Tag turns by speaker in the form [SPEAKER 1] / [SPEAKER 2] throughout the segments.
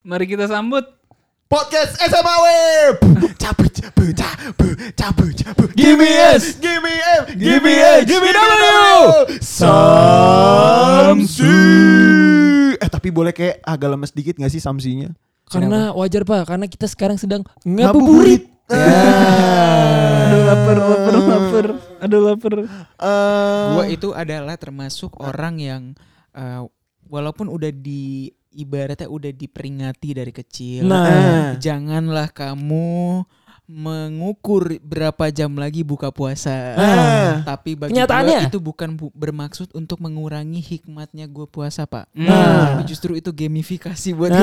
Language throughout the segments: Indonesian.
[SPEAKER 1] Mari kita sambut
[SPEAKER 2] Podcast SMA Web. Cabu cabu cabu cabu cabu. Give me S, give me M, give me A, give me W. Samsi. Eh tapi boleh kayak agak lemes dikit gak sih samsinya?
[SPEAKER 3] Karena wajar pak, karena kita sekarang sedang ngabuburit.
[SPEAKER 1] Aduh lapar, lapar,
[SPEAKER 2] Eh. Oh.
[SPEAKER 1] lapar Aduh lapar
[SPEAKER 2] Gue
[SPEAKER 4] Gua
[SPEAKER 3] Eh.
[SPEAKER 4] itu adalah termasuk
[SPEAKER 3] Ah.
[SPEAKER 4] orang yang eh, walaupun udah di ibaratnya udah diperingati dari kecil.
[SPEAKER 3] Nah.
[SPEAKER 4] janganlah kamu mengukur berapa jam lagi buka puasa.
[SPEAKER 2] Ah.
[SPEAKER 4] Tapi bagi
[SPEAKER 3] Nah. Kenyataannya.
[SPEAKER 4] gua itu bukan bu- bermaksud untuk mengurangi hikmatnya gue puasa, Pak.
[SPEAKER 1] Nah.
[SPEAKER 4] Tapi justru itu gamifikasi buat
[SPEAKER 3] Nah.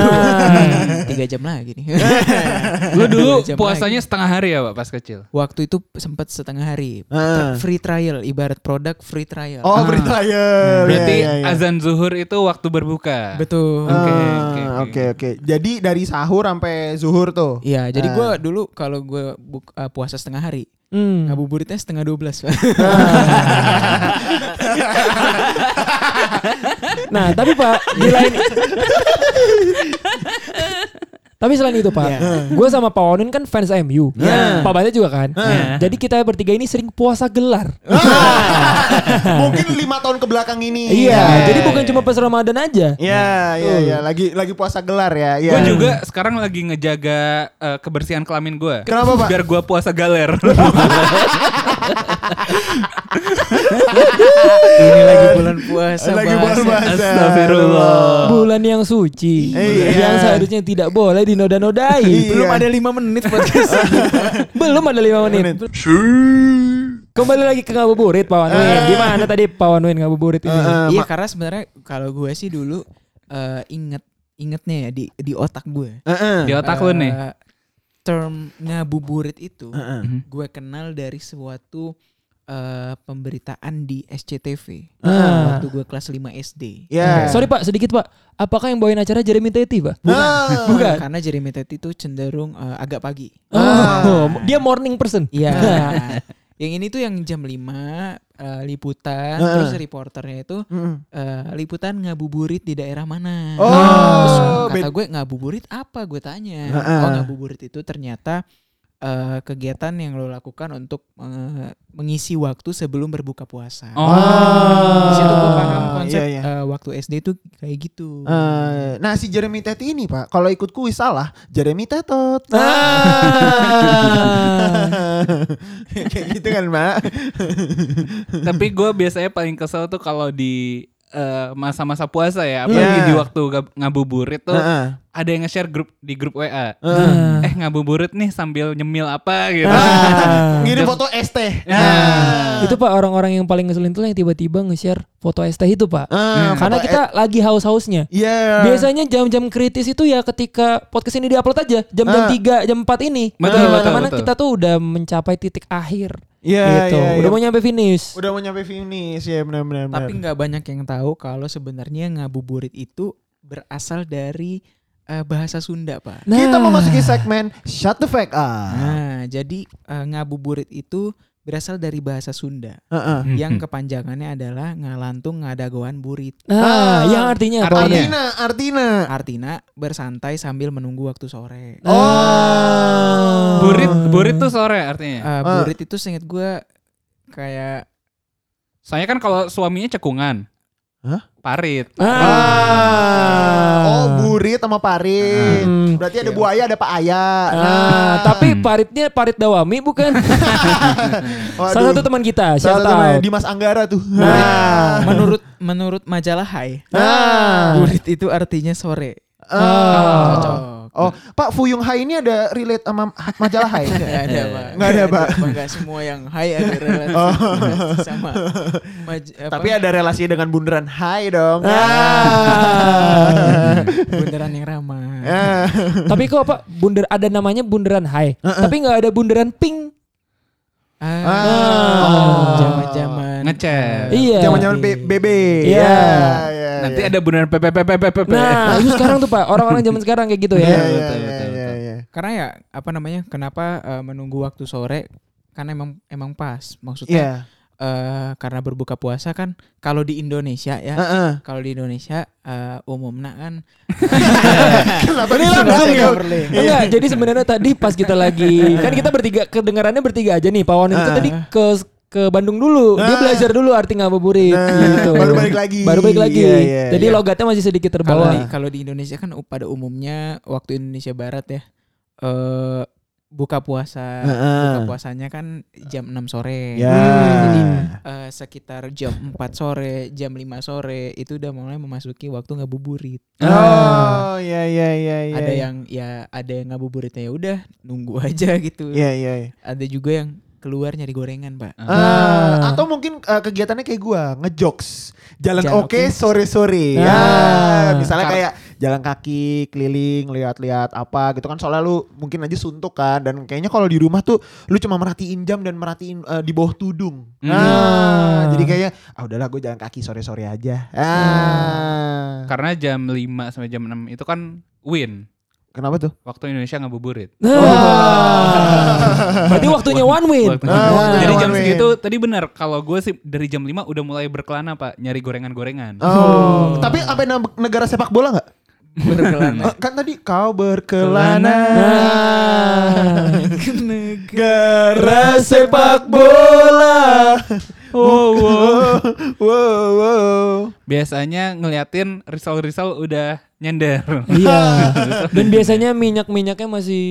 [SPEAKER 4] gue. Tiga jam lagi nih.
[SPEAKER 1] Lu dulu
[SPEAKER 4] Dua jam
[SPEAKER 1] puasanya
[SPEAKER 4] lagi.
[SPEAKER 1] setengah hari ya Pak pas kecil?
[SPEAKER 4] Waktu itu sempat setengah hari.
[SPEAKER 2] Ah.
[SPEAKER 3] Nah.
[SPEAKER 4] Free trial, ibarat produk free trial.
[SPEAKER 2] Oh berita ya.
[SPEAKER 1] Berarti
[SPEAKER 2] Ya, ya, ya.
[SPEAKER 1] azan zuhur itu waktu berbuka Oke,
[SPEAKER 4] Betul.
[SPEAKER 2] Ah,
[SPEAKER 1] oke, oke.
[SPEAKER 2] Oke oke. Jadi dari sahur sampai zuhur tuh.
[SPEAKER 4] Iya, jadi
[SPEAKER 2] Ah.
[SPEAKER 4] gue dulu kalau gue buk- eh, puasa setengah hari,
[SPEAKER 3] Hmm.
[SPEAKER 4] ngabuburitnya setengah 12 Pak.
[SPEAKER 2] Ah.
[SPEAKER 3] Nah tapi pak di lain. tapi selain itu pak, gue sama Pak Onun kan fans MU,
[SPEAKER 2] Nah.
[SPEAKER 3] Pak Bante juga kan.
[SPEAKER 1] Nah.
[SPEAKER 3] Jadi kita bertiga ini sering puasa gelar.
[SPEAKER 2] Mungkin lima tahun kebelakang ini.
[SPEAKER 3] Iya,
[SPEAKER 2] Ya.
[SPEAKER 3] jadi bukan cuma pas Ramadan aja.
[SPEAKER 2] Ya, ya, ya, lagi lagi puasa gelar ya. ya.
[SPEAKER 1] Gue juga sekarang lagi ngejaga eh, kebersihan kelamin gue
[SPEAKER 2] Kenapa, Pak?
[SPEAKER 1] Biar gue puasa galer
[SPEAKER 4] Ini lagi bulan puasa,
[SPEAKER 2] lagi
[SPEAKER 4] Bas.
[SPEAKER 2] bulan puasa.
[SPEAKER 1] Astagfirullah.
[SPEAKER 3] Bulan yang suci,
[SPEAKER 2] Iya.
[SPEAKER 3] yang seharusnya tidak boleh
[SPEAKER 2] Iya.
[SPEAKER 3] dinoda-nodai.
[SPEAKER 4] Belum ada 5 menit podcast.
[SPEAKER 3] Belum ada lima menit. Kembali lagi ke ngabuburit Pak Wanwin. Gimana tadi Pak Wanwin ngabuburit ini?
[SPEAKER 2] Eh,
[SPEAKER 4] Iya,
[SPEAKER 2] ma-
[SPEAKER 4] karena sebenarnya kalau gue sih dulu eh, inget ingetnya ya di di otak gue.
[SPEAKER 2] Heeh.
[SPEAKER 1] Di otak lu nih
[SPEAKER 4] Eh, Term ngabuburit itu
[SPEAKER 2] Heeh.
[SPEAKER 4] gue kenal dari suatu eh, pemberitaan di SCTV
[SPEAKER 3] Ah.
[SPEAKER 4] waktu gue kelas 5 SD.
[SPEAKER 2] Ya.
[SPEAKER 3] Eh, Sorry Pak, sedikit Pak. Apakah yang bawain acara Jeremy Teti Pak?
[SPEAKER 2] Ah.
[SPEAKER 3] Bukan.
[SPEAKER 4] Karena Jeremy Tet itu cenderung eh, agak pagi.
[SPEAKER 3] Oh,
[SPEAKER 2] Ah.
[SPEAKER 3] dia morning person.
[SPEAKER 4] Iya.
[SPEAKER 2] Nah.
[SPEAKER 4] yang ini tuh yang jam 5 eh, liputan
[SPEAKER 2] Heeh.
[SPEAKER 4] terus reporternya itu
[SPEAKER 2] Mm-mm.
[SPEAKER 4] eh, liputan ngabuburit di daerah mana. Nah,
[SPEAKER 2] Oh,
[SPEAKER 4] Terus kata
[SPEAKER 2] bed-
[SPEAKER 4] gue ngabuburit apa gue tanya.
[SPEAKER 2] Heeh.
[SPEAKER 4] Oh, ngabuburit itu ternyata eh, kegiatan yang lo lakukan untuk eh, mengisi waktu sebelum berbuka puasa.
[SPEAKER 1] Oh.
[SPEAKER 4] Di situ gue paham
[SPEAKER 2] Ah,
[SPEAKER 4] konsep
[SPEAKER 2] iya, iya.
[SPEAKER 4] eh, waktu SD itu kayak gitu.
[SPEAKER 2] Eh, nah si Jeremy Tet ini pak, kalau ikut kuis salah, Jeremy Tetot. Kayak gitu kan pak.
[SPEAKER 1] Tapi gue biasanya paling kesel tuh kalau di eh, masa-masa puasa ya Apalagi
[SPEAKER 2] Iya. Ah.
[SPEAKER 1] di waktu gab- ngabuburit tuh
[SPEAKER 2] Heeh.
[SPEAKER 1] Ada yang nge-share grup di grup WA
[SPEAKER 3] Ah.
[SPEAKER 1] Eh ngabuburit nih sambil nyemil apa gitu
[SPEAKER 2] Ah, Ngirim foto ST.
[SPEAKER 1] Ah.
[SPEAKER 3] Itu Pak orang-orang yang paling ngeselin tuh yang tiba-tiba nge-share foto ST itu Pak.
[SPEAKER 2] Ah,
[SPEAKER 3] Karena
[SPEAKER 2] foto
[SPEAKER 3] kita lagi haus-hausnya.
[SPEAKER 2] Iya.
[SPEAKER 3] Biasanya jam-jam kritis itu ya ketika podcast ini diupload aja jam-jam
[SPEAKER 2] Ah.
[SPEAKER 3] 3, jam 4 ini.
[SPEAKER 1] Betul,
[SPEAKER 3] Nah,
[SPEAKER 1] betul,
[SPEAKER 3] Karena
[SPEAKER 1] betul.
[SPEAKER 3] kita tuh udah mencapai titik akhir.
[SPEAKER 2] Iya,
[SPEAKER 3] gitu.
[SPEAKER 2] iya, iya.
[SPEAKER 3] Udah mau nyampe finish.
[SPEAKER 2] Udah mau nyampe finish ya benar-benar.
[SPEAKER 4] Tapi nggak banyak yang tahu kalau sebenarnya ngabuburit itu berasal dari eh, bahasa Sunda, Pak.
[SPEAKER 3] Nah.
[SPEAKER 2] kita memasuki segmen Shut the Fuck Up.
[SPEAKER 4] Nah, jadi eh, ngabuburit itu berasal dari bahasa Sunda
[SPEAKER 2] Heeh.
[SPEAKER 4] yang kepanjangannya adalah ngalantung ngadagoan burit.
[SPEAKER 3] Ah,
[SPEAKER 2] Ah.
[SPEAKER 3] yang artinya apa?
[SPEAKER 1] Artinya.
[SPEAKER 2] Artina, Artina.
[SPEAKER 4] Artinya bersantai sambil menunggu waktu sore.
[SPEAKER 3] Ah.
[SPEAKER 2] Oh.
[SPEAKER 1] Burit burit tuh sore artinya
[SPEAKER 4] Eh,
[SPEAKER 2] Ah.
[SPEAKER 4] burit itu seinget gue kayak
[SPEAKER 1] Soalnya kan kalau suaminya cekungan
[SPEAKER 2] Hah?
[SPEAKER 1] Parit
[SPEAKER 2] Ah. Oh,
[SPEAKER 3] Ah.
[SPEAKER 2] burit sama parit.
[SPEAKER 3] Hmm.
[SPEAKER 2] Berarti ada buaya, ada Pak Nah. Aya.
[SPEAKER 3] Ah, tapi paritnya parit Dawami bukan?
[SPEAKER 2] Waduh.
[SPEAKER 3] Salah satu teman kita,
[SPEAKER 2] Salah
[SPEAKER 3] shout
[SPEAKER 2] satu namanya
[SPEAKER 3] out.
[SPEAKER 2] Dimas Anggara tuh.
[SPEAKER 3] Nah.
[SPEAKER 4] menurut menurut majalah Hai,
[SPEAKER 2] Ah.
[SPEAKER 4] burit itu artinya sore.
[SPEAKER 2] Ah.
[SPEAKER 4] Cocok.
[SPEAKER 2] Oh, Pak Fuyung Hai ini ada relate sama majalah Hai?
[SPEAKER 4] Nggak ada, Pak.
[SPEAKER 2] Nggak ada, Pak.
[SPEAKER 4] Nggak semua yang Hai ada relasi sama maj- apa?
[SPEAKER 2] Oh. Tapi ada relasi dengan bundaran Hai dong.
[SPEAKER 3] Ah.
[SPEAKER 4] bundaran yang ramah.
[SPEAKER 2] Ah.
[SPEAKER 3] tapi kok apa? Bunder ada namanya bunderan Hai, tapi nggak ada bunderan Pink.
[SPEAKER 4] Ah,
[SPEAKER 2] Ah.
[SPEAKER 4] zaman-zaman
[SPEAKER 1] Ngechat.
[SPEAKER 3] Iya.
[SPEAKER 2] Zaman-zaman B- BB.
[SPEAKER 3] Iya.
[SPEAKER 2] Ya, ya,
[SPEAKER 1] Nanti
[SPEAKER 2] ya.
[SPEAKER 1] ada beneran PPPPPP
[SPEAKER 3] Nah, itu sekarang tuh Pak, orang-orang zaman sekarang kayak gitu
[SPEAKER 2] Iya, iya,
[SPEAKER 3] ya.
[SPEAKER 1] Betul,
[SPEAKER 2] iya,
[SPEAKER 1] betul,
[SPEAKER 2] iya,
[SPEAKER 1] betul.
[SPEAKER 2] iya.
[SPEAKER 4] Karena ya apa namanya? Kenapa eh, menunggu waktu sore? Karena emang emang pas.
[SPEAKER 2] Iya.
[SPEAKER 4] Maksudnya eh, karena berbuka puasa kan kalau di Indonesia ya
[SPEAKER 2] Heeh.
[SPEAKER 4] kalau di Indonesia eh, umumnya kan
[SPEAKER 2] Kenapa Iya.
[SPEAKER 3] Ini
[SPEAKER 2] disebut
[SPEAKER 3] langsung ya.
[SPEAKER 2] Takeover?
[SPEAKER 3] Enggak, jadi sebenarnya tadi pas kita lagi kan kita bertiga kedengarannya bertiga aja nih. Pak Wan itu
[SPEAKER 2] Ah.
[SPEAKER 3] tadi ke ke Bandung dulu. Dia
[SPEAKER 2] Ah.
[SPEAKER 3] belajar dulu arti ngabuburit
[SPEAKER 2] Nah,
[SPEAKER 3] gitu.
[SPEAKER 2] baru balik lagi.
[SPEAKER 3] Baru balik lagi.
[SPEAKER 2] Iya, iya,
[SPEAKER 3] jadi
[SPEAKER 2] iya.
[SPEAKER 3] logatnya masih sedikit
[SPEAKER 4] kalau di
[SPEAKER 3] terbawa.
[SPEAKER 4] kalau di Indonesia kan pada umumnya waktu Indonesia Barat ya eh buka puasa
[SPEAKER 2] Heeh.
[SPEAKER 4] buka puasanya kan jam 6 sore
[SPEAKER 2] Ya.
[SPEAKER 3] Hmm,
[SPEAKER 4] Jadi, eh, sekitar jam 4 sore jam 5 sore itu udah mulai memasuki waktu ngabuburit
[SPEAKER 3] Nah.
[SPEAKER 2] Oh, ya ya ya ya.
[SPEAKER 4] ada yang ya ada yang ngabuburitnya ya udah nunggu aja gitu
[SPEAKER 2] Ya ya. ya.
[SPEAKER 4] ada juga yang keluar nyari gorengan pak
[SPEAKER 2] Ah, atau mungkin eh, kegiatannya kayak gua ngejokes jalan
[SPEAKER 4] Jalan
[SPEAKER 2] oke
[SPEAKER 4] oke.
[SPEAKER 2] sore-sore ya
[SPEAKER 3] Ah.
[SPEAKER 2] misalnya
[SPEAKER 4] Kar-
[SPEAKER 2] kayak jalan kaki keliling lihat-lihat apa gitu kan soalnya lu mungkin aja suntuk kan dan kayaknya kalau di rumah tuh lu cuma merhatiin jam dan merhatiin eh, di bawah tudung
[SPEAKER 1] Hmm.
[SPEAKER 2] ah jadi kayak ah udahlah gue jalan kaki sore-sore aja ah
[SPEAKER 1] Karena jam 5 sampai jam 6 itu kan win.
[SPEAKER 2] kenapa tuh
[SPEAKER 1] Waktu Indonesia ngabuburit.
[SPEAKER 3] Nah. Berarti waktunya one win. Nah.
[SPEAKER 1] Waktu-
[SPEAKER 2] Ah, waktunya
[SPEAKER 1] Jadi
[SPEAKER 2] one
[SPEAKER 1] jam
[SPEAKER 2] win.
[SPEAKER 1] segitu tadi benar kalau gue sih dari jam 5 udah mulai berkelana Pak nyari gorengan-gorengan.
[SPEAKER 2] Oh, tapi sampai ne- negara sepak bola nggak?
[SPEAKER 4] berkelana
[SPEAKER 3] Nah.
[SPEAKER 2] Eh, kan tadi kau berkelana Nah. negara sepak bola. Wow, wow, wow, wow.
[SPEAKER 1] Biasanya ngeliatin risol-risol udah nyender.
[SPEAKER 3] Iya. Dan biasanya minyak-minyaknya masih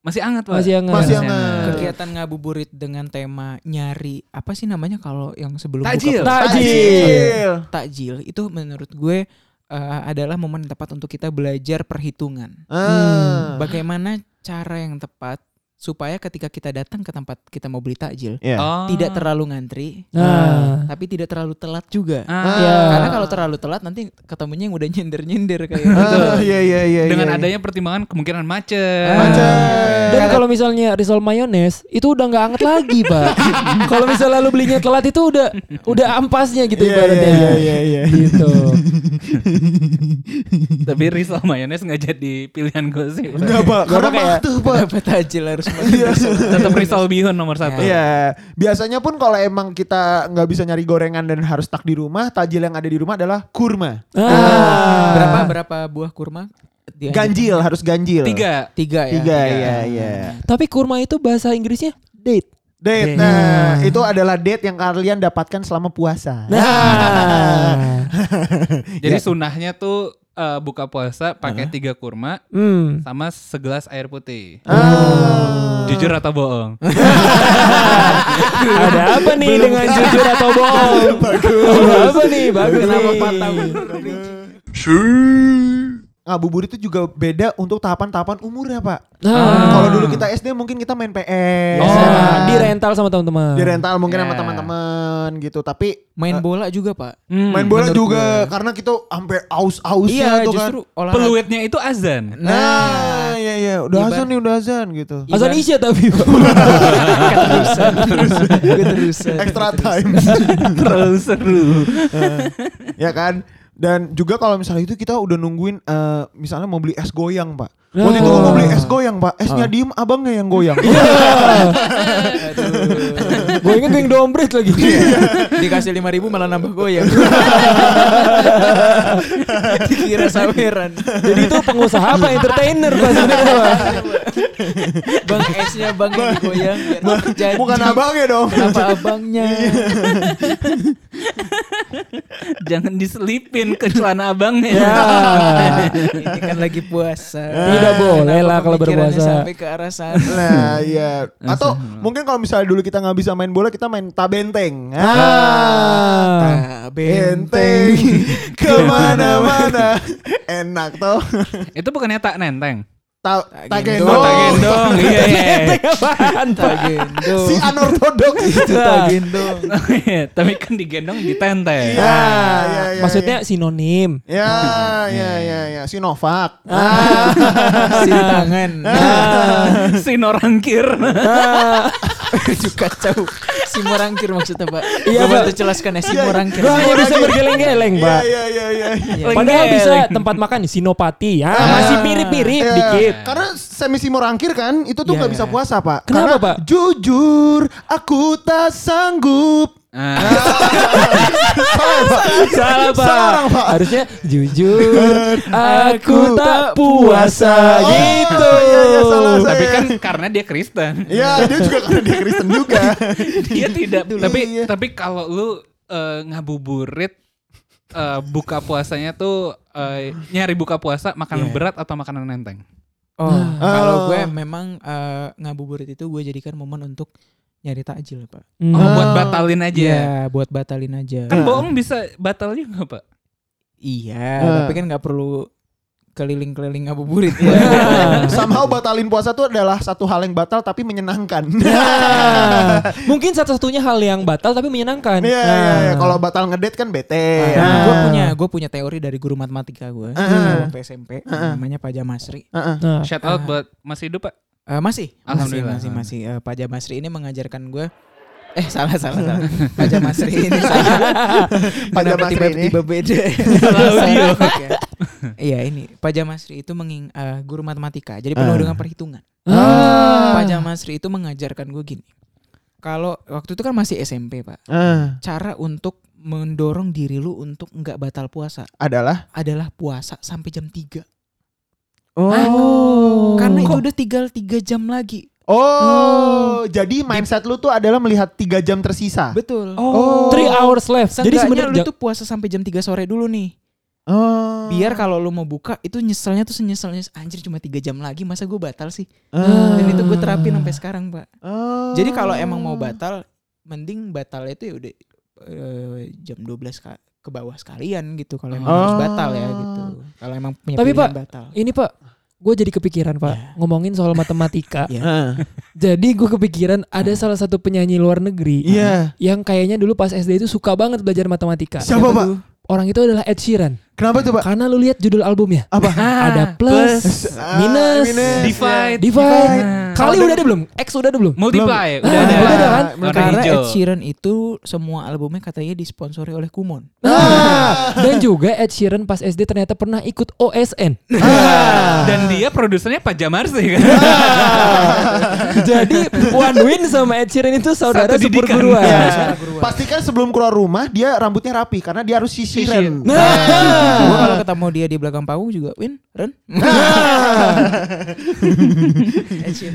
[SPEAKER 1] Masih anget Pak.
[SPEAKER 3] masih hangat.
[SPEAKER 2] Masih hangat.
[SPEAKER 4] kegiatan ngabuburit dengan tema nyari apa sih namanya kalau yang sebelum buka
[SPEAKER 1] Takjil.
[SPEAKER 4] puasa?
[SPEAKER 2] Tajil.
[SPEAKER 4] takjil itu menurut gue eh, adalah momen tepat untuk kita belajar perhitungan
[SPEAKER 2] Ah.
[SPEAKER 4] bagaimana cara yang tepat supaya ketika kita datang ke tempat kita mau beli takjil
[SPEAKER 2] Ya.
[SPEAKER 1] Oh.
[SPEAKER 4] tidak terlalu ngantri Ah,
[SPEAKER 3] Nah.
[SPEAKER 4] tapi tidak terlalu telat juga
[SPEAKER 1] Ah,
[SPEAKER 3] Iya.
[SPEAKER 4] karena kalau terlalu telat nanti ketemunya yang udah nyender nyender kayak gitu.
[SPEAKER 2] Ah, iya, iya, iya,
[SPEAKER 1] dengan
[SPEAKER 2] iya,
[SPEAKER 1] adanya pertimbangan kemungkinan macet.
[SPEAKER 3] Ah.
[SPEAKER 2] Macet.
[SPEAKER 3] Dan kalau misalnya risol mayones itu udah nggak anget lagi, Pak. kalau misalnya lu belinya telat itu udah udah ampasnya gitu
[SPEAKER 2] Iya,
[SPEAKER 3] ibaratnya.
[SPEAKER 2] iya, iya, iya.
[SPEAKER 3] Gitu.
[SPEAKER 1] Tapi risol mayones nggak jadi pilihan gue sih. Pak.
[SPEAKER 2] Enggak, Pak. Karena
[SPEAKER 4] Karena kayak
[SPEAKER 2] waktu, Pak. Ah.
[SPEAKER 4] kenapa takjil ya? harus makan bersama?
[SPEAKER 1] Tetap risol bihun nomor satu.
[SPEAKER 2] Iya, biasanya pun kalau emang kita nggak bisa nyari gorengan dan harus tak di rumah, tajil yang ada di rumah adalah kurma.
[SPEAKER 3] Ah.
[SPEAKER 4] berapa berapa buah kurma Dia-
[SPEAKER 2] Ganjil, harus ganjil.
[SPEAKER 1] Tiga.
[SPEAKER 4] Iya, tiga ya
[SPEAKER 2] Tiga, iya, iya.
[SPEAKER 3] Tapi kurma itu bahasa Inggrisnya date.
[SPEAKER 2] Date. Nah, itu adalah date yang kalian dapatkan selama puasa.
[SPEAKER 3] Nah.
[SPEAKER 1] Jadi sunahnya tuh eh, buka puasa pakai tiga kurma
[SPEAKER 3] hmm.
[SPEAKER 1] sama segelas air putih.
[SPEAKER 2] Ah.
[SPEAKER 1] Jujur atau bohong?
[SPEAKER 3] Ada apa nih dengan jujur atau bohong? Ada apa nih? Bagus
[SPEAKER 4] Kenapa
[SPEAKER 3] nih.
[SPEAKER 4] patah?
[SPEAKER 2] Ngabuburit itu juga beda untuk tahapan-tahapan umurnya, Pak.
[SPEAKER 3] Nah.
[SPEAKER 2] Kalau dulu kita SD mungkin kita main PS.
[SPEAKER 1] Oh,
[SPEAKER 2] ya kan?
[SPEAKER 3] di rental sama teman-teman.
[SPEAKER 2] Di rental mungkin sama
[SPEAKER 1] Ya.
[SPEAKER 2] teman-teman gitu, tapi
[SPEAKER 4] main bola juga pak
[SPEAKER 1] Hmm.
[SPEAKER 2] main bola
[SPEAKER 4] menurut
[SPEAKER 2] juga karena kita sampai aus-aus
[SPEAKER 4] iya
[SPEAKER 2] tuh
[SPEAKER 4] justru
[SPEAKER 2] kan.
[SPEAKER 4] olahraga
[SPEAKER 1] Peluitnya itu azan.
[SPEAKER 2] Nah, iya iya, udah azan nih, udah azan gitu.
[SPEAKER 3] Azan
[SPEAKER 4] Iya.
[SPEAKER 3] Isya tapi Pak.
[SPEAKER 4] keterusan keterusan
[SPEAKER 2] Extra time.
[SPEAKER 1] Terlalu seru.
[SPEAKER 2] ya kan? Dan juga kalau misalnya itu kita udah nungguin eh, misalnya mau beli es goyang, Pak. Waktu itu mau beli es goyang, Pak. Esnya diem, abangnya yang goyang.
[SPEAKER 3] Gue inget geng dombret lagi.
[SPEAKER 4] dikasih lima ribu malah nambah goyang dikira saweran
[SPEAKER 3] Jadi itu pengusaha apa entertainer Pak sebenarnya, Pak?
[SPEAKER 4] bang esnya bang yang digoyang biar jadi
[SPEAKER 2] Bukan Iya. abangnya dong.
[SPEAKER 4] kenapa abangnya
[SPEAKER 1] Jangan diselipin ke celana abangnya.
[SPEAKER 3] Ya.
[SPEAKER 4] ini kan lagi puasa
[SPEAKER 3] Tidak boleh
[SPEAKER 4] Kenapa
[SPEAKER 3] lah kalau
[SPEAKER 4] pemikirannya
[SPEAKER 3] berpuasa.
[SPEAKER 4] sampai ke arah sana
[SPEAKER 2] Nah, iya. Atau mungkin kalau misalnya dulu kita nggak bisa main bola, kita main tabenteng.
[SPEAKER 3] Ah.
[SPEAKER 2] Ah. Benteng kemana-mana enak toh
[SPEAKER 1] Itu bukannya tak nenteng.
[SPEAKER 2] Ta
[SPEAKER 1] Oh,
[SPEAKER 4] Oh.
[SPEAKER 1] tak
[SPEAKER 2] tagendong
[SPEAKER 1] gendong. Iya,
[SPEAKER 4] Eh.
[SPEAKER 1] iya.
[SPEAKER 3] Apaan, Pak?
[SPEAKER 4] tagendo
[SPEAKER 2] si anortodoks itu
[SPEAKER 4] tagendo
[SPEAKER 1] Tapi kan digendong ditenteng.
[SPEAKER 2] ya ya ya
[SPEAKER 3] Maksudnya sinonim.
[SPEAKER 2] ya ya ya ya Sinovac Nah,
[SPEAKER 4] si tangan
[SPEAKER 1] si norangkir.
[SPEAKER 4] Aduh kacau si morangkir maksudnya pak
[SPEAKER 3] Iya, Pak.
[SPEAKER 4] iya bantu jelaskan ya si morangkir
[SPEAKER 3] Gua hanya bisa bergeleng-geleng,
[SPEAKER 2] ya
[SPEAKER 3] Pak.
[SPEAKER 2] ya ya ya
[SPEAKER 4] Iya.
[SPEAKER 3] Padahal
[SPEAKER 1] Lengger.
[SPEAKER 3] bisa tempat makan Sinopati. Ah, masih mirip-mirip
[SPEAKER 2] Ya,
[SPEAKER 3] dikit.
[SPEAKER 2] Karena semi simorangkir kan itu tuh
[SPEAKER 4] Iya,
[SPEAKER 2] nggak bisa
[SPEAKER 4] iya.
[SPEAKER 2] puasa pak.
[SPEAKER 3] Kenapa,
[SPEAKER 2] Karena
[SPEAKER 3] Pak?
[SPEAKER 2] Jujur, aku tak sanggup
[SPEAKER 1] Ah,
[SPEAKER 3] Salah pak.
[SPEAKER 2] Seorang, Pak.
[SPEAKER 3] Harusnya jujur. aku tak puasa
[SPEAKER 2] Oh,
[SPEAKER 3] gitu.
[SPEAKER 2] iya, iya, salah, salah.
[SPEAKER 1] tapi kan karena dia Kristen.
[SPEAKER 2] Iya, dia juga karena dia Kristen juga.
[SPEAKER 1] dia tidak
[SPEAKER 2] Dulu.
[SPEAKER 1] tapi
[SPEAKER 2] Iya.
[SPEAKER 1] tapi kalau lu eh, ngabuburit eh, buka puasanya tuh eh, nyari buka puasa makanan
[SPEAKER 4] Iya.
[SPEAKER 1] berat atau makanan enteng
[SPEAKER 4] Oh, kalau
[SPEAKER 2] Ah.
[SPEAKER 4] gue memang eh, ngabuburit itu gue jadikan momen untuk nyari takjil, Pak.
[SPEAKER 1] oh,
[SPEAKER 3] Hmm.
[SPEAKER 1] buat batalin aja
[SPEAKER 4] Iya, buat batalin aja.
[SPEAKER 1] kan bohong bisa batal juga pak
[SPEAKER 4] Iya,
[SPEAKER 2] Ah.
[SPEAKER 4] tapi kan nggak perlu keliling-keliling ngabuburit.
[SPEAKER 3] Iya.
[SPEAKER 2] Somehow batalin puasa itu adalah satu hal yang batal tapi menyenangkan.
[SPEAKER 3] Nah, mungkin satu-satunya hal yang batal tapi menyenangkan.
[SPEAKER 2] Iya,
[SPEAKER 3] Nah.
[SPEAKER 2] iya, iya. Kalau batal ngedate kan bete.
[SPEAKER 4] Nah,
[SPEAKER 2] Nah.
[SPEAKER 4] gue punya gue punya teori dari guru matematika gue
[SPEAKER 2] Ah.
[SPEAKER 4] waktu SMP namanya Pak Jamasri.
[SPEAKER 2] Heeh.
[SPEAKER 3] Nah.
[SPEAKER 1] shout out buat masih hidup pak
[SPEAKER 4] Eh, masih, masih,
[SPEAKER 1] Alhamdulillah.
[SPEAKER 4] masih, masih. Eh, Pak Jamasri ini mengajarkan gue. Eh salah salah salah. Pak Jamasri ini salah.
[SPEAKER 2] Pak
[SPEAKER 4] Kenapa
[SPEAKER 2] Jamasri ini?
[SPEAKER 4] tiba-tiba beda.
[SPEAKER 1] Salah audio.
[SPEAKER 4] Oke. Iya ini Pak Jamasri itu menging eh, guru matematika. Jadi penuh
[SPEAKER 2] Ah.
[SPEAKER 4] dengan perhitungan.
[SPEAKER 3] Ah.
[SPEAKER 4] Pak Jamasri itu mengajarkan gue gini. Kalau waktu itu kan masih SMP pak.
[SPEAKER 2] Eh,
[SPEAKER 4] Cara untuk mendorong diri lu untuk nggak batal puasa
[SPEAKER 2] adalah
[SPEAKER 4] adalah puasa sampai jam 3
[SPEAKER 2] Oh.
[SPEAKER 4] Anu, Karena itu udah tinggal tiga jam lagi.
[SPEAKER 2] Oh, jadi mindset lu tuh adalah melihat tiga jam tersisa.
[SPEAKER 4] Betul.
[SPEAKER 2] Oh.
[SPEAKER 3] Three hours left. Jadi sebenarnya
[SPEAKER 4] lu tuh puasa sampai jam 3 sore dulu nih.
[SPEAKER 2] Oh.
[SPEAKER 4] Biar kalau lu mau buka itu nyeselnya tuh senyeselnya anjir cuma 3 jam lagi masa gue batal sih.
[SPEAKER 2] Ah.
[SPEAKER 4] Dan itu gue terapin sampai sekarang, Pak.
[SPEAKER 2] Oh.
[SPEAKER 4] Jadi kalau emang mau batal mending batalnya itu ya udah eh, jam 12 ka- ke bawah sekalian gitu kalau emang harus
[SPEAKER 2] Oh.
[SPEAKER 4] batal ya gitu. Kalau emang punya
[SPEAKER 3] Tapi,
[SPEAKER 4] pilihan
[SPEAKER 3] Pak,
[SPEAKER 4] batal.
[SPEAKER 3] ini pak, gue jadi kepikiran pak
[SPEAKER 2] Iya.
[SPEAKER 4] Ya.
[SPEAKER 3] ngomongin soal matematika.
[SPEAKER 4] Ya.
[SPEAKER 2] Heeh.
[SPEAKER 3] Jadi gue kepikiran ada salah satu penyanyi luar negeri
[SPEAKER 2] Iya.
[SPEAKER 3] yang kayaknya dulu pas SD itu suka banget belajar matematika.
[SPEAKER 2] Siapa, Pak?
[SPEAKER 3] tuh? Orang itu adalah Ed Sheeran.
[SPEAKER 2] Kenapa tuh, Pak?
[SPEAKER 3] Karena lu lihat judul albumnya.
[SPEAKER 2] Apa?
[SPEAKER 3] ada plus,
[SPEAKER 2] Ah,
[SPEAKER 3] minus,
[SPEAKER 2] minus.
[SPEAKER 1] divide,
[SPEAKER 3] iya. divide.
[SPEAKER 1] Nah.
[SPEAKER 3] Kali udah ada belum? X udah ada belum?
[SPEAKER 1] multiply
[SPEAKER 3] Belum.
[SPEAKER 1] udah
[SPEAKER 3] Ah,
[SPEAKER 1] ada
[SPEAKER 3] udah ada kan?
[SPEAKER 1] Warna
[SPEAKER 4] Karena
[SPEAKER 1] hijau.
[SPEAKER 4] Ed Sheeran itu semua albumnya katanya disponsori oleh Kumon.
[SPEAKER 3] Ah. Dan juga Ed Sheeran pas SD ternyata pernah ikut OSN.
[SPEAKER 1] Iya. dan dia produsernya Pak Jamarsi kan
[SPEAKER 3] Jadi Wan Win sama Ed Sheeran itu saudara
[SPEAKER 1] Satu didikan.
[SPEAKER 3] seperguruan.
[SPEAKER 2] Ya. Pastikan sebelum keluar rumah dia rambutnya rapi karena dia harus sisiran.
[SPEAKER 3] Nah.
[SPEAKER 4] Gua kalau ketemu dia di belakang panggung juga Win, Ren.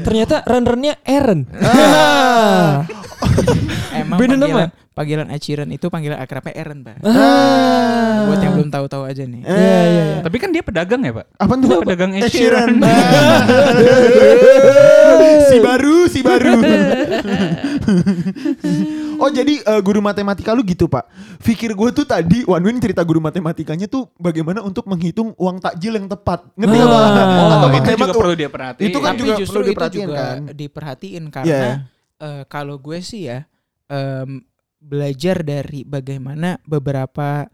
[SPEAKER 3] Ternyata runnernya Aaron.
[SPEAKER 2] Ah.
[SPEAKER 3] Ah.
[SPEAKER 4] Emang
[SPEAKER 3] Bener
[SPEAKER 4] panggilan,
[SPEAKER 3] nama?
[SPEAKER 4] panggilan Aciran itu panggilan akrabnya Eren, Pak.
[SPEAKER 2] Ah.
[SPEAKER 4] Buat yang belum tahu-tahu aja nih.
[SPEAKER 2] Eh,
[SPEAKER 3] Iya iya. iya.
[SPEAKER 1] tapi kan dia pedagang ya pak
[SPEAKER 2] Apa tuh?
[SPEAKER 1] Dia pedagang Ed Sheeran.
[SPEAKER 2] si baru, si baru. oh jadi eh, guru matematika lu gitu pak? Pikir gue tuh tadi Wanwin cerita guru matematikanya tuh bagaimana untuk menghitung uang takjil yang tepat. Ngerti nggak, Pak?
[SPEAKER 3] Oh,
[SPEAKER 2] Atau
[SPEAKER 1] oh, itu
[SPEAKER 2] menghemat
[SPEAKER 1] juga
[SPEAKER 2] uang-
[SPEAKER 1] perlu dia perhatiin
[SPEAKER 2] Itu kan
[SPEAKER 4] Tapi
[SPEAKER 2] juga
[SPEAKER 4] justru
[SPEAKER 2] perlu
[SPEAKER 4] itu
[SPEAKER 2] diperhatiin,
[SPEAKER 4] juga
[SPEAKER 2] kan? Iya.
[SPEAKER 4] diperhatiin karena eh, kalau gue sih ya em, belajar dari bagaimana beberapa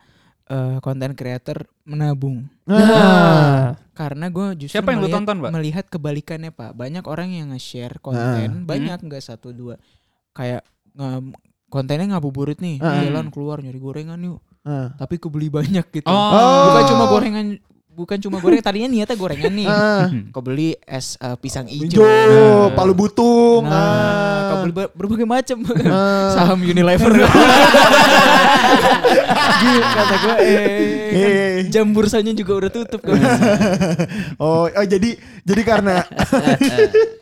[SPEAKER 4] eh, konten creator menabung.
[SPEAKER 2] Nah.
[SPEAKER 4] Karena gue justru
[SPEAKER 1] Siapa yang lu
[SPEAKER 4] melihat,
[SPEAKER 1] tonton, Pak?
[SPEAKER 4] melihat kebalikannya pak. Banyak orang yang nge-share
[SPEAKER 1] Hmm.
[SPEAKER 4] konten, banyak nggak satu dua. Kayak em, kontennya ngabuburit nih,
[SPEAKER 2] Hmm.
[SPEAKER 4] jalan keluar nyari gorengan yuk.
[SPEAKER 2] Ah.
[SPEAKER 4] Tapi kebeli banyak gitu.
[SPEAKER 1] Oh.
[SPEAKER 4] Bukan cuma gorengan, bukan cuma gorengan. Tadinya niatnya gorengan nih.
[SPEAKER 2] Ah.
[SPEAKER 1] Hmm.
[SPEAKER 4] Kebeli es eh, pisang
[SPEAKER 2] Ijo,
[SPEAKER 4] Hmm. hijau.
[SPEAKER 2] palu butung.
[SPEAKER 4] Nah,
[SPEAKER 2] ah.
[SPEAKER 4] kebeli ber- berbagai macam.
[SPEAKER 2] Ah.
[SPEAKER 4] Saham Unilever. Gila, kata gue, eh, kan
[SPEAKER 2] Eh.
[SPEAKER 4] jam bursanya juga udah tutup. Kan.
[SPEAKER 2] oh, oh, jadi jadi karena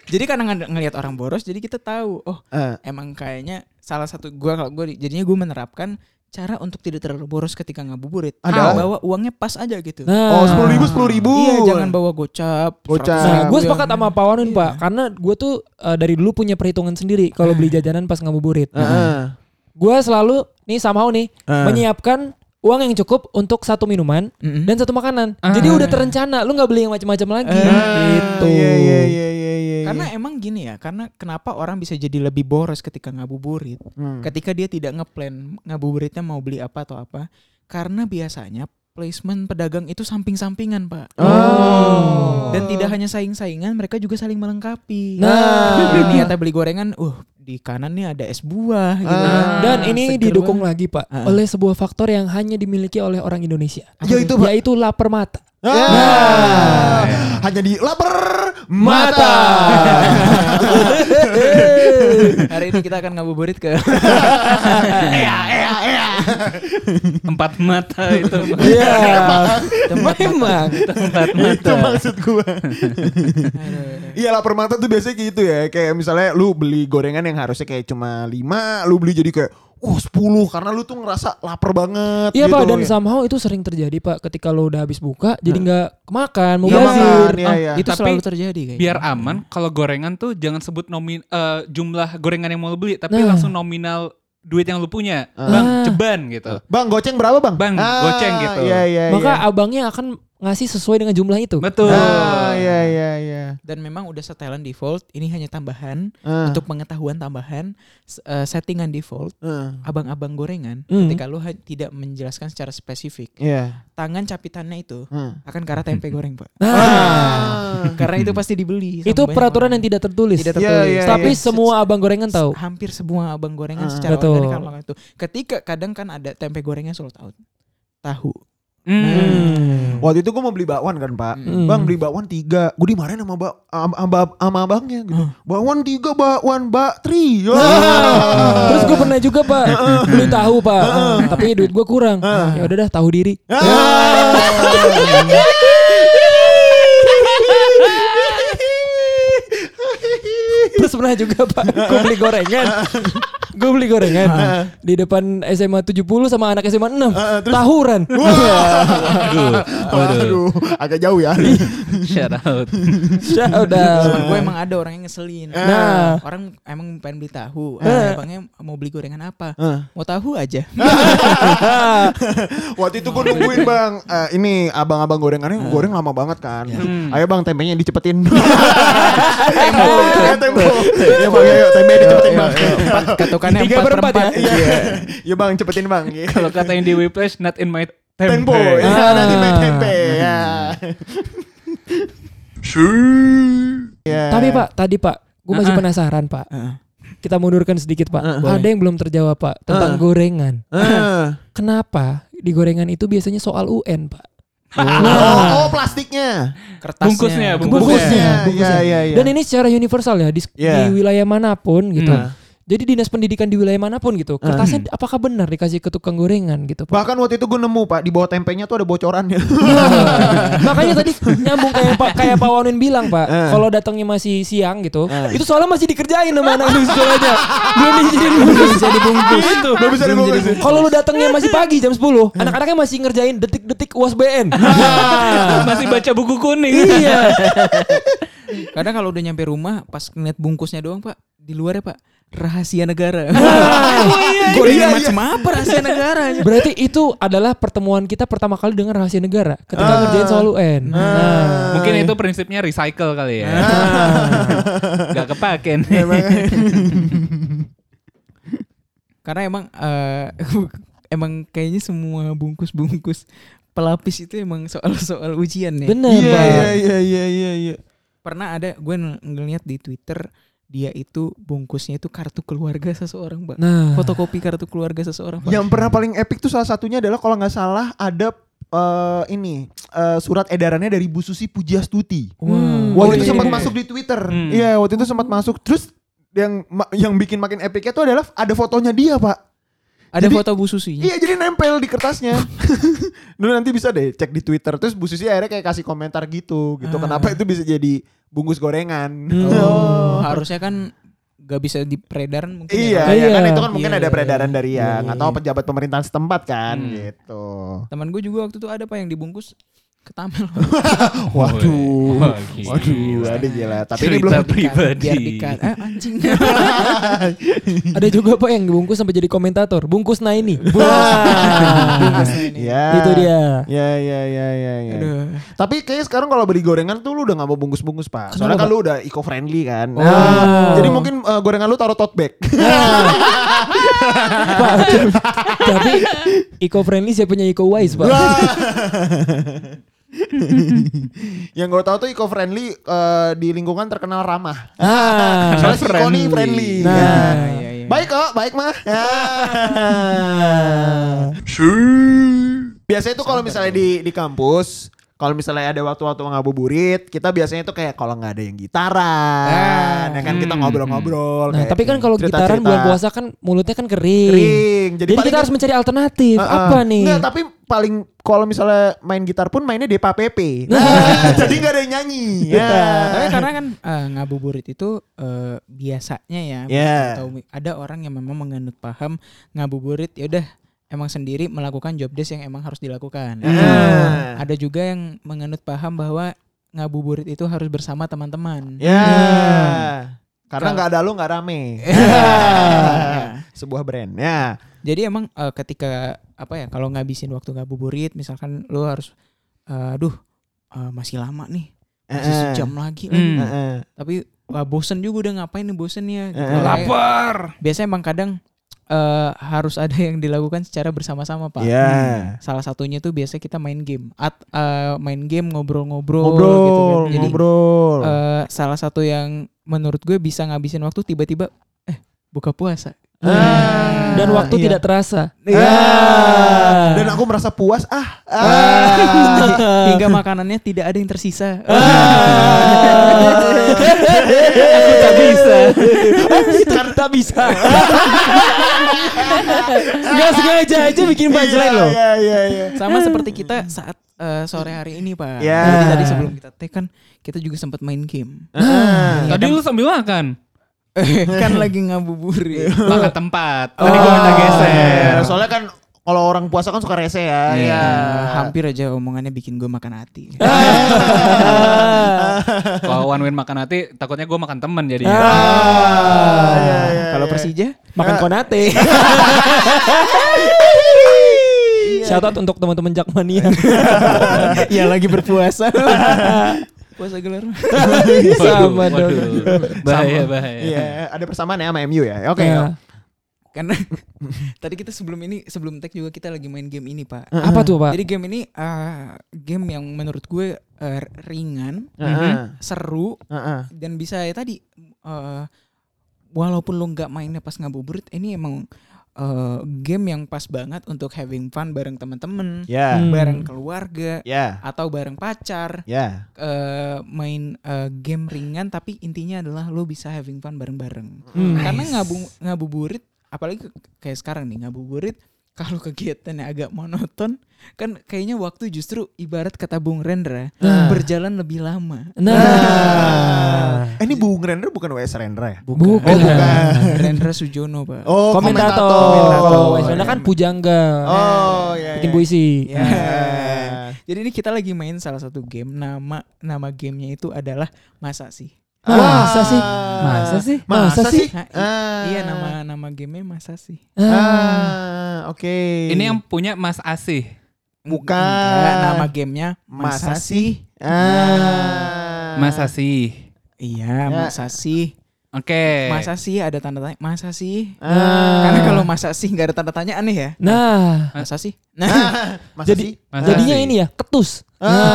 [SPEAKER 4] jadi karena ng- ngelihat orang boros, jadi kita tahu, oh
[SPEAKER 2] Ah.
[SPEAKER 4] emang kayaknya salah satu gua kalau gue jadinya gue menerapkan cara untuk tidak terlalu boros ketika ngabuburit
[SPEAKER 2] Adalah?
[SPEAKER 4] bawa uangnya pas aja gitu
[SPEAKER 3] Nah,
[SPEAKER 2] oh sepuluh ribu Ah, sepuluh ribu.
[SPEAKER 4] iya jangan bawa gocap
[SPEAKER 2] Gocap.
[SPEAKER 3] Ah. Nah,
[SPEAKER 4] 100
[SPEAKER 3] gue
[SPEAKER 4] ribu
[SPEAKER 3] sepakat
[SPEAKER 4] yang-
[SPEAKER 3] sama Pak Wanun Pak, karena gue tuh eh, dari dulu punya perhitungan sendiri kalau beli jajanan pas ngabuburit.
[SPEAKER 2] Ah.
[SPEAKER 3] Gue selalu nih somehow nih menyiapkan uang yang cukup untuk satu minuman
[SPEAKER 4] Mm-mm.
[SPEAKER 3] dan satu makanan. Jadi udah terencana, lu nggak beli yang macam-macam lagi. gitu.
[SPEAKER 2] Ah, Iya iya iya iya iya.
[SPEAKER 4] karena emang gini ya karena kenapa orang bisa jadi lebih boros ketika ngabuburit
[SPEAKER 3] Hmm.
[SPEAKER 4] ketika dia tidak ngeplan ngabuburitnya mau beli apa atau apa karena biasanya placement pedagang itu samping-sampingan pak
[SPEAKER 3] Ah,
[SPEAKER 2] Oh.
[SPEAKER 4] dan tidak hanya saing-saingan mereka juga saling melengkapi
[SPEAKER 3] Nah.
[SPEAKER 4] Jadi niatnya beli gorengan uh di kanan nih ada es buah gitu
[SPEAKER 2] Ah.
[SPEAKER 3] Dan ini
[SPEAKER 4] seger
[SPEAKER 3] didukung
[SPEAKER 4] banget.
[SPEAKER 3] lagi Pak
[SPEAKER 4] Ah.
[SPEAKER 3] oleh sebuah faktor yang hanya dimiliki oleh orang Indonesia.
[SPEAKER 2] Apa Yaitu, tuh? Pak?
[SPEAKER 3] Yaitu lapar mata.
[SPEAKER 2] Ah. Hanya Ah. di lapar
[SPEAKER 3] mata.
[SPEAKER 4] Hari ini kita akan ngabuburit ke
[SPEAKER 1] Empat mata itu.
[SPEAKER 3] Iya. Memang.
[SPEAKER 1] Empat
[SPEAKER 2] Itu
[SPEAKER 1] mata.
[SPEAKER 2] Gitu maksud gua. Iya lapar mata tuh biasanya kayak gitu ya. Kayak misalnya lu beli gorengan yang harusnya kayak cuma 5, lu beli jadi kayak wah 10 karena lu tuh ngerasa lapar banget
[SPEAKER 3] Iya
[SPEAKER 2] gitu.
[SPEAKER 3] pak dan somehow itu sering terjadi pak ketika lo udah habis buka jadi nggak kemakan mau
[SPEAKER 2] Iya,
[SPEAKER 3] bazir.
[SPEAKER 2] makan, iya, iya.
[SPEAKER 4] Ah, itu
[SPEAKER 1] Tapi
[SPEAKER 4] selalu terjadi kayaknya.
[SPEAKER 1] Biar aman kalau gorengan tuh jangan sebut nomin eh, jumlah gorengan yang mau lu beli tapi
[SPEAKER 3] Nah.
[SPEAKER 1] langsung nominal duit yang lu punya. Bang,
[SPEAKER 3] Ah.
[SPEAKER 1] ceban gitu.
[SPEAKER 2] Bang goceng berapa bang?
[SPEAKER 1] Bang, goceng gitu.
[SPEAKER 2] Iya iya
[SPEAKER 3] Maka
[SPEAKER 2] iya.
[SPEAKER 3] abangnya akan ngasih sesuai dengan jumlah itu.
[SPEAKER 1] Betul.
[SPEAKER 2] Ah, iya iya iya.
[SPEAKER 4] dan memang udah setelan default ini hanya tambahan
[SPEAKER 2] Ah,
[SPEAKER 4] untuk pengetahuan tambahan s- eh, settingan default
[SPEAKER 2] ah,
[SPEAKER 4] abang-abang gorengan
[SPEAKER 3] Hmm.
[SPEAKER 4] ketika lu ha- tidak menjelaskan secara spesifik
[SPEAKER 2] Iya.
[SPEAKER 4] tangan capitannya itu
[SPEAKER 2] ah.
[SPEAKER 4] akan ke arah tempe goreng pak
[SPEAKER 3] Nah,
[SPEAKER 4] karena itu pasti dibeli sama
[SPEAKER 3] itu
[SPEAKER 4] banyak
[SPEAKER 3] peraturan yang
[SPEAKER 4] orang.
[SPEAKER 3] tidak tertulis.
[SPEAKER 4] Tidak
[SPEAKER 2] Iya,
[SPEAKER 4] tertulis.
[SPEAKER 2] iya,
[SPEAKER 3] Tapi
[SPEAKER 2] iya.
[SPEAKER 3] semua abang gorengan tahu.
[SPEAKER 4] hampir semua abang
[SPEAKER 2] Ah.
[SPEAKER 4] gorengan secara
[SPEAKER 3] Betul.
[SPEAKER 4] organik kan melakukan itu ketika kadang kan ada tempe gorengnya sold out tahu
[SPEAKER 1] Hmm.
[SPEAKER 2] Waktu itu gue mau beli bakwan kan pak
[SPEAKER 3] Hmm.
[SPEAKER 2] Bang beli bakwan tiga Gue dimarahin sama, ba- am- am- sama abangnya gitu
[SPEAKER 3] Hmm.
[SPEAKER 4] Hah.
[SPEAKER 2] Bakwan tiga bakwan Ya. bak tri Wah.
[SPEAKER 3] Ah, Terus gue pernah juga pak beli tahu pak, Ah, tapi duit gue kurang. Ya udah dah tahu diri. Terus pernah juga pak, gue beli gorengan. Gue beli gorengan di depan SMA 70 sama anak SMA 6 tahuran.
[SPEAKER 2] Aduh, agak jauh ya.
[SPEAKER 1] Shout out.
[SPEAKER 4] Cuman gue
[SPEAKER 3] Ya Udah.
[SPEAKER 4] emang ada orang yang ngeselin
[SPEAKER 2] Ah.
[SPEAKER 3] Nah. Ah.
[SPEAKER 4] orang emang pengen beli tahu Orang abangnya mau beli gorengan apa
[SPEAKER 2] Ah.
[SPEAKER 4] mau tahu aja
[SPEAKER 2] Waktu itu gue nungguin bang, eh, ini abang-abang gorengannya
[SPEAKER 3] Hmm.
[SPEAKER 2] goreng lama banget kan. Ayo bang tempenya dicepetin. tempo,
[SPEAKER 3] Oh, iya.
[SPEAKER 2] eh, tempo. Ya bang, ayo tempenya dicepetin bang.
[SPEAKER 4] ketukannya
[SPEAKER 3] Tiga
[SPEAKER 4] empat
[SPEAKER 3] per empat ya?
[SPEAKER 4] perempat.
[SPEAKER 2] Iya, ya bang cepetin bang.
[SPEAKER 1] Kalau kata yang di Whiplash not in my tempo.
[SPEAKER 2] Tempo, ya
[SPEAKER 3] Ah.
[SPEAKER 2] nanti main tempe ya. Ya.
[SPEAKER 3] Tapi pak, tadi pak, gue masih
[SPEAKER 4] Ah-ah.
[SPEAKER 3] penasaran pak.
[SPEAKER 4] Heeh.
[SPEAKER 3] Kita mundurkan sedikit pak. Ada yang belum terjawab pak tentang gorengan.
[SPEAKER 2] Ah.
[SPEAKER 3] Kenapa di gorengan itu biasanya soal UN pak?
[SPEAKER 2] Oh, oh, plastiknya.
[SPEAKER 4] kertasnya
[SPEAKER 1] Bungkusnya, bungkus.
[SPEAKER 3] Nah. Bungkusnya.
[SPEAKER 2] Bungkusnya,
[SPEAKER 3] bungkusnya.
[SPEAKER 2] iya, iya, iya.
[SPEAKER 3] Dan ini secara universal ya di, di
[SPEAKER 2] Iya.
[SPEAKER 3] wilayah manapun gitu.
[SPEAKER 1] Hmm.
[SPEAKER 3] Jadi dinas pendidikan di wilayah manapun gitu.
[SPEAKER 2] Hmm.
[SPEAKER 3] Kertasnya apakah benar dikasih ke tukang gorengan gitu pak?
[SPEAKER 2] Bahkan waktu itu gue nemu pak di bawah tempenya tuh ada bocorannya.
[SPEAKER 3] Makanya tadi nyambung kayak Pak kayak Pak Wanwin bilang Pak,
[SPEAKER 2] Eh.
[SPEAKER 3] kalau datangnya masih siang gitu,
[SPEAKER 2] Eh.
[SPEAKER 3] itu soalnya masih dikerjain sama anak lu sekolahnya. Belum diizinin belum bisa dibungkus.
[SPEAKER 1] Ah.
[SPEAKER 2] Belum bisa dibungkus.
[SPEAKER 3] Kalau lu datangnya masih pagi jam 10,
[SPEAKER 2] Hmm.
[SPEAKER 3] anak-anaknya masih ngerjain detik-detik UASBN.
[SPEAKER 1] Ah. Masih baca buku kuning.
[SPEAKER 3] iya.
[SPEAKER 4] kadang kalau udah nyampe rumah pas ngeliat bungkusnya doang pak di luar ya pak rahasia negara
[SPEAKER 3] Ah.
[SPEAKER 2] iya,
[SPEAKER 4] gorengan
[SPEAKER 2] iya.
[SPEAKER 4] macam apa rahasia negara aja
[SPEAKER 3] Berarti itu adalah pertemuan kita pertama kali dengan rahasia negara
[SPEAKER 2] Ah.
[SPEAKER 3] ketika ngerjain soal UN. Nah,
[SPEAKER 1] Mungkin itu prinsipnya recycle kali ya. Gak kepake nih.
[SPEAKER 4] karena emang eh, emang kayaknya semua bungkus-bungkus pelapis itu emang soal-soal ujian ya
[SPEAKER 3] bener
[SPEAKER 2] Iya
[SPEAKER 3] Pak.
[SPEAKER 2] iya iya iya iya. iya.
[SPEAKER 4] pernah ada gue ng- ngeliat di twitter dia itu bungkusnya itu kartu keluarga seseorang pak
[SPEAKER 3] Nah,
[SPEAKER 4] fotokopi kartu keluarga seseorang pak
[SPEAKER 2] Yang pernah paling epic tuh salah satunya adalah kalau nggak salah ada eh, ini eh, surat edarannya dari Bu Susi Pujiastuti.
[SPEAKER 3] Hmm.
[SPEAKER 2] Waktu itu
[SPEAKER 3] iya,
[SPEAKER 2] sempat
[SPEAKER 3] iya.
[SPEAKER 2] masuk di Twitter.
[SPEAKER 1] Hmm.
[SPEAKER 2] Iya, waktu itu sempat masuk. Terus yang ma- yang bikin makin epicnya tuh adalah ada fotonya dia, Pak.
[SPEAKER 4] ada
[SPEAKER 2] Jadi-
[SPEAKER 4] foto bu susinya
[SPEAKER 2] Iya, jadi nempel di kertasnya. Lu nanti bisa deh cek di Twitter. Terus Bu Susi akhirnya kayak kasih komentar gitu, gitu. Kenapa itu bisa jadi bungkus gorengan?
[SPEAKER 4] oh harusnya kan gak bisa diperedaran mungkin ya,
[SPEAKER 2] Iya,
[SPEAKER 4] Pak.
[SPEAKER 2] iya,
[SPEAKER 3] Iya.
[SPEAKER 2] kan itu kan mungkin
[SPEAKER 4] Iya,
[SPEAKER 2] ada
[SPEAKER 4] iya,
[SPEAKER 2] peredaran dari
[SPEAKER 3] Iya,
[SPEAKER 2] ya
[SPEAKER 3] iya,
[SPEAKER 2] nggak
[SPEAKER 3] iya.
[SPEAKER 2] tahu pejabat pemerintahan setempat kan
[SPEAKER 1] Hmm.
[SPEAKER 2] gitu.
[SPEAKER 4] teman gue juga waktu itu ada pak yang dibungkus ketamel
[SPEAKER 2] Waduh,
[SPEAKER 1] Wah, gila.
[SPEAKER 2] waduh, ada gila. Tapi ini belum
[SPEAKER 1] Cerita pribadi.
[SPEAKER 4] biar dikat eh, anjing
[SPEAKER 3] ada juga Pak yang dibungkus sampai jadi komentator. Bungkus nah ini.
[SPEAKER 4] Bungkus
[SPEAKER 3] Wah.
[SPEAKER 4] ini.
[SPEAKER 2] Ya.
[SPEAKER 3] itu dia.
[SPEAKER 2] Ya, ya, ya, ya, ya.
[SPEAKER 4] Aduh.
[SPEAKER 2] Tapi kayaknya sekarang kalau beli gorengan tuh lu udah gak mau bungkus-bungkus pak. Soalnya
[SPEAKER 3] Kenapa,
[SPEAKER 2] kan lu udah eco friendly kan.
[SPEAKER 3] Oh.
[SPEAKER 2] Nah, jadi mungkin eh, gorengan lu taruh tote bag.
[SPEAKER 3] Pak, tapi eco friendly siapanya eco wise Pak.
[SPEAKER 2] Yang gue tahu tuh eco friendly di lingkungan terkenal ramah.
[SPEAKER 3] Ah.
[SPEAKER 2] Soalnya si Iko nih
[SPEAKER 1] friendly.
[SPEAKER 2] friendly.
[SPEAKER 3] Nah.
[SPEAKER 2] Ya.
[SPEAKER 4] Iya, iya.
[SPEAKER 2] Baik kok, baik mah. Ya. Biasanya tuh kalau misalnya di di kampus, kalau misalnya ada waktu-waktu ngabuburit, kita biasanya tuh kayak kalau nggak ada yang gitaran,
[SPEAKER 4] Ah.
[SPEAKER 2] ya kan kita
[SPEAKER 1] Hmm.
[SPEAKER 2] ngobrol-ngobrol.
[SPEAKER 3] Nah,
[SPEAKER 2] kayak
[SPEAKER 3] tapi kan kalau
[SPEAKER 2] cerita-cerita.
[SPEAKER 3] gitaran bulan puasa kan mulutnya kan kering.
[SPEAKER 2] kering, jadi,
[SPEAKER 3] Jadi, kita harus mencari alternatif. Apa nih?
[SPEAKER 2] Enggak, tapi paling kalau misalnya main gitar pun mainnya Depa PP. Nah, jadi nggak ada yang nyanyi. Ya.
[SPEAKER 4] Tapi karena kan eh, ngabuburit itu eh, biasanya ya
[SPEAKER 2] Ya.
[SPEAKER 4] atau mi- ada orang yang memang menganut paham ngabuburit ya udah emang sendiri melakukan job desk yang emang harus dilakukan. Eh,
[SPEAKER 2] Ah.
[SPEAKER 4] Ada juga yang menganut paham bahwa ngabuburit itu harus bersama teman-teman.
[SPEAKER 2] Ya. Karena nggak ada lu nggak rame.
[SPEAKER 4] Iya.
[SPEAKER 2] Sebuah brand. Ya.
[SPEAKER 4] Jadi emang eh, ketika apa ya kalau ngabisin waktu ngabuburit misalkan lu harus eh, aduh eh, masih lama nih, masih
[SPEAKER 2] Heeh.
[SPEAKER 4] sejam lagi lagi.
[SPEAKER 1] Hmm.
[SPEAKER 2] Heeh.
[SPEAKER 4] Tapi wah, bosen juga udah ngapain nih bosen
[SPEAKER 2] Eh,
[SPEAKER 4] ya. Kayak-
[SPEAKER 1] Lapar.
[SPEAKER 4] Biasanya emang kadang eh, harus ada yang dilakukan secara bersama-sama, Pak. Hmm.
[SPEAKER 2] Ya.
[SPEAKER 4] Salah satunya tuh biasanya kita main game. At eh, main game ngobrol-ngobrol
[SPEAKER 2] Ngobrol,
[SPEAKER 4] gitu kan. Jadi
[SPEAKER 2] ngobrol. Nah.
[SPEAKER 4] eh, salah satu yang menurut gue bisa ngabisin waktu tiba-tiba eh buka puasa.
[SPEAKER 2] Ah.
[SPEAKER 3] Dan waktu
[SPEAKER 4] Iya.
[SPEAKER 3] tidak terasa.
[SPEAKER 2] Ah. Dan aku merasa puas ah. ah.
[SPEAKER 4] Hingga makanannya tidak ada yang tersisa.
[SPEAKER 2] Ah.
[SPEAKER 3] Aku tak bisa. Aku tak bisa. Gak sengaja aja bikin punchline loh.
[SPEAKER 2] Iya, iya, iya.
[SPEAKER 4] Sama seperti kita saat eh, sore hari ini, Pak.
[SPEAKER 2] Ya.
[SPEAKER 4] Jadi tadi sebelum kita take kan kita juga sempat main game.
[SPEAKER 2] Ah.
[SPEAKER 1] Tadi lu sambil makan.
[SPEAKER 4] kan lagi ngabuburit.
[SPEAKER 1] Makan tempat. Tadi gua udah geser.
[SPEAKER 2] geser. Nah, Soalnya kan kalau orang puasa kan suka rese
[SPEAKER 1] Iya.
[SPEAKER 2] ya. Iya.
[SPEAKER 4] Eh, hampir aja omongannya bikin gue makan hati.
[SPEAKER 1] Kalau one win makan hati, takutnya gua makan temen jadi.
[SPEAKER 2] Ah, iya, iya,
[SPEAKER 4] ya, Kalau
[SPEAKER 2] iya.
[SPEAKER 4] Persija,
[SPEAKER 3] Makan konate.
[SPEAKER 2] iya.
[SPEAKER 3] Shout out untuk teman-teman Jakmania.
[SPEAKER 4] ya lagi berpuasa. Puasa gelar.
[SPEAKER 3] Sama dong.
[SPEAKER 1] Bahaya, bahaya.
[SPEAKER 2] Iya, ada persamaan ya sama MU ya. Oke.
[SPEAKER 3] Iya.
[SPEAKER 4] Karena tadi kita sebelum ini sebelum tag juga kita lagi main game ini, Pak.
[SPEAKER 3] Apa tuh pak?
[SPEAKER 4] Jadi game ini eh, game yang menurut gue eh, ringan,
[SPEAKER 2] Heeh.
[SPEAKER 4] seru
[SPEAKER 2] Heeh.
[SPEAKER 4] dan bisa ya tadi eh, walaupun lo nggak mainnya pas ngabuburit, ini emang eh, game yang pas banget untuk having fun bareng teman-teman,
[SPEAKER 2] Ya.
[SPEAKER 3] Hmm.
[SPEAKER 4] bareng keluarga
[SPEAKER 2] Ya.
[SPEAKER 4] atau bareng pacar.
[SPEAKER 2] Ya.
[SPEAKER 4] eh, main eh, game ringan tapi intinya adalah lo bisa having fun bareng-bareng.
[SPEAKER 3] Hmm.
[SPEAKER 4] Karena ngabu ngabuburit apalagi ke- kayak sekarang nih ngabuburit kalau kegiatannya agak monoton kan kayaknya waktu justru ibarat kata Bung Rendra
[SPEAKER 2] Nah.
[SPEAKER 4] berjalan lebih lama.
[SPEAKER 3] Nah,
[SPEAKER 2] Eh, ini Bung Rendra bukan WS Rendra ya?
[SPEAKER 3] bukan.
[SPEAKER 4] Oh, Rendra Sujono, Pak.
[SPEAKER 2] Nah. Oh,
[SPEAKER 3] komentator.
[SPEAKER 2] komentator.
[SPEAKER 3] Kalau Wesona kan pujangga.
[SPEAKER 2] Oh, iya. iya.
[SPEAKER 3] Bikin
[SPEAKER 2] Eh,
[SPEAKER 3] puisi.
[SPEAKER 4] Ya. Jadi ini kita lagi main salah satu game nama nama gamenya itu adalah Masa sih.
[SPEAKER 3] Ah, masa sih? Masa sih?
[SPEAKER 2] Masa
[SPEAKER 3] Masa
[SPEAKER 2] sih?
[SPEAKER 3] sih?
[SPEAKER 4] Nah, i-
[SPEAKER 2] Ah.
[SPEAKER 4] Iya nama nama gamenya Masa sih.
[SPEAKER 3] Ah.
[SPEAKER 2] Ah, oke.
[SPEAKER 1] Ini yang punya Mas Asih.
[SPEAKER 2] Bukan.
[SPEAKER 4] Enggak, nama gamenya
[SPEAKER 2] masa
[SPEAKER 4] Masa
[SPEAKER 2] sih?
[SPEAKER 4] sih.
[SPEAKER 2] Ah.
[SPEAKER 1] Mas Asih.
[SPEAKER 2] Ya.
[SPEAKER 4] Iya, masa sih?
[SPEAKER 1] Oke.
[SPEAKER 4] Masa sih ada tanda tanya? Masa sih?
[SPEAKER 2] Ah.
[SPEAKER 4] Karena kalau masa sih nggak ada tanda tanya aneh ya.
[SPEAKER 3] Nah,
[SPEAKER 4] Masa sih? Nah,
[SPEAKER 2] Masa sih?
[SPEAKER 3] Jadi-
[SPEAKER 1] Masa
[SPEAKER 3] jadinya
[SPEAKER 1] sih?
[SPEAKER 3] ini ya ketus. Nah.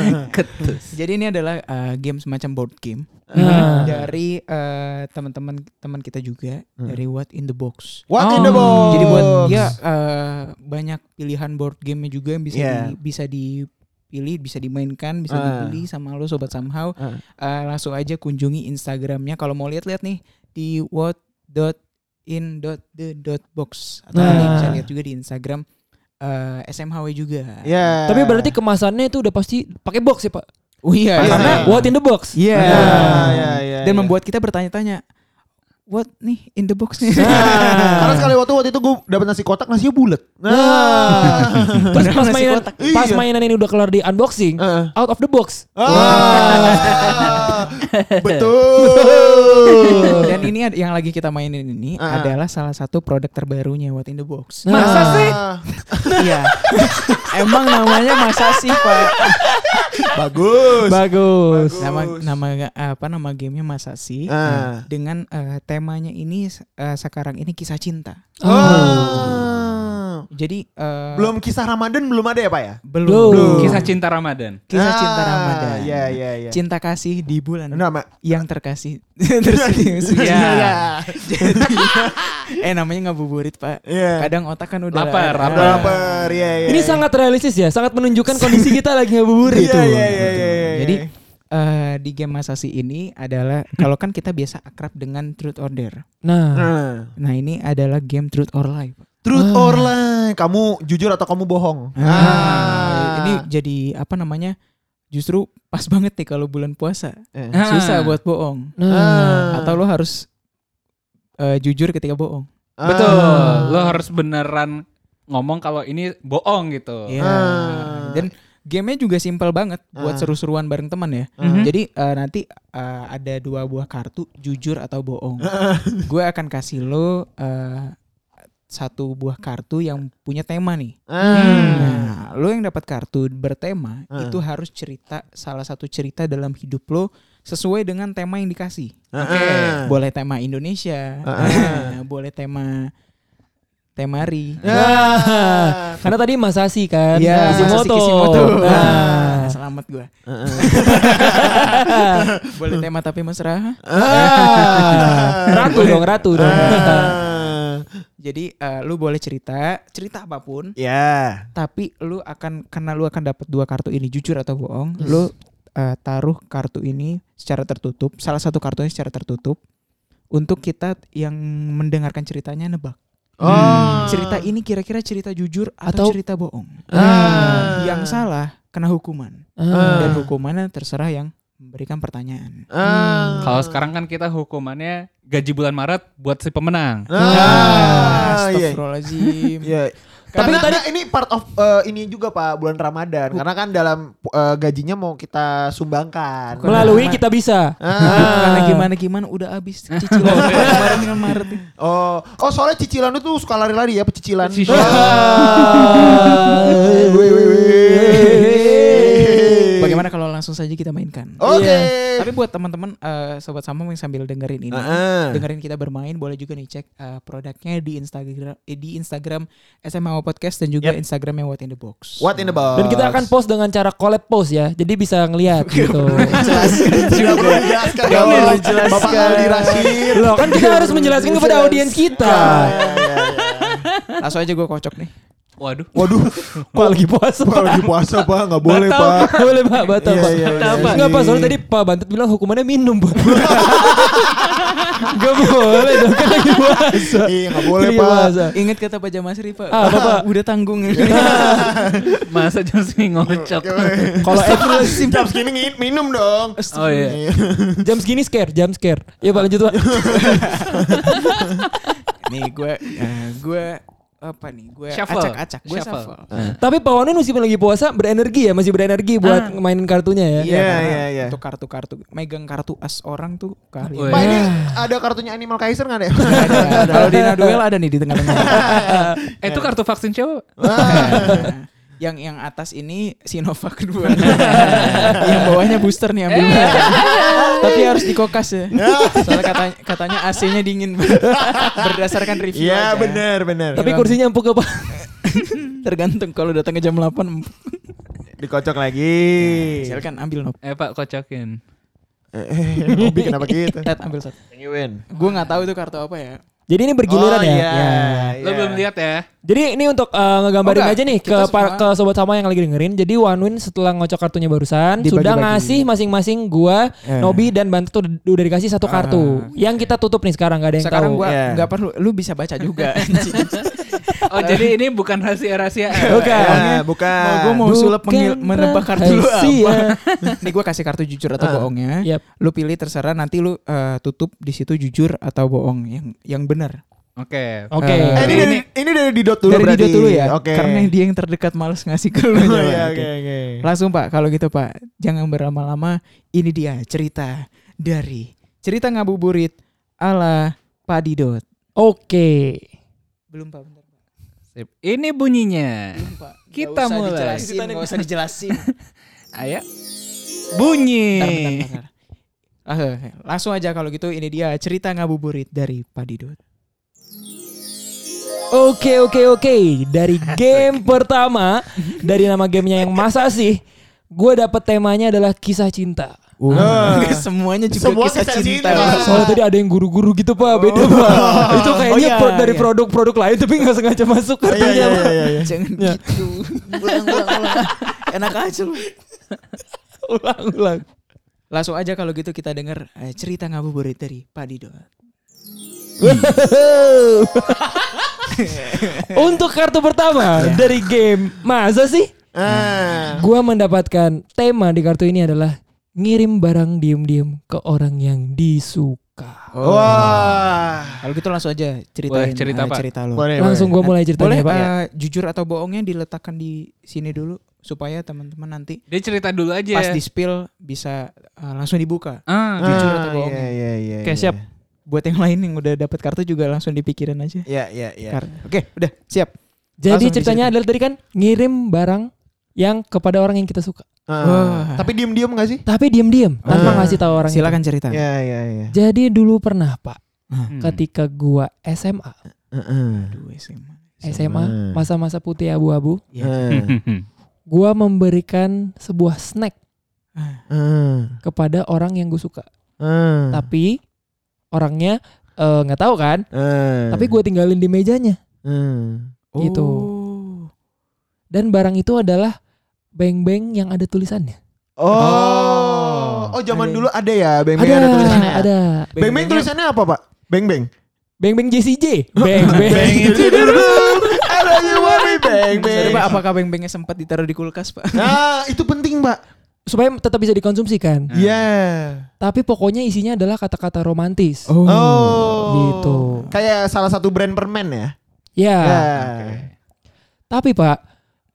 [SPEAKER 2] Ah.
[SPEAKER 1] Ketus.
[SPEAKER 4] jadi ini adalah uh, game semacam board game
[SPEAKER 3] Nah.
[SPEAKER 4] dari uh, teman-teman teman kita juga dari What in the Box.
[SPEAKER 2] What in the
[SPEAKER 1] Oh.
[SPEAKER 2] box?
[SPEAKER 4] Jadi buat dia
[SPEAKER 2] Iya,
[SPEAKER 4] uh, banyak pilihan board game juga yang bisa
[SPEAKER 2] Yeah.
[SPEAKER 4] di- bisa dipilih, bisa dimainkan, bisa
[SPEAKER 2] Iya. Ah.
[SPEAKER 4] dibeli sama lo sobat somehow.
[SPEAKER 2] Ah.
[SPEAKER 4] Uh, langsung aja kunjungi Instagramnya kalau mau lihat-lihat nih di what.in.the.box
[SPEAKER 2] Ah.
[SPEAKER 4] atau
[SPEAKER 3] Nah.
[SPEAKER 4] kalian bisa lihat juga di Instagram uh, SMHW juga.
[SPEAKER 2] Ya.
[SPEAKER 3] Tapi berarti kemasannya itu udah pasti pakai box ya pak?
[SPEAKER 4] Oh iya,
[SPEAKER 2] Pasti.
[SPEAKER 4] karena
[SPEAKER 3] Karena what in the box.
[SPEAKER 4] Iya.
[SPEAKER 2] Ya, ya, ya,
[SPEAKER 4] dan
[SPEAKER 2] ya.
[SPEAKER 4] membuat kita bertanya-tanya what nih in the box nih. Ah.
[SPEAKER 2] Karena sekali waktu waktu itu gue dapat nasi kotak nasinya bulat. Nah.
[SPEAKER 4] Ah.
[SPEAKER 3] Pas, pas
[SPEAKER 4] Nasi
[SPEAKER 3] mainan,
[SPEAKER 4] kotak.
[SPEAKER 3] pas
[SPEAKER 2] Iya. Ah.
[SPEAKER 3] mainan ini udah kelar di unboxing,
[SPEAKER 2] Heeh.
[SPEAKER 3] out of the box.
[SPEAKER 2] Ah. Betul.
[SPEAKER 4] Dan ini ad- yang lagi kita mainin ini
[SPEAKER 2] Ah.
[SPEAKER 4] adalah salah satu produk terbarunya What in the Box.
[SPEAKER 1] Masa sih?
[SPEAKER 2] Ah.
[SPEAKER 4] Iya. Emang namanya masa sih Pak.
[SPEAKER 2] Bagus.
[SPEAKER 3] Bagus.
[SPEAKER 4] Nama nama apa nama gamenya masa sih? Nah,
[SPEAKER 2] Ah.
[SPEAKER 4] Dengan eh, temanya ini eh, sekarang ini kisah cinta.
[SPEAKER 2] Ah.
[SPEAKER 4] Jadi eh,
[SPEAKER 2] Belum kisah Ramadan belum ada ya Pak ya?
[SPEAKER 4] belum
[SPEAKER 3] Belum.
[SPEAKER 1] Kisah cinta Ramadan.
[SPEAKER 4] Kisah
[SPEAKER 2] Ah,
[SPEAKER 4] cinta Ramadan.
[SPEAKER 2] Iya iya iya.
[SPEAKER 4] Cinta kasih di bulan
[SPEAKER 2] Nah, Ma-
[SPEAKER 4] yang terkasih tersenyum.
[SPEAKER 1] Iya.
[SPEAKER 4] Iya. Jadi eh namanya ngabuburit, Pak.
[SPEAKER 2] Iya.
[SPEAKER 4] Kadang otak kan udah
[SPEAKER 1] Lapar,
[SPEAKER 4] ada.
[SPEAKER 1] lapar.
[SPEAKER 2] Udah lapar, iya iya.
[SPEAKER 3] Ini
[SPEAKER 2] iya.
[SPEAKER 3] sangat realistis ya, sangat menunjukkan kondisi kita lagi ngabuburit
[SPEAKER 2] Iya
[SPEAKER 3] tuh.
[SPEAKER 2] iya iya iya. iya.
[SPEAKER 4] Jadi eh, di game Masasi ini adalah kalau kan kita biasa akrab dengan Truth or Dare.
[SPEAKER 3] Nah,
[SPEAKER 2] Nah.
[SPEAKER 4] Nah, ini adalah game Truth or Lie. Pak.
[SPEAKER 2] Truth or lie, kamu jujur atau kamu bohong?
[SPEAKER 4] Ah, Ini jadi apa namanya? Justru pas banget nih kalau bulan puasa.
[SPEAKER 2] Eh.
[SPEAKER 1] Ah.
[SPEAKER 4] Susah buat bohong.
[SPEAKER 3] nah.
[SPEAKER 2] Ah.
[SPEAKER 4] Atau lo harus eh, jujur ketika bohong.
[SPEAKER 2] Ah.
[SPEAKER 1] Betul. Lo harus beneran ngomong kalau ini bohong gitu.
[SPEAKER 4] Iya.
[SPEAKER 2] Oh. Ah.
[SPEAKER 4] Dan gamenya juga simpel banget buat
[SPEAKER 2] Ah.
[SPEAKER 4] seru-seruan bareng teman ya.
[SPEAKER 1] Mhm.
[SPEAKER 4] Jadi eh, nanti eh, ada dua buah kartu jujur atau bohong.
[SPEAKER 2] Ah.
[SPEAKER 4] Gue akan kasih lo eh, satu buah kartu yang punya tema nih.
[SPEAKER 2] Ah.
[SPEAKER 4] Nah, lo yang dapat kartu bertema
[SPEAKER 2] Ah.
[SPEAKER 4] itu harus cerita salah satu cerita dalam hidup lo sesuai dengan tema yang dikasih.
[SPEAKER 2] Ah.
[SPEAKER 4] Boleh tema Indonesia,
[SPEAKER 2] Ah.
[SPEAKER 4] eh, boleh tema temari.
[SPEAKER 2] Ah.
[SPEAKER 3] Hmm. Nah. Karena tadi Masasi kan,
[SPEAKER 4] Iya,
[SPEAKER 3] Kishimoto.
[SPEAKER 4] Kishimoto.
[SPEAKER 2] Ah.
[SPEAKER 3] Nah.
[SPEAKER 4] Nah, selamat gue. Boleh tema tapi mesra.
[SPEAKER 2] Ah.
[SPEAKER 3] ratu dong, ratu dong. Nah.
[SPEAKER 2] Ah.
[SPEAKER 4] Jadi eh, lu boleh cerita, cerita apapun,
[SPEAKER 2] Ya.
[SPEAKER 4] tapi lu akan karena lu akan dapat dua kartu ini jujur atau bohong, lu eh, taruh kartu ini secara tertutup, salah satu kartunya secara tertutup untuk kita yang mendengarkan ceritanya nebak.
[SPEAKER 2] Oh.
[SPEAKER 4] Cerita ini kira-kira cerita jujur atau,
[SPEAKER 3] Atau-
[SPEAKER 4] cerita bohong.
[SPEAKER 2] Ah.
[SPEAKER 4] Yang salah kena hukuman.
[SPEAKER 3] Ah.
[SPEAKER 4] Dan hukumannya terserah yang memberikan pertanyaan.
[SPEAKER 2] Ah.
[SPEAKER 1] Kalau sekarang kan kita hukumannya gaji bulan Maret buat si pemenang.
[SPEAKER 2] Ah, iya.
[SPEAKER 4] Astagfirullahaladzim.
[SPEAKER 2] Nah. Iya.
[SPEAKER 3] Tapi
[SPEAKER 2] Tapi
[SPEAKER 3] tadi-
[SPEAKER 2] ini part of eh, ini juga Pak bulan Ramadan karena kan dalam eh, gajinya mau kita sumbangkan.
[SPEAKER 3] Melalui kita bisa.
[SPEAKER 2] Ah.
[SPEAKER 4] Karena gimana gimana udah habis cicilan kemarin dengan Maret.
[SPEAKER 2] Oh, oh soalnya cicilan itu suka lari-lari ya pecicilan.
[SPEAKER 1] Cicilan.
[SPEAKER 2] Ah. Wih, wih, wih.
[SPEAKER 4] Bagaimana kalau langsung saja kita mainkan?
[SPEAKER 2] Oke. Iya.
[SPEAKER 4] Tapi buat teman-teman eh, sobat sama yang sambil dengerin ini,
[SPEAKER 2] Ah.
[SPEAKER 4] dengerin kita bermain boleh juga nih cek eh, produknya di Instagram eh, di Instagram SMAO Podcast dan juga
[SPEAKER 2] Yep.
[SPEAKER 4] Instagramnya What in the Box.
[SPEAKER 2] What in the box?
[SPEAKER 3] Dan kita akan post dengan cara collab post ya. Jadi bisa ngelihat gitu.
[SPEAKER 2] Tidak perlu dijelaskan. Gak perlu dijelaskan. Bapak Aldi Rashid.
[SPEAKER 3] Loh kan kita harus menjelaskan kepada audiens kita.
[SPEAKER 2] Ya, ya, ya.
[SPEAKER 4] Langsung aja gue kocok nih.
[SPEAKER 1] Waduh.
[SPEAKER 2] Waduh,
[SPEAKER 3] Pak lagi puasa.
[SPEAKER 2] Pak lagi puasa Pak, nggak boleh Pak.
[SPEAKER 3] Boleh Pak, batal
[SPEAKER 2] Iya,
[SPEAKER 3] Pak.
[SPEAKER 2] iya, iya,
[SPEAKER 3] Apa?
[SPEAKER 2] iya.
[SPEAKER 3] Enggak Pak, soalnya tadi Pak Bantet bilang hukumannya minum Pak. Gak boleh dong, kan lagi puasa.
[SPEAKER 2] Iya, nggak boleh
[SPEAKER 3] Lagi
[SPEAKER 2] Pak.
[SPEAKER 3] puasa.
[SPEAKER 4] Ingat kata Pak Jamas Rifa.
[SPEAKER 3] Ah, apa, Pak?
[SPEAKER 4] Udah tanggung.
[SPEAKER 2] Iya.
[SPEAKER 1] Masa jam segini ngocok.
[SPEAKER 3] Kalau April
[SPEAKER 2] Jam segini ngin- minum dong.
[SPEAKER 1] Oh iya.
[SPEAKER 3] jam segini scare, jam scare. Ya Pak lanjut Pak.
[SPEAKER 4] nih gue eh, gue apa nih? Gue
[SPEAKER 1] Shuffle.
[SPEAKER 4] acak-acak. Gue
[SPEAKER 1] Shuffle.
[SPEAKER 4] shuffle.
[SPEAKER 2] Ah.
[SPEAKER 3] Tapi Pak Wanun meskipun lagi puasa berenergi ya, masih berenergi buat mainin kartunya ya.
[SPEAKER 4] Iya,
[SPEAKER 2] Ah. Iya,
[SPEAKER 4] karena
[SPEAKER 2] iya, iya.
[SPEAKER 4] Untuk kartu-kartu, megang kartu as orang tuh kali.
[SPEAKER 1] Woi.
[SPEAKER 2] Pak ini ada kartunya Animal Kaiser nggak deh?
[SPEAKER 4] Ada. Kalau di Naduel ada nih di tengah-tengah.
[SPEAKER 1] Eh, itu kartu vaksin cewek.
[SPEAKER 4] Nah, yang yang atas ini Sinovac dua. yang bawahnya booster nih ambil. Tapi harus dikokas ya. Soalnya katanya katanya AC-nya dingin. Berdasarkan review.
[SPEAKER 2] Iya
[SPEAKER 4] aja.
[SPEAKER 2] benar benar.
[SPEAKER 3] Tapi kursinya empuk ya Pak.
[SPEAKER 4] Tergantung kalau datang ke jam 8 empuk.
[SPEAKER 2] Dikocok lagi. Iya.
[SPEAKER 4] silakan ambil Nob.
[SPEAKER 1] Eh Pak kocokin.
[SPEAKER 2] Eh, Hobi kenapa gitu?
[SPEAKER 4] Tet ambil satu.
[SPEAKER 2] You win.
[SPEAKER 4] Gue nggak tahu itu kartu apa ya.
[SPEAKER 3] Jadi ini bergiliran
[SPEAKER 2] Oh,
[SPEAKER 3] ya.
[SPEAKER 2] iya,
[SPEAKER 3] Ya.
[SPEAKER 2] iya.
[SPEAKER 1] Lo belum lihat ya?
[SPEAKER 3] Jadi ini untuk eh, ngegambarin
[SPEAKER 4] Oh, enggak.
[SPEAKER 3] aja nih ke
[SPEAKER 4] Kita
[SPEAKER 3] para- ke
[SPEAKER 4] semua-
[SPEAKER 3] sobat sama yang lagi dengerin. Jadi One Win setelah ngocok kartunya barusan
[SPEAKER 4] Dibagi-bagi. Eh.
[SPEAKER 3] sudah ngasih masing-masing gua, Nobi dan Bantu tuh udah, udah dikasih satu kartu. yang kita tutup nih sekarang gak ada yang
[SPEAKER 4] Ah. Sekarang
[SPEAKER 3] tahu. ya.
[SPEAKER 4] gue
[SPEAKER 2] Iya.
[SPEAKER 4] nggak perlu. Lu bisa baca juga. anjing.
[SPEAKER 1] Oh jadi ini bukan rahasia-rahasiaan.
[SPEAKER 3] Bukan.
[SPEAKER 2] Ya, bukan.
[SPEAKER 4] Mau gue mau
[SPEAKER 3] Bukan
[SPEAKER 4] sulap mengil- menebak kartu lu
[SPEAKER 3] rahasia. Ah. Ya.
[SPEAKER 4] apa? Nih gue kasih kartu jujur atau bohongnya.
[SPEAKER 3] Yap.
[SPEAKER 4] Lu pilih terserah nanti lu eh, tutup di situ jujur atau bohong yang yang benar.
[SPEAKER 1] Oke.
[SPEAKER 3] Oke.
[SPEAKER 2] Eh, ini
[SPEAKER 1] Ini-
[SPEAKER 2] dari ini dari Didot dulu
[SPEAKER 4] Dari
[SPEAKER 2] berarti.
[SPEAKER 4] Dido dulu ya.
[SPEAKER 2] Oke.
[SPEAKER 4] Karena dia yang terdekat males ngasih ke lu. ya,
[SPEAKER 2] Oh,
[SPEAKER 4] Pak.
[SPEAKER 2] iya,
[SPEAKER 4] Oke.
[SPEAKER 2] Oke oke.
[SPEAKER 4] Langsung Pak kalau gitu Pak. Jangan berlama-lama. Ini dia cerita dari cerita ngabuburit ala Pak Didot.
[SPEAKER 3] Oke.
[SPEAKER 4] Belum Pak bentar. Pak.
[SPEAKER 1] Sip. Ini bunyinya.
[SPEAKER 4] Belum, Pak. Nggak
[SPEAKER 1] Kita
[SPEAKER 4] usah
[SPEAKER 1] mulai.
[SPEAKER 4] Dijelasin, nggak usah dijelasin.
[SPEAKER 1] Ayo. Bunyi.
[SPEAKER 4] Bentar, bentar, bentar. Ah, Langsung aja kalau gitu ini dia cerita ngabuburit dari Pak Didot.
[SPEAKER 3] Oke oke oke dari game pertama dari nama gamenya yang masa sih gue dapet temanya adalah kisah cinta.
[SPEAKER 4] Semuanya
[SPEAKER 2] Ah.
[SPEAKER 4] juga
[SPEAKER 2] Semua
[SPEAKER 4] kisah
[SPEAKER 2] kisah
[SPEAKER 4] cinta.
[SPEAKER 2] cinta.
[SPEAKER 4] Pak.
[SPEAKER 3] Soalnya tadi ada yang guru-guru gitu pak, beda pak. Itu kayaknya
[SPEAKER 4] Oh, iya,
[SPEAKER 3] pro- dari
[SPEAKER 4] iya. Oh,
[SPEAKER 3] produk-produk lain tapi nggak sengaja masuk
[SPEAKER 2] Iya,
[SPEAKER 3] kartunya.
[SPEAKER 2] iya,
[SPEAKER 3] Pak.
[SPEAKER 2] iya, iya.
[SPEAKER 4] Jangan gitu. Ulang, ulang, ulang. Enak aja lu. iya.
[SPEAKER 3] Ulang ulang.
[SPEAKER 4] Langsung aja kalau gitu kita dengar eh, cerita ngabuburit dari Pak Dido.
[SPEAKER 3] Untuk kartu pertama dari game masa sih?
[SPEAKER 2] Ah.
[SPEAKER 3] Iya. Gua mendapatkan tema di kartu ini adalah ngirim barang diem-diem ke orang yang disuka.
[SPEAKER 2] Wah.
[SPEAKER 4] Kalau gitu langsung aja ceritain
[SPEAKER 1] Boleh, cerita,
[SPEAKER 4] eh,
[SPEAKER 1] Pak.
[SPEAKER 4] cerita lu.
[SPEAKER 2] Boleh,
[SPEAKER 3] Langsung gue mulai
[SPEAKER 4] Boleh
[SPEAKER 3] ceritanya pak. ya.
[SPEAKER 4] eh, jujur atau bohongnya diletakkan di sini dulu supaya teman-teman nanti
[SPEAKER 1] Dia cerita dulu aja.
[SPEAKER 4] pas di spill bisa eh, langsung dibuka.
[SPEAKER 1] Ah.
[SPEAKER 2] boleh.
[SPEAKER 4] Jujur atau
[SPEAKER 2] Ah,
[SPEAKER 4] bohong?
[SPEAKER 2] Iya, iya, iya.
[SPEAKER 4] Oke,
[SPEAKER 2] iya.
[SPEAKER 4] siap. Buat yang lain yang udah dapat kartu juga langsung dipikirin aja.
[SPEAKER 2] Iya, iya, iya.
[SPEAKER 4] Kar- Oke, udah siap.
[SPEAKER 3] Jadi
[SPEAKER 4] Langsung
[SPEAKER 3] ceritanya adalah tadi kan ngirim barang yang kepada orang yang kita suka.
[SPEAKER 2] Ah.
[SPEAKER 4] Wah.
[SPEAKER 2] Tapi diem-diem gak sih?
[SPEAKER 3] Tapi diem-diem tanpa
[SPEAKER 2] Ah.
[SPEAKER 3] ngasih tahu orang. itu.
[SPEAKER 4] Silakan cerita.
[SPEAKER 2] Iya, iya, iya.
[SPEAKER 3] Jadi dulu pernah pak,
[SPEAKER 1] Hmm.
[SPEAKER 3] ketika gua SMA,
[SPEAKER 2] Heeh.
[SPEAKER 4] Aduh, SMA.
[SPEAKER 3] SMA masa-masa putih abu-abu,
[SPEAKER 2] Heeh.
[SPEAKER 3] gua memberikan sebuah snack
[SPEAKER 2] Heeh.
[SPEAKER 3] kepada orang yang gue suka.
[SPEAKER 2] Heeh.
[SPEAKER 3] Tapi orangnya eh, nggak tahu kan.
[SPEAKER 2] Hmm. Heeh.
[SPEAKER 3] Tapi gua tinggalin di mejanya.
[SPEAKER 2] Heeh.
[SPEAKER 3] Gitu.
[SPEAKER 2] Oh.
[SPEAKER 3] Dan barang itu adalah beng-beng yang ada tulisannya.
[SPEAKER 2] Oh, oh zaman
[SPEAKER 3] Ada.
[SPEAKER 2] dulu ada ya beng beng ada tulisannya.
[SPEAKER 3] ada.
[SPEAKER 2] Beng beng tulisannya apa pak? Beng beng.
[SPEAKER 3] Beng-beng JCJ. Beng-beng.
[SPEAKER 2] Ada yang warna beng
[SPEAKER 4] Sorry,
[SPEAKER 2] beng.
[SPEAKER 4] Pak, apakah beng-bengnya sempat ditaruh di kulkas, Pak?
[SPEAKER 2] Nah itu penting pak.
[SPEAKER 3] Supaya tetap bisa dikonsumsikan.
[SPEAKER 2] Iya.
[SPEAKER 3] Tapi pokoknya isinya adalah kata-kata romantis.
[SPEAKER 2] Oh.
[SPEAKER 3] Gitu.
[SPEAKER 2] Kayak salah satu brand permen ya.
[SPEAKER 3] Ya.
[SPEAKER 2] Ya.
[SPEAKER 3] Tapi Pak,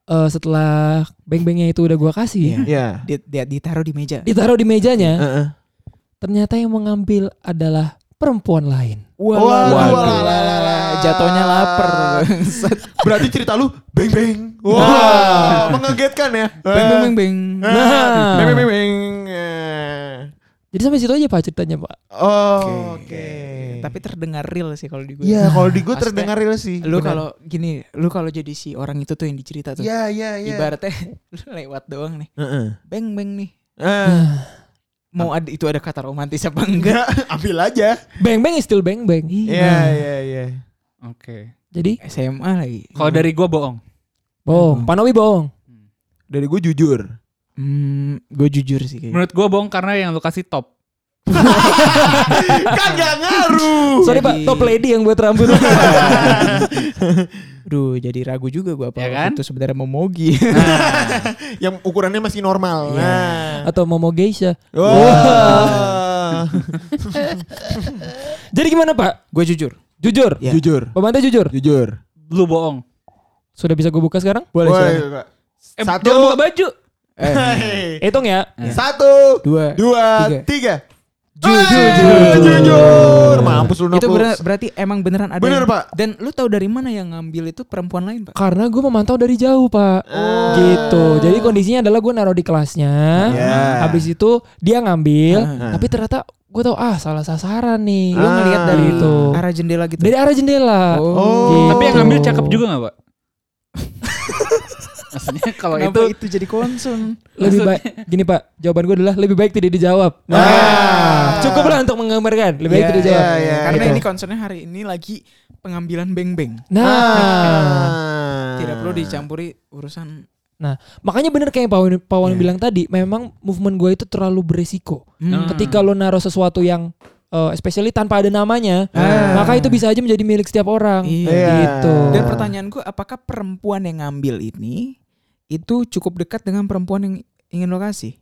[SPEAKER 3] eh, setelah beng-bengnya itu udah gua kasih,
[SPEAKER 2] Ya.
[SPEAKER 4] Di, di- ditaruh di meja.
[SPEAKER 3] ditaruh di mejanya,
[SPEAKER 2] Heeh.
[SPEAKER 3] ternyata yang mengambil adalah perempuan lain.
[SPEAKER 4] Wah,
[SPEAKER 2] Waduh, walalala.
[SPEAKER 4] jatuhnya lapar.
[SPEAKER 2] Berarti cerita lu beng beng. Wah, mengagetkan ya.
[SPEAKER 4] beng beng beng beng.
[SPEAKER 3] Nah.
[SPEAKER 2] Beng beng beng. beng.
[SPEAKER 3] Jadi sampai situ aja Pak ceritanya Pak.
[SPEAKER 2] Oh, oke.
[SPEAKER 4] Tapi terdengar real sih kalau di gue.
[SPEAKER 2] Iya, kalau di gue
[SPEAKER 4] Maksudnya,
[SPEAKER 2] terdengar real sih.
[SPEAKER 4] Lu
[SPEAKER 2] Benar.
[SPEAKER 4] kalau gini, lu kalau jadi si orang itu tuh yang dicerita tuh.
[SPEAKER 2] Iya, iya, iya.
[SPEAKER 4] Ibaratnya lu lewat doang nih.
[SPEAKER 2] Heeh.
[SPEAKER 4] Beng beng nih.
[SPEAKER 3] Nah.
[SPEAKER 2] Eh,
[SPEAKER 4] Mau ada itu ada kata romantis apa
[SPEAKER 2] enggak,
[SPEAKER 4] enggak?
[SPEAKER 2] ambil aja.
[SPEAKER 3] Beng beng is still beng beng.
[SPEAKER 2] Iya, iya, iya.
[SPEAKER 1] Oke.
[SPEAKER 3] Jadi
[SPEAKER 4] SMA lagi.
[SPEAKER 1] Kalau dari gua bohong.
[SPEAKER 3] bohong, Panowi bohong.
[SPEAKER 2] Dari gue jujur.
[SPEAKER 4] Hmm, gue jujur sih kayaknya.
[SPEAKER 1] Menurut gua bohong karena yang lu kasih top.
[SPEAKER 2] kan gak ngaruh.
[SPEAKER 3] Sorry Pak,
[SPEAKER 4] Jadi-
[SPEAKER 3] top lady yang buat rambut.
[SPEAKER 4] Aduh, jadi ragu juga gue apa
[SPEAKER 1] Ya kan?
[SPEAKER 4] itu sebenarnya mau mogi.
[SPEAKER 2] Yang ukurannya masih normal.
[SPEAKER 4] Iya.
[SPEAKER 2] Nah.
[SPEAKER 3] Atau Momo Geisha.
[SPEAKER 2] Wah.
[SPEAKER 3] Jadi gimana Pak?
[SPEAKER 4] gue jujur.
[SPEAKER 3] Jujur.
[SPEAKER 4] Ya.
[SPEAKER 2] Jujur.
[SPEAKER 3] Pemantau jujur.
[SPEAKER 2] Jujur.
[SPEAKER 1] Lu bohong.
[SPEAKER 3] Sudah bisa gue buka sekarang?
[SPEAKER 4] Boleh
[SPEAKER 2] Woi,
[SPEAKER 4] silakan.
[SPEAKER 2] Kak.
[SPEAKER 1] Eh,
[SPEAKER 2] Satu.
[SPEAKER 1] jangan buka baju.
[SPEAKER 4] Eh,
[SPEAKER 2] Hei.
[SPEAKER 3] Hitung ya.
[SPEAKER 2] Satu.
[SPEAKER 4] dua.
[SPEAKER 2] Dua. Tiga.
[SPEAKER 3] Jujur.
[SPEAKER 2] Eh, Jujur. Mampus lu
[SPEAKER 4] itu
[SPEAKER 2] noplos.
[SPEAKER 4] bener- berarti emang beneran ada.
[SPEAKER 2] Bener,
[SPEAKER 4] yang-
[SPEAKER 2] Pak.
[SPEAKER 4] Dan lu tahu dari mana yang ngambil itu perempuan lain, Pak?
[SPEAKER 3] Karena gue memantau dari jauh Pak.
[SPEAKER 2] Oh.
[SPEAKER 3] Gitu. Jadi kondisinya adalah gue naruh di kelasnya.
[SPEAKER 2] Ya.
[SPEAKER 3] Habis itu dia ngambil.
[SPEAKER 4] Ah.
[SPEAKER 3] Tapi ternyata gue tau ah salah sasaran
[SPEAKER 2] Ah.
[SPEAKER 3] nih.
[SPEAKER 4] Lu ngelihat dari
[SPEAKER 3] Gitu.
[SPEAKER 4] arah jendela gitu.
[SPEAKER 3] Dari arah jendela.
[SPEAKER 4] Oh.
[SPEAKER 2] Oh.
[SPEAKER 1] Tapi yang
[SPEAKER 3] Gitu.
[SPEAKER 1] ngambil cakep juga gak, Pak? Maksudnya kalau itu
[SPEAKER 4] Kenapa itu jadi concern.
[SPEAKER 3] Lebih baik gini Pak, jawaban gue adalah lebih baik tidak dijawab.
[SPEAKER 2] Nah.
[SPEAKER 3] Cukuplah untuk menggambarkan, lebih baik
[SPEAKER 4] Iya,
[SPEAKER 3] tidak dijawab.
[SPEAKER 2] iya, iya,
[SPEAKER 4] Karena
[SPEAKER 3] gitu.
[SPEAKER 2] iya.
[SPEAKER 4] ini concernnya hari ini lagi pengambilan beng-beng.
[SPEAKER 2] Ah.
[SPEAKER 3] Nah,
[SPEAKER 4] Tidak perlu dicampuri urusan
[SPEAKER 3] makanya bener kayak yang Pawan, Pawan
[SPEAKER 2] Iya.
[SPEAKER 3] bilang tadi, memang movement gue itu terlalu beresiko.
[SPEAKER 1] Hmm.
[SPEAKER 3] Ketika lo naruh sesuatu yang eh, especially tanpa ada namanya,
[SPEAKER 2] Nah.
[SPEAKER 4] Ah.
[SPEAKER 3] maka itu bisa aja menjadi milik setiap orang.
[SPEAKER 4] Iya.
[SPEAKER 3] Gitu.
[SPEAKER 4] Dan pertanyaanku apakah perempuan yang ngambil ini itu cukup dekat dengan perempuan yang ingin lo kasih?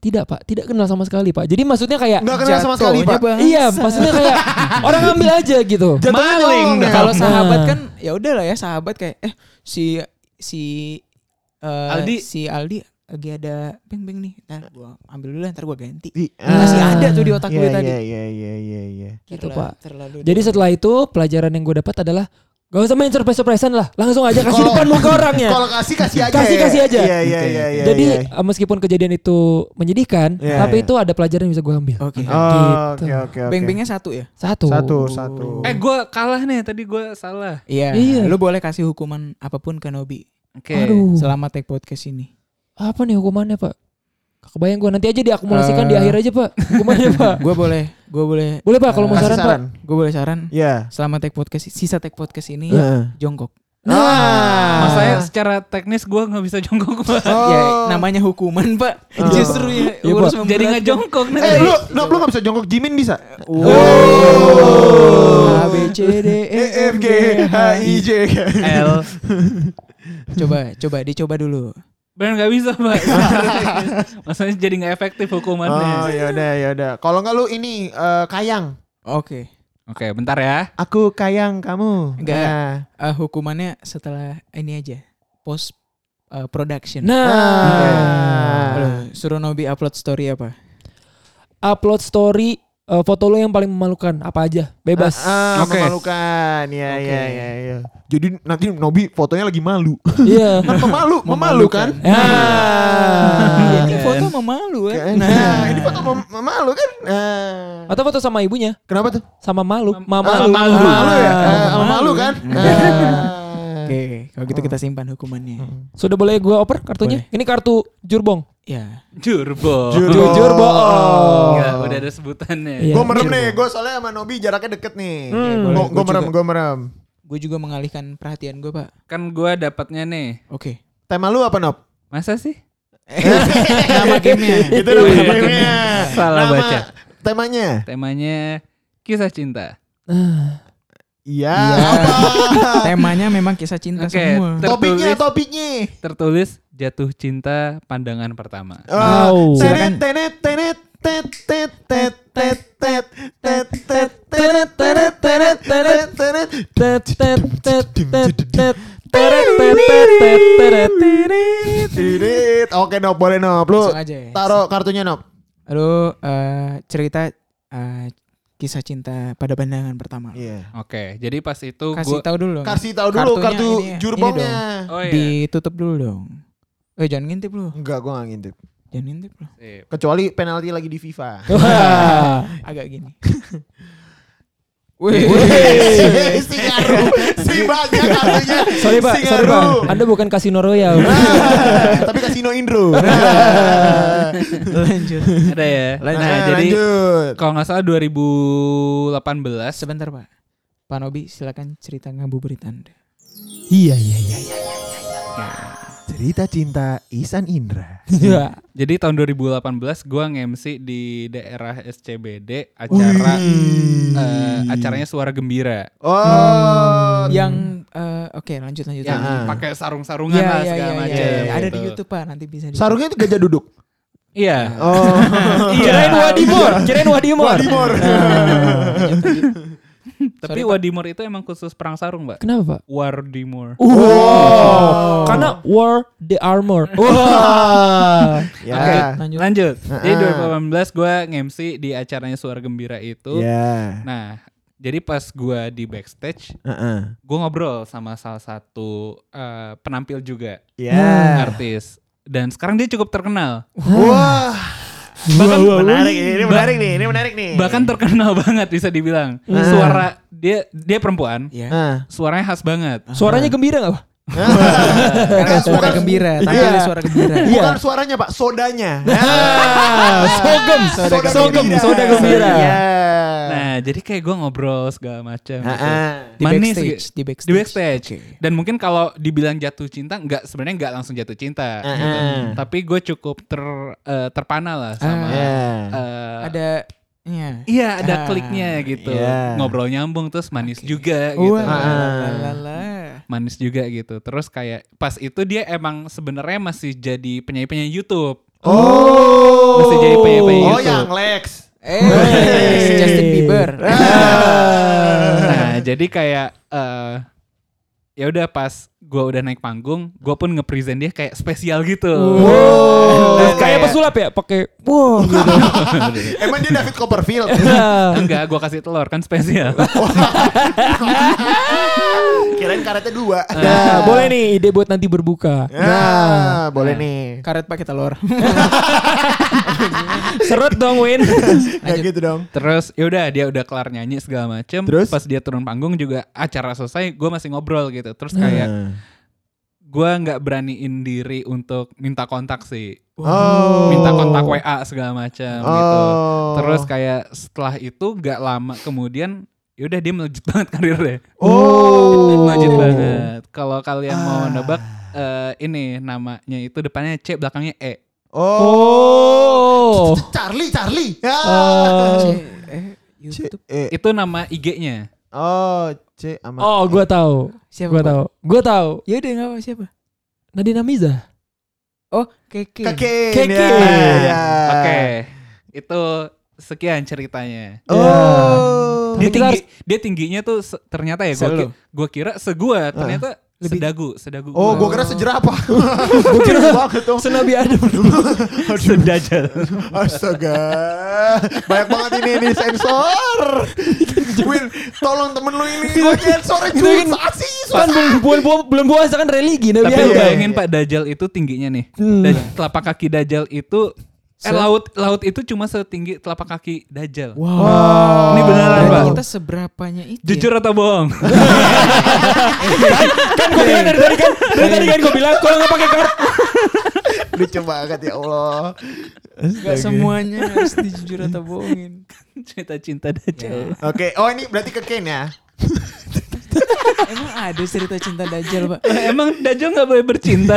[SPEAKER 3] Tidak Pak, tidak kenal sama sekali Pak. Jadi maksudnya kayak
[SPEAKER 2] Nggak kenal sama sekali,
[SPEAKER 4] Jatuhnya
[SPEAKER 2] Pak.
[SPEAKER 4] bangsa.
[SPEAKER 3] Iya, maksudnya kayak orang ngambil aja gitu.
[SPEAKER 2] Jatuhnya
[SPEAKER 1] Maling
[SPEAKER 2] nyolong ya.
[SPEAKER 4] Kalau
[SPEAKER 3] Nah.
[SPEAKER 4] sahabat kan ya udahlah ya sahabat kayak eh si si eh,
[SPEAKER 1] Aldi.
[SPEAKER 4] si Aldi lagi ada beng beng nih. Ntar gua ambil dulu lah, ntar gua ganti.
[SPEAKER 2] Di-
[SPEAKER 4] Masih
[SPEAKER 3] Ah.
[SPEAKER 4] ada tuh di otak gue
[SPEAKER 2] Iya,
[SPEAKER 4] tadi.
[SPEAKER 2] iya, iya, iya, iya, iya.
[SPEAKER 3] Gitu,
[SPEAKER 4] Terla-
[SPEAKER 3] Pak.
[SPEAKER 4] Terlalu
[SPEAKER 3] Jadi setelah itu pelajaran yang gue dapat adalah Gak usah main surprise-surprisean lah. Langsung aja kasih
[SPEAKER 2] Kalau-
[SPEAKER 3] depan muka orangnya.
[SPEAKER 2] Kalau kasih kasih aja.
[SPEAKER 3] Kasih-
[SPEAKER 2] ya.
[SPEAKER 3] kasih aja.
[SPEAKER 2] Iya iya
[SPEAKER 4] Gitu,
[SPEAKER 1] Oke,
[SPEAKER 2] iya.
[SPEAKER 1] oke.
[SPEAKER 2] iya,
[SPEAKER 3] Jadi
[SPEAKER 2] iya.
[SPEAKER 3] eh, meskipun kejadian itu menyedihkan,
[SPEAKER 2] Iya,
[SPEAKER 3] tapi
[SPEAKER 2] iya.
[SPEAKER 3] itu ada pelajaran yang bisa gue ambil.
[SPEAKER 4] Oke.
[SPEAKER 2] Oh,
[SPEAKER 3] gitu.
[SPEAKER 2] Oke oke oke.
[SPEAKER 4] Beng-bengnya satu ya?
[SPEAKER 3] Satu.
[SPEAKER 2] Satu satu.
[SPEAKER 1] Eh gue kalah nih tadi gue salah.
[SPEAKER 4] Iya.
[SPEAKER 3] Iya. Uh.
[SPEAKER 4] Lu boleh kasih hukuman apapun ke Nobi
[SPEAKER 1] Oke.
[SPEAKER 3] Aduh.
[SPEAKER 4] selama take podcast ini.
[SPEAKER 3] Apa nih hukumannya pak? Gak Kebayang gue nanti aja diakumulasikan di
[SPEAKER 4] Eh.
[SPEAKER 3] akhir aja pak. Hukumannya pak.
[SPEAKER 4] Gue boleh, gue boleh,
[SPEAKER 3] Boleh pak kalau mau
[SPEAKER 2] Kasih
[SPEAKER 3] saran pak.
[SPEAKER 2] saran.
[SPEAKER 4] gue boleh saran
[SPEAKER 2] Iya.
[SPEAKER 4] selama take podcast sisa take podcast ini
[SPEAKER 3] Iya.
[SPEAKER 2] Heeh.
[SPEAKER 4] jongkok.
[SPEAKER 2] Ah.
[SPEAKER 1] Masalahnya secara teknis gue nggak bisa jongkok Pak.
[SPEAKER 2] Oh.
[SPEAKER 4] Ya namanya hukuman pak.
[SPEAKER 2] Oh.
[SPEAKER 4] Justru ya.
[SPEAKER 3] Iya,
[SPEAKER 4] urus
[SPEAKER 3] Pak.
[SPEAKER 4] memberatkan.
[SPEAKER 1] Jadi nggak jongkok nih.
[SPEAKER 3] Iya.
[SPEAKER 2] Eh lu lu lu gak bisa jongkok Jimin bisa?
[SPEAKER 4] Oh. A B C D
[SPEAKER 2] E
[SPEAKER 4] E F G H I J.
[SPEAKER 1] L.
[SPEAKER 4] Coba, coba dicoba dulu.
[SPEAKER 1] Bener nggak bisa pak. Masalahnya jadi nggak efektif
[SPEAKER 2] Oh
[SPEAKER 1] hukumannya.
[SPEAKER 2] ya udah ya udah. Kalau nggak lu ini eh, kayang.
[SPEAKER 4] Oke.
[SPEAKER 1] Oke bentar ya.
[SPEAKER 2] Aku kayang kamu.
[SPEAKER 4] Enggak.
[SPEAKER 2] Nah.
[SPEAKER 4] Eh, hukumannya setelah ini aja post eh, production.
[SPEAKER 3] Nah,
[SPEAKER 2] Ah.
[SPEAKER 4] Lu suruh Nobi upload story apa?
[SPEAKER 3] upload story eh, foto lo yang paling memalukan apa aja, bebas.
[SPEAKER 2] Ah,
[SPEAKER 1] Oke.
[SPEAKER 2] memalukan. Ya,
[SPEAKER 4] Oke.
[SPEAKER 2] ya, ya, ya. Jadi nanti Nobi fotonya lagi malu.
[SPEAKER 3] Iya.
[SPEAKER 2] kan memalu, memalu kan?
[SPEAKER 4] Memalukan.
[SPEAKER 3] Ah.
[SPEAKER 4] ini
[SPEAKER 1] kan.
[SPEAKER 4] Iya, foto memalu
[SPEAKER 2] Nah,
[SPEAKER 4] ya.
[SPEAKER 2] ini foto mem- memalu kan? Ah.
[SPEAKER 3] Atau foto sama ibunya,
[SPEAKER 2] Kenapa tuh?
[SPEAKER 3] sama malu, mama
[SPEAKER 2] Ah,
[SPEAKER 3] lu.
[SPEAKER 2] malu, malu ya?
[SPEAKER 3] Ah.
[SPEAKER 2] Ah, sama malu kan? Ah.
[SPEAKER 4] Oke, kalau gitu kita simpan hukumannya.
[SPEAKER 3] Sudah boleh gue oper kartunya? Ini kartu jurbong.
[SPEAKER 4] Ya.
[SPEAKER 1] Jurbo.
[SPEAKER 3] Jujur bohong.
[SPEAKER 1] Nggak, udah ada sebutannya.
[SPEAKER 3] Iya.
[SPEAKER 2] Gue merem nih, gue soalnya sama Nobi jaraknya deket nih. Gue
[SPEAKER 4] boleh. Gua
[SPEAKER 2] merem,
[SPEAKER 4] juga.
[SPEAKER 2] gue merem.
[SPEAKER 4] Gue juga mengalihkan perhatian gue, Pak.
[SPEAKER 1] Kan gue dapatnya nih.
[SPEAKER 4] Oke.
[SPEAKER 2] Tema lu apa Nob?
[SPEAKER 1] Masa sih?
[SPEAKER 3] Eh,
[SPEAKER 4] Nama gamenya.
[SPEAKER 3] Gitu
[SPEAKER 2] Itu nama
[SPEAKER 1] Iya.
[SPEAKER 2] temanya.
[SPEAKER 1] Salah
[SPEAKER 2] Nama
[SPEAKER 1] baca.
[SPEAKER 2] Temanya.
[SPEAKER 1] Temanya kisah cinta.
[SPEAKER 2] Iya.
[SPEAKER 4] Temanya memang kisah cinta
[SPEAKER 1] Oke,
[SPEAKER 4] semua.
[SPEAKER 1] ter-
[SPEAKER 2] Topiknya,
[SPEAKER 1] Tertulis.
[SPEAKER 2] topiknya.
[SPEAKER 1] Tertulis jatuh cinta pandangan pertama.
[SPEAKER 2] Ah,
[SPEAKER 3] Wow.
[SPEAKER 2] Tenet, tenet, tenet, tet, tet, tet, tet, tet, tet, tet, tenet, tenet, tenet, tenet, tenet.
[SPEAKER 3] Tet, tet, tet, tet, tet. Teret, tet, tet, tet, teret.
[SPEAKER 2] Tirit, tirit. Oke Nob, boleh Nob. Lu
[SPEAKER 4] Langsung aja ya.
[SPEAKER 2] taruh kartunya Nob.
[SPEAKER 4] Lalu eh, cerita eh, kisah cinta pada pandangan pertama.
[SPEAKER 2] Iya.
[SPEAKER 1] Oke, jadi pas itu
[SPEAKER 4] Kasih
[SPEAKER 1] gue
[SPEAKER 4] tahu dulu. dong.
[SPEAKER 2] Kasih tahu dulu
[SPEAKER 4] Kartunya
[SPEAKER 2] kartu
[SPEAKER 4] ini-
[SPEAKER 2] jurbongnya.
[SPEAKER 1] Oh iya.
[SPEAKER 4] Ditutup dulu dong. Eh jangan ngintip lu.
[SPEAKER 2] Enggak, gue gak ngintip.
[SPEAKER 4] Jangan ngintip lu.
[SPEAKER 1] iya. Sip.
[SPEAKER 2] Kecuali penalti lagi di FIFA.
[SPEAKER 3] Wah.
[SPEAKER 4] Agak gini. Wih.
[SPEAKER 2] Wih, si Garu, si banyak kartunya.
[SPEAKER 3] Sorry pak,
[SPEAKER 2] si
[SPEAKER 3] sorry pak.
[SPEAKER 2] Garu.
[SPEAKER 3] Anda bukan kasino royal.
[SPEAKER 2] Ah, Tapi kasino Indro. Nah,
[SPEAKER 4] Lanjut.
[SPEAKER 1] Ada ya.
[SPEAKER 4] Lanjut.
[SPEAKER 1] Nah, jadi
[SPEAKER 2] lanjut.
[SPEAKER 1] kalau nggak salah 2018
[SPEAKER 4] Sebentar Pak. Pak Nobi silakan cerita ngabuburit Anda.
[SPEAKER 3] Iya iya iya.
[SPEAKER 2] Cerita cinta Isan Indra.
[SPEAKER 3] Iya.
[SPEAKER 1] Jadi tahun 2018 gua nge-MC di daerah SCBD acara eh, acaranya Suara Gembira
[SPEAKER 2] Oh,
[SPEAKER 4] Yang eh, oke lanjut lanjut.
[SPEAKER 1] yang
[SPEAKER 4] lanjut.
[SPEAKER 2] ah.
[SPEAKER 1] pakai sarung-sarungan
[SPEAKER 4] Iya,
[SPEAKER 1] Ya, lah
[SPEAKER 4] iya,
[SPEAKER 1] segala
[SPEAKER 4] iya,
[SPEAKER 1] macam.
[SPEAKER 4] iya, iya. Ada
[SPEAKER 1] gitu.
[SPEAKER 4] di YouTube Pak, nanti bisa di.
[SPEAKER 2] sarungnya itu gajah duduk.
[SPEAKER 1] Iya.
[SPEAKER 2] Oh,
[SPEAKER 1] Iya.
[SPEAKER 3] Kirain Wadimor, kirain Wadimor.
[SPEAKER 2] Timur. Nah.
[SPEAKER 1] Tapi Wadimor itu emang khusus perang sarung, Mbak.
[SPEAKER 3] Kenapa pak?
[SPEAKER 1] Wardimor.
[SPEAKER 3] Wow. Karena war the armor.
[SPEAKER 2] Wah.
[SPEAKER 1] Oke,
[SPEAKER 2] Ya.
[SPEAKER 4] Lanjut.
[SPEAKER 1] Lanjut. Jadi
[SPEAKER 2] Ah.
[SPEAKER 1] 2018 gua nge-MC di acaranya Suara Gembira itu.
[SPEAKER 4] Iya.
[SPEAKER 2] Ya.
[SPEAKER 1] Nah, jadi pas gua di backstage,
[SPEAKER 2] Heeh.
[SPEAKER 1] gua ngobrol sama salah satu eh, penampil juga,
[SPEAKER 2] Ya.
[SPEAKER 4] Ah.
[SPEAKER 1] artis. Dan sekarang dia cukup terkenal.
[SPEAKER 2] Wah.
[SPEAKER 1] Bahkan
[SPEAKER 2] Menarik ini menarik nih, ini menarik nih.
[SPEAKER 1] bahkan terkenal banget bisa dibilang.
[SPEAKER 2] Ah.
[SPEAKER 1] Suara dia dia perempuan,
[SPEAKER 4] Ya.
[SPEAKER 2] Ah.
[SPEAKER 1] suaranya khas banget.
[SPEAKER 3] Suaranya gembira nggak pak?
[SPEAKER 4] Karena suara
[SPEAKER 2] Bukan-
[SPEAKER 4] gembira, tapi
[SPEAKER 2] Iya.
[SPEAKER 4] suara gembira.
[SPEAKER 2] Bukan suaranya Pak, sodanya. Nah.
[SPEAKER 3] Sogem,
[SPEAKER 2] Soda
[SPEAKER 3] sogem,
[SPEAKER 2] gembira.
[SPEAKER 3] soda gembira.
[SPEAKER 2] Iya.
[SPEAKER 1] Nah, jadi kayak gue ngobrol segala macam.
[SPEAKER 2] Ah,
[SPEAKER 1] gitu.
[SPEAKER 2] ah.
[SPEAKER 4] Di
[SPEAKER 1] Manis
[SPEAKER 4] backstage,
[SPEAKER 1] gitu.
[SPEAKER 4] di backstage.
[SPEAKER 1] Di backstage.
[SPEAKER 4] Oke.
[SPEAKER 1] Dan mungkin kalau dibilang jatuh cinta, nggak sebenarnya nggak langsung jatuh cinta.
[SPEAKER 2] Ah,
[SPEAKER 1] gitu.
[SPEAKER 2] ah.
[SPEAKER 1] Tapi gue cukup ter eh, terpana lah sama.
[SPEAKER 2] Ya.
[SPEAKER 1] eh,
[SPEAKER 4] Ada ya.
[SPEAKER 1] Iya ada
[SPEAKER 4] Ah,
[SPEAKER 1] kliknya gitu.
[SPEAKER 2] iya.
[SPEAKER 1] Ngobrol nyambung terus manis juga gitu.
[SPEAKER 4] Wah,
[SPEAKER 2] Ah.
[SPEAKER 4] lalala.
[SPEAKER 1] Manis juga gitu. Terus kayak pas itu dia emang sebenarnya masih jadi penyanyi-penyanyi YouTube.
[SPEAKER 2] Oh.
[SPEAKER 1] Masih jadi gitu. penyanyi-penyanyi
[SPEAKER 2] Oh,
[SPEAKER 1] YouTube.
[SPEAKER 2] yang Lex.
[SPEAKER 4] Eh, Justin Bieber.
[SPEAKER 1] nah jadi kayak eh ya udah pas gue udah naik panggung gue pun nge-present dia kayak spesial gitu
[SPEAKER 3] Terus
[SPEAKER 1] Terus
[SPEAKER 3] Kayak pesulap ya, pakai wow gitu.
[SPEAKER 2] Emang dia David Copperfield.
[SPEAKER 3] Iya.
[SPEAKER 1] enggak gue kasih telur kan spesial
[SPEAKER 2] Oke, kirain karetnya dua.
[SPEAKER 3] Nah, boleh nih ide buat nanti berbuka.
[SPEAKER 2] Nah, boleh nih.
[SPEAKER 4] Karet pakai telur.
[SPEAKER 3] Seret dong Win.
[SPEAKER 2] Kayak gitu dong.
[SPEAKER 1] Terus yaudah dia udah kelar nyanyi segala macem.
[SPEAKER 2] Terus?
[SPEAKER 1] pas dia turun panggung juga acara selesai, gue masih ngobrol gitu. Terus
[SPEAKER 2] Hmm.
[SPEAKER 1] kayak
[SPEAKER 2] Nah.
[SPEAKER 1] gue nggak beraniin diri untuk minta kontak sih,
[SPEAKER 2] Oh.
[SPEAKER 1] minta kontak WA segala macem gitu.
[SPEAKER 2] Oh.
[SPEAKER 1] Terus kayak setelah itu gak lama kemudian yaudah dia melejit banget karirnya.
[SPEAKER 2] Oh.
[SPEAKER 1] Melejit "Hmm, banget. Kalau kalian mau
[SPEAKER 2] Ah.
[SPEAKER 3] Ah.
[SPEAKER 1] nebak eh, ini namanya itu depannya C belakangnya E.
[SPEAKER 3] Oh.
[SPEAKER 2] Charlie, Charlie. Ya.
[SPEAKER 3] Oh.
[SPEAKER 4] eh,
[SPEAKER 2] C
[SPEAKER 4] YouTube.
[SPEAKER 2] E.
[SPEAKER 1] Itu nama IG-nya.
[SPEAKER 2] Oh, C sama.
[SPEAKER 3] Oh, gua tahu.
[SPEAKER 4] Siapa?
[SPEAKER 3] Gua tahu. Gua tahu.
[SPEAKER 4] Ya udah enggak apa siapa.
[SPEAKER 3] Nadine Amiza.
[SPEAKER 4] Oh, Keke.
[SPEAKER 2] Keke.
[SPEAKER 3] Keke.
[SPEAKER 2] ya,
[SPEAKER 3] Ah.
[SPEAKER 1] Oke. Itu sekian ceritanya.
[SPEAKER 2] Oh.
[SPEAKER 1] Dia
[SPEAKER 3] Tapi kita
[SPEAKER 1] tinggi, dia tingginya tuh se- ternyata ya gua,
[SPEAKER 4] Selu.
[SPEAKER 1] ki- gua kira
[SPEAKER 3] Ah.
[SPEAKER 1] segua ternyata
[SPEAKER 4] Lebih-
[SPEAKER 1] sedagu, sedagu.
[SPEAKER 2] Oh,
[SPEAKER 1] gua.
[SPEAKER 2] gue kira sejerah apa? gue kira banget dong.
[SPEAKER 3] Senabi Adam.
[SPEAKER 1] sedajal.
[SPEAKER 2] Astaga, banyak banget ini ini sensor. Win, tolong temen lu ini. Gue sensornya
[SPEAKER 3] Itu kan-
[SPEAKER 2] susah sih.
[SPEAKER 3] kan belum belum belum puasa kan religi Nabi
[SPEAKER 1] Tapi lu
[SPEAKER 2] iya.
[SPEAKER 3] Adam.
[SPEAKER 1] bayangin Pak Dajjal itu tingginya nih.
[SPEAKER 3] Hmm.
[SPEAKER 1] Daj- telapak kaki Dajjal itu eh laut laut itu cuma setinggi telapak kaki Dajjal.
[SPEAKER 2] Oh.
[SPEAKER 1] Ini beneran,
[SPEAKER 4] Berarti
[SPEAKER 1] Pak.
[SPEAKER 4] kita seberapanya itu. ya?
[SPEAKER 1] Jujur atau bohong?
[SPEAKER 3] Kan gua bilang dari tadi kan dari tadi kan gua bilang kalau nggak pakai kartu.
[SPEAKER 2] Lucu banget ya Allah.
[SPEAKER 4] Gak semuanya harus dijujur atau bohongin.
[SPEAKER 1] Cerita cinta Dajjal.
[SPEAKER 2] Oke, oh ini berarti ke Ken ya?
[SPEAKER 4] Emang ada cerita cinta Dajjal, Pak?
[SPEAKER 1] Lah, Eh, Emang Dajjal nggak boleh bercinta?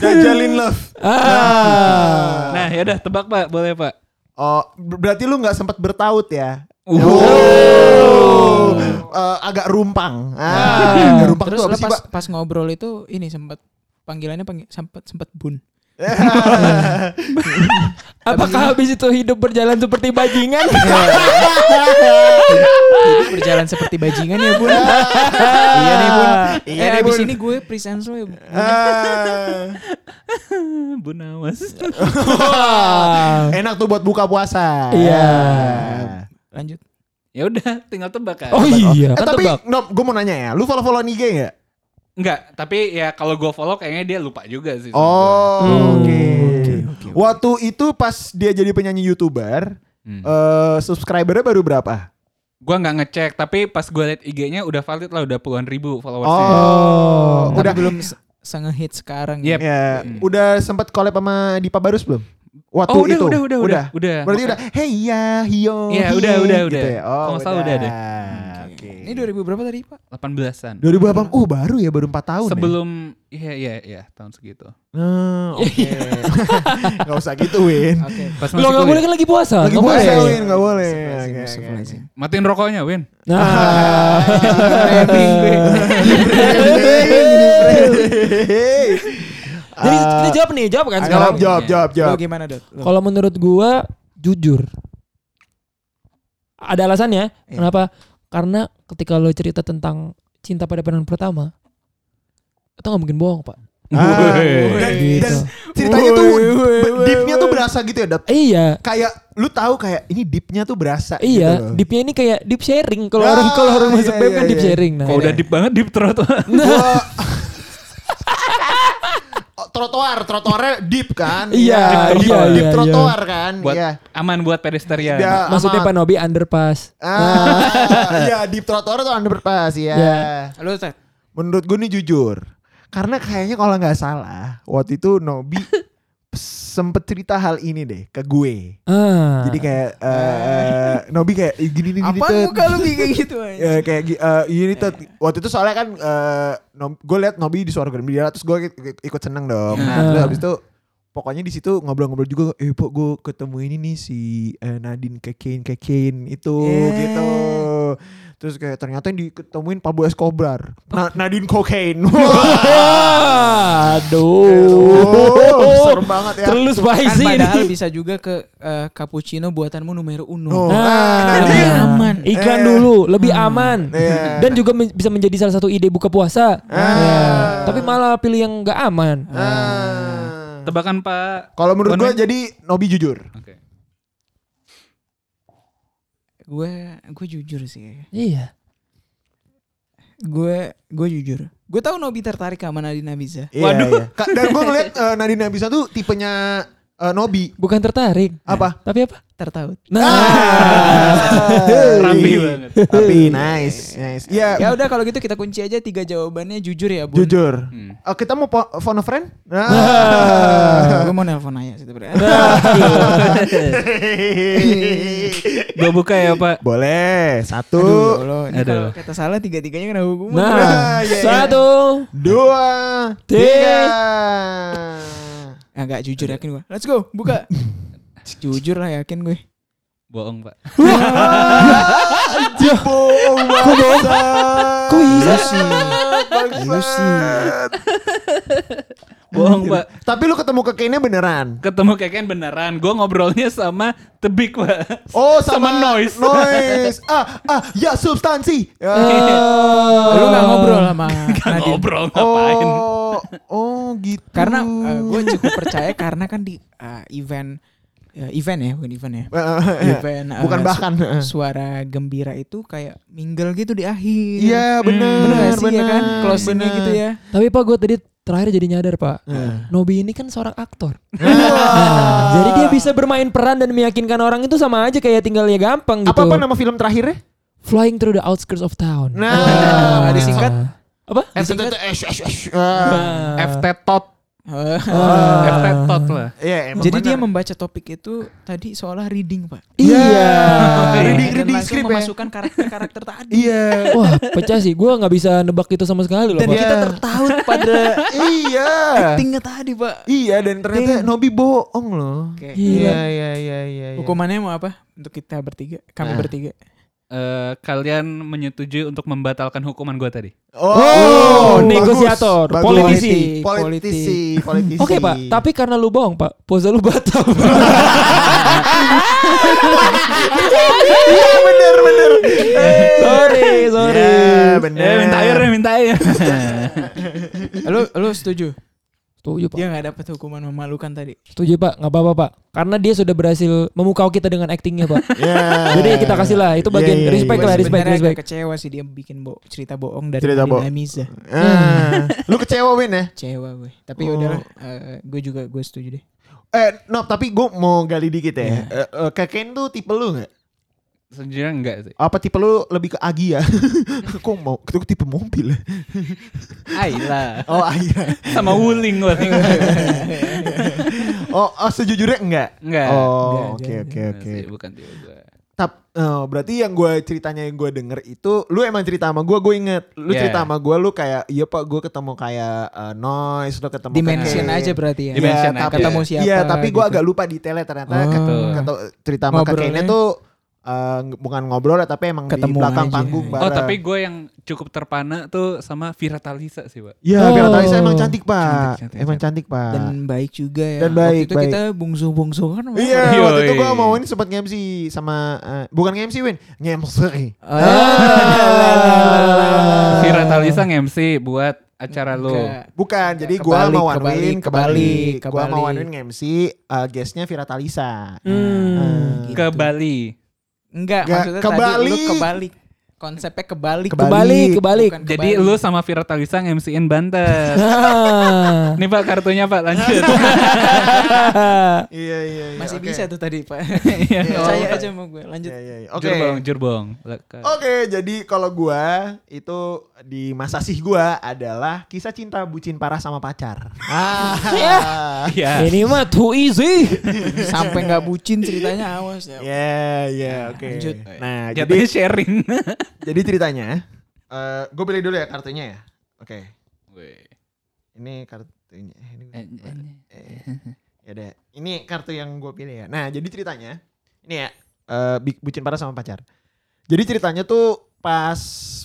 [SPEAKER 2] Dajalin love.
[SPEAKER 3] Ah.
[SPEAKER 1] nah, yaudah tebak Pak, boleh Pak.
[SPEAKER 2] Oh, ber- berarti lu nggak sempat bertaut ya?
[SPEAKER 1] Wow.
[SPEAKER 2] Eh, agak rumpang. Ah, agak rumpang
[SPEAKER 4] Terus
[SPEAKER 2] tuh apa
[SPEAKER 4] lo
[SPEAKER 2] sih,
[SPEAKER 4] pas,
[SPEAKER 2] Pak?
[SPEAKER 4] pas ngobrol itu ini sempat panggilannya panggil, sempat sempat bun.
[SPEAKER 3] Apakah habis itu hidup berjalan seperti bajingan?
[SPEAKER 2] Iya,
[SPEAKER 4] Hidup berjalan seperti bajingan ya, Bun. iya nih, Bun.
[SPEAKER 2] Iya
[SPEAKER 4] eh,
[SPEAKER 2] nih,
[SPEAKER 4] abis
[SPEAKER 2] Bun.
[SPEAKER 4] ini gue present lo ya, Bun.
[SPEAKER 2] Ah,
[SPEAKER 1] Eh, Bu Nawas.
[SPEAKER 2] Ah. enak tuh buat buka puasa.
[SPEAKER 3] Iya.
[SPEAKER 4] Lanjut.
[SPEAKER 1] ya udah, tinggal tebak kan.
[SPEAKER 3] Oh iya,
[SPEAKER 2] Eh,
[SPEAKER 3] kan
[SPEAKER 2] tapi
[SPEAKER 3] tebak.
[SPEAKER 2] Nob, gue mau nanya ya, lu follow-followan IG
[SPEAKER 1] Iya,
[SPEAKER 2] nggak?
[SPEAKER 1] Enggak, tapi ya kalau gue follow kayaknya dia lupa juga sih. sama gua.
[SPEAKER 2] Oh,
[SPEAKER 3] Hmm.
[SPEAKER 2] oke.
[SPEAKER 3] Oke,
[SPEAKER 2] Waktu itu pas dia jadi penyanyi youtuber,
[SPEAKER 1] Hmm.
[SPEAKER 2] eh subscribernya baru berapa?
[SPEAKER 1] Gua nggak ngecek, tapi pas gue liat IG-nya udah valid lah, udah puluhan ribu followersnya.
[SPEAKER 2] Oh,
[SPEAKER 4] Tapi
[SPEAKER 2] udah
[SPEAKER 4] belum se- sengehit sekarang ya.
[SPEAKER 1] Yep.
[SPEAKER 2] ya,
[SPEAKER 1] Hmm.
[SPEAKER 2] udah sempat collab sama Dipa Barus belum? Waktu
[SPEAKER 1] Oh, udah,
[SPEAKER 2] itu.
[SPEAKER 1] udah, udah, udah, udah.
[SPEAKER 2] Berarti udah hey ya, hiyo.
[SPEAKER 1] Iya,
[SPEAKER 2] hi,
[SPEAKER 1] udah, udah, udah.
[SPEAKER 2] ya? Oh,
[SPEAKER 1] Kalau nggak salah udah deh.
[SPEAKER 2] Oke.
[SPEAKER 4] Ini 2000 berapa tadi, Pak?
[SPEAKER 1] 18-an.
[SPEAKER 2] 2008. Oh, baru ya, baru 4 tahun. ya?
[SPEAKER 1] Sebelum iya iya iya tahun segitu.
[SPEAKER 2] Nah, oke. Gak usah gitu, Win.
[SPEAKER 4] Oke.
[SPEAKER 1] Pas
[SPEAKER 3] Lo
[SPEAKER 1] masih
[SPEAKER 3] nggak boleh
[SPEAKER 1] kuliah.
[SPEAKER 3] kan lagi puasa.
[SPEAKER 2] ya? Lagi
[SPEAKER 3] nggak
[SPEAKER 2] puasa,
[SPEAKER 3] boleh.
[SPEAKER 2] Win, gak boleh. Oke, oke, oke.
[SPEAKER 4] Astagfirullahaladzim.
[SPEAKER 1] Matiin rokoknya, Win.
[SPEAKER 2] Iya,
[SPEAKER 3] Nah,
[SPEAKER 4] Timing gue.
[SPEAKER 2] Hei.
[SPEAKER 3] jadi kita jawab nih, jawab kan
[SPEAKER 2] Ah,
[SPEAKER 3] sekarang.
[SPEAKER 2] Jawab, Ah. jawab, jawab,
[SPEAKER 4] Lo
[SPEAKER 2] jawab.
[SPEAKER 4] gimana, Dot? Lo.
[SPEAKER 3] Kalau menurut gua jujur. Ada alasannya
[SPEAKER 2] Iya.
[SPEAKER 3] kenapa? Karena ketika lo cerita tentang cinta pada pandangan pertama itu nggak mungkin bohong, Pak.
[SPEAKER 2] Ah,
[SPEAKER 1] Weh.
[SPEAKER 2] dan,
[SPEAKER 3] Gitu.
[SPEAKER 2] dan ceritanya tuh deepnya tuh berasa gitu ya, Dap.
[SPEAKER 3] Iya.
[SPEAKER 2] Kayak lu tahu kayak ini deepnya tuh berasa. gitu
[SPEAKER 3] Iya,
[SPEAKER 2] loh.
[SPEAKER 3] deepnya ini kayak deep sharing kalau
[SPEAKER 2] Ah,
[SPEAKER 3] orang kalau orang
[SPEAKER 2] iya,
[SPEAKER 3] masuk bem
[SPEAKER 2] iya,
[SPEAKER 3] kan deep
[SPEAKER 2] iya.
[SPEAKER 3] sharing. Nah,
[SPEAKER 1] Kalau udah deep banget deep throat.
[SPEAKER 2] Gua- Oh, trotoar, trotoarnya deep kan?
[SPEAKER 3] Iya,
[SPEAKER 2] deep,
[SPEAKER 3] iya,
[SPEAKER 2] deep
[SPEAKER 3] iya,
[SPEAKER 2] trotoar kan?
[SPEAKER 1] buat
[SPEAKER 2] Iya.
[SPEAKER 1] aman buat pedestrian.
[SPEAKER 2] Ya,
[SPEAKER 3] maksudnya
[SPEAKER 2] sama-
[SPEAKER 3] Pak Nobi underpass.
[SPEAKER 2] Ah, iya, deep trotoar tuh underpass ya.
[SPEAKER 3] Iya.
[SPEAKER 4] Lo, Tet.
[SPEAKER 2] Menurut gue nih jujur. Karena kayaknya kalau nggak salah, waktu itu Nobi sempet cerita hal ini deh ke gue.
[SPEAKER 3] Ah.
[SPEAKER 2] Jadi kayak eh, Nobi kayak "Ih, gini nih gini
[SPEAKER 4] Apa
[SPEAKER 2] Tet."
[SPEAKER 4] muka lu kayak gitu aja?
[SPEAKER 2] Ya, kayak gi- eh, gini Tet. Waktu itu soalnya kan gue liat Nobi di suara Grand Media terus gue ikut seneng dong. Nah,
[SPEAKER 3] Ya.
[SPEAKER 2] terus habis itu pokoknya di situ ngobrol-ngobrol juga eh pok gue ketemu ini nih si eh, Nadine Kekin Kekin itu
[SPEAKER 4] Eh.
[SPEAKER 2] gitu. Terus kayak ternyata yang diketemuin Pablo Escobar. Nah, Na- Nadine Cocaine. Oh,
[SPEAKER 3] Wah, aduh.
[SPEAKER 2] serem banget ya.
[SPEAKER 3] Terlalu
[SPEAKER 4] Kan
[SPEAKER 3] spicy ini.
[SPEAKER 4] padahal bisa juga ke eh, cappuccino buatanmu nomor
[SPEAKER 2] Oh, ah,
[SPEAKER 4] uno.
[SPEAKER 3] Nah,
[SPEAKER 4] lebih aman.
[SPEAKER 3] Iklan
[SPEAKER 2] Eh.
[SPEAKER 3] dulu lebih aman.
[SPEAKER 2] Iya.
[SPEAKER 3] Dan juga men- bisa menjadi salah satu ide buka puasa. Ya. Tapi malah pilih yang nggak aman.
[SPEAKER 2] Ah.
[SPEAKER 1] Tebakan Pak.
[SPEAKER 2] Kalau menurut
[SPEAKER 1] One
[SPEAKER 2] gue
[SPEAKER 1] man-
[SPEAKER 2] jadi Nobi jujur.
[SPEAKER 1] Oke.
[SPEAKER 4] Gua Gue gue jujur sih.
[SPEAKER 3] Iya.
[SPEAKER 4] Gue gue jujur. Gue tahu Nobi tertarik sama Nadine Abiza.
[SPEAKER 2] Iya,
[SPEAKER 1] Waduh.
[SPEAKER 2] iya. Ka- Dan gue ngeliat eh, Nadine Abisa tuh tipenya eh, Nobi.
[SPEAKER 3] Bukan tertarik.
[SPEAKER 2] Apa?
[SPEAKER 3] Tapi apa? Nah.
[SPEAKER 4] Tertaut.
[SPEAKER 2] Ah. Hey.
[SPEAKER 1] Rapi banget.
[SPEAKER 2] Tapi nice, nice. Iya,
[SPEAKER 4] Ya udah kalau gitu kita kunci aja tiga jawabannya jujur ya, Bun.
[SPEAKER 2] jujur.
[SPEAKER 1] Hmm.
[SPEAKER 2] Eh, kita mau po- phone a friend? Nah.
[SPEAKER 4] Ah, gue mau nelpon aja sih sebenarnya.
[SPEAKER 3] Nah,
[SPEAKER 1] Gue buka ya pak.
[SPEAKER 2] Boleh. Satu,
[SPEAKER 4] Aduh, ya Allah, ini
[SPEAKER 1] Aduh.
[SPEAKER 4] kalau kata salah tiga-tiganya kena hukuman.
[SPEAKER 2] iya,
[SPEAKER 3] Nah,
[SPEAKER 2] iya.
[SPEAKER 3] satu.
[SPEAKER 2] dua, tiga.
[SPEAKER 4] Agak Nah, jujur yakin gue. Let's go, buka. jujur lah yakin gue.
[SPEAKER 1] Bohong pak.
[SPEAKER 2] Ah, Anjing bohong banget.
[SPEAKER 3] Kok bisa
[SPEAKER 2] sih? Iya
[SPEAKER 1] Bohong pak.
[SPEAKER 2] Tapi lu ketemu kekeinnya beneran?
[SPEAKER 1] Ketemu keken beneran. Gue ngobrolnya sama tebik pak.
[SPEAKER 2] Oh
[SPEAKER 1] Sama
[SPEAKER 2] sama,
[SPEAKER 1] noise.
[SPEAKER 2] Noise. ah ah ya substansi. Ya.
[SPEAKER 4] Lu gak ngobrol sama Nadine.
[SPEAKER 1] Ngobrol ngapain?
[SPEAKER 2] Oh oh gitu.
[SPEAKER 4] Karena eh, gue cukup percaya karena kan di eh, event eh, event ya, bukan event ya. Event, eh,
[SPEAKER 2] Eh, bukan
[SPEAKER 4] su-
[SPEAKER 2] bahkan.
[SPEAKER 4] Suara gembira itu kayak mingle gitu di akhir.
[SPEAKER 2] Iya benar
[SPEAKER 4] Hmm, Bener gak sih
[SPEAKER 2] benar
[SPEAKER 4] ya kan? Closingnya gitu ya.
[SPEAKER 3] Tapi Pak gue tadi terakhir jadi nyadar Pak.
[SPEAKER 2] Eh.
[SPEAKER 3] Nobi ini kan seorang aktor.
[SPEAKER 2] Ah.
[SPEAKER 3] Nah, jadi dia bisa bermain peran dan meyakinkan orang itu sama aja kayak tinggalnya gampang gitu.
[SPEAKER 2] Apa apa nama film eh? terakhirnya?
[SPEAKER 3] Flying through the outskirts of town.
[SPEAKER 2] Nah,
[SPEAKER 3] Ah.
[SPEAKER 4] disingkat.
[SPEAKER 3] Apa?
[SPEAKER 2] F-T-T-T, eh, sh- sh- sh- ah.
[SPEAKER 4] Nah.
[SPEAKER 1] FT tot.
[SPEAKER 4] Eh,
[SPEAKER 2] Oh,
[SPEAKER 1] FT tot lah.
[SPEAKER 2] Iya, emang
[SPEAKER 4] Jadi dia
[SPEAKER 2] benar.
[SPEAKER 4] membaca topik itu tadi seolah reading, Pak.
[SPEAKER 3] Iya.
[SPEAKER 2] Ah, Reading
[SPEAKER 4] Dan
[SPEAKER 2] reading
[SPEAKER 4] langsung
[SPEAKER 2] script ya.
[SPEAKER 4] memasukkan karakter-karakter tadi.
[SPEAKER 2] Iya.
[SPEAKER 3] Wah pecah sih. Gue nggak bisa nebak itu sama sekali loh
[SPEAKER 4] Dan
[SPEAKER 3] Pak.
[SPEAKER 2] Iya.
[SPEAKER 4] kita tertaut pada
[SPEAKER 2] Iya.
[SPEAKER 4] actingnya tadi, Pak.
[SPEAKER 2] Iya dan ternyata Nobi bohong loh.
[SPEAKER 4] Oke.
[SPEAKER 2] Iya iya iya iya. Nah. iya.
[SPEAKER 4] Hukumannya mau apa? Untuk kita bertiga, kami bertiga.
[SPEAKER 1] Eh, kalian menyetujui untuk membatalkan hukuman gue tadi?
[SPEAKER 3] Oh, negosiator,
[SPEAKER 2] bagus.
[SPEAKER 3] politisi.
[SPEAKER 2] politisi, politisi.
[SPEAKER 3] Oke Pak, tapi karena lu bohong Pak, pose lu batal.
[SPEAKER 2] iya benar benar.
[SPEAKER 3] sorry, sorry.
[SPEAKER 2] Iya benar.
[SPEAKER 1] Eh, minta air ya, minta air.
[SPEAKER 4] Lu lu setuju?
[SPEAKER 3] Setuju Pak.
[SPEAKER 4] Dia nggak dapat hukuman memalukan tadi.
[SPEAKER 3] Setuju Pak, nggak apa-apa Pak. Karena dia sudah berhasil memukau kita dengan aktingnya Pak.
[SPEAKER 2] Iya.
[SPEAKER 3] Jadi kita kasih lah, itu bagian
[SPEAKER 2] Iya, iya, iya.
[SPEAKER 3] respect lah,
[SPEAKER 4] Gue
[SPEAKER 3] respect,
[SPEAKER 4] sebenarnya agak
[SPEAKER 3] respect.
[SPEAKER 4] kecewa sih dia bikin bo- cerita bohong dari
[SPEAKER 2] Cerita bohong.
[SPEAKER 4] Amiza.
[SPEAKER 3] Hmm.
[SPEAKER 2] Ah, Lu kecewa Win ya?
[SPEAKER 4] Kecewa gue. Tapi
[SPEAKER 2] Oh.
[SPEAKER 4] udahlah, eh, gue juga gue setuju deh.
[SPEAKER 2] Eh, no, tapi gue mau gali dikit ya. Eh, eh, Keken tuh tipe lu gak?
[SPEAKER 1] Sejujurnya enggak sih.
[SPEAKER 2] Apa tipe lu lebih ke Agi ya? Kok mau? Itu tipe mobil. ya?
[SPEAKER 1] Aila.
[SPEAKER 2] Oh, iya.
[SPEAKER 1] Sama wuling paling.
[SPEAKER 2] Oh, oh, sejujurnya enggak?
[SPEAKER 1] Enggak.
[SPEAKER 2] Oh,
[SPEAKER 4] Enggak,
[SPEAKER 2] oke
[SPEAKER 4] jangan,
[SPEAKER 2] oke
[SPEAKER 1] Enggak
[SPEAKER 2] oke.
[SPEAKER 1] sih, Bukan tipe gue.
[SPEAKER 2] Tap, eh, berarti yang gue ceritanya yang gue denger itu, lu emang cerita sama gue, gue inget. Lu
[SPEAKER 1] Yeah.
[SPEAKER 2] cerita sama gue, lu kayak, iya pak, gue ketemu kayak eh, noise, lu ketemu
[SPEAKER 4] Dimension
[SPEAKER 2] kayak-
[SPEAKER 4] aja berarti ya.
[SPEAKER 2] Iya,
[SPEAKER 1] Dimension aja.
[SPEAKER 2] tapi-
[SPEAKER 4] Ketemu siapa
[SPEAKER 2] Iya, tapi gue
[SPEAKER 4] gitu.
[SPEAKER 2] agak lupa detailnya ternyata. Kan
[SPEAKER 4] Oh.
[SPEAKER 2] Kata, cerita sama
[SPEAKER 4] Ngobrolnya?
[SPEAKER 2] kakeknya tuh eh, nge- bukan ngobrol ya, tapi emang di
[SPEAKER 4] Ketemu
[SPEAKER 2] belakang
[SPEAKER 4] aja.
[SPEAKER 2] panggung
[SPEAKER 4] Oh,
[SPEAKER 2] bareng.
[SPEAKER 1] Oh, tapi gue yang cukup terpana tuh sama Vira Talisa sih, Pak.
[SPEAKER 2] Iya, biar tahu saya emang
[SPEAKER 3] Oh.
[SPEAKER 2] cantik pak,
[SPEAKER 1] Cantik, cantik,
[SPEAKER 2] emang cantik pak.
[SPEAKER 4] Dan baik juga ya.
[SPEAKER 2] Dan baik,
[SPEAKER 4] Waktu itu
[SPEAKER 2] baik.
[SPEAKER 4] kita bungsu-bungsu kan.
[SPEAKER 2] Iya,
[SPEAKER 1] Yoi.
[SPEAKER 2] waktu itu gue mau ini sempat nge-MC sama eh, bukan nge-MC Win,
[SPEAKER 4] Oh, iya.
[SPEAKER 2] nge-MC. Ah.
[SPEAKER 1] Vira Talisa nge-MC buat acara lu.
[SPEAKER 2] Bukan, jadi
[SPEAKER 4] Kebalik,
[SPEAKER 2] gua mau
[SPEAKER 4] kebalik,
[SPEAKER 2] Wanwin
[SPEAKER 4] kebalik,
[SPEAKER 2] kebalik. Gua mau
[SPEAKER 4] kebalik.
[SPEAKER 2] Wanwin MC uh, guestnya Vira Talisa. Ah,
[SPEAKER 3] Hmm.
[SPEAKER 4] gitu.
[SPEAKER 1] Ke Bali.
[SPEAKER 4] Enggak,
[SPEAKER 2] Nggak,
[SPEAKER 4] maksudnya tadi lu
[SPEAKER 2] kebalik.
[SPEAKER 4] kebalik. Konsepnya kebalik.
[SPEAKER 3] Kebalik,
[SPEAKER 2] Kebalik.
[SPEAKER 3] kebalik.
[SPEAKER 4] Bukan
[SPEAKER 1] Jadi
[SPEAKER 4] kebalik.
[SPEAKER 1] lu sama Vira Talisa nge-MC-in Banten.
[SPEAKER 3] Ah.
[SPEAKER 1] Nih Pak kartunya Pak lanjut.
[SPEAKER 2] Iya iya. iya,
[SPEAKER 4] masih
[SPEAKER 2] oke. Oh,
[SPEAKER 4] bisa tuh tadi, Pak.
[SPEAKER 1] Iya.
[SPEAKER 4] Percaya aja sama gue. Lanjut.
[SPEAKER 2] Iya iya. iya. Oke. Oh.
[SPEAKER 1] Oke. Jurbong, jurbong.
[SPEAKER 2] Oke, jadi kalau gua itu di masa sih gua adalah kisah cinta bucin parah sama pacar. Ah.
[SPEAKER 1] Iya.
[SPEAKER 3] Ini mah too easy.
[SPEAKER 4] Sampai nggak bucin ceritanya awas ya.
[SPEAKER 2] Ya, ya, oke.
[SPEAKER 4] Lanjut.
[SPEAKER 2] Nah, jadi
[SPEAKER 1] Jatuhnya sharing.
[SPEAKER 2] jadi ceritanya eh gua pilih dulu ya kartunya ya. Oke. Ini kartunya. Ini
[SPEAKER 3] Eh,
[SPEAKER 2] gua- Ya deh. Ini kartu yang gue pilih ya. Nah, jadi ceritanya ini ya eh, bi- bucin parah sama pacar. Jadi ceritanya tuh pas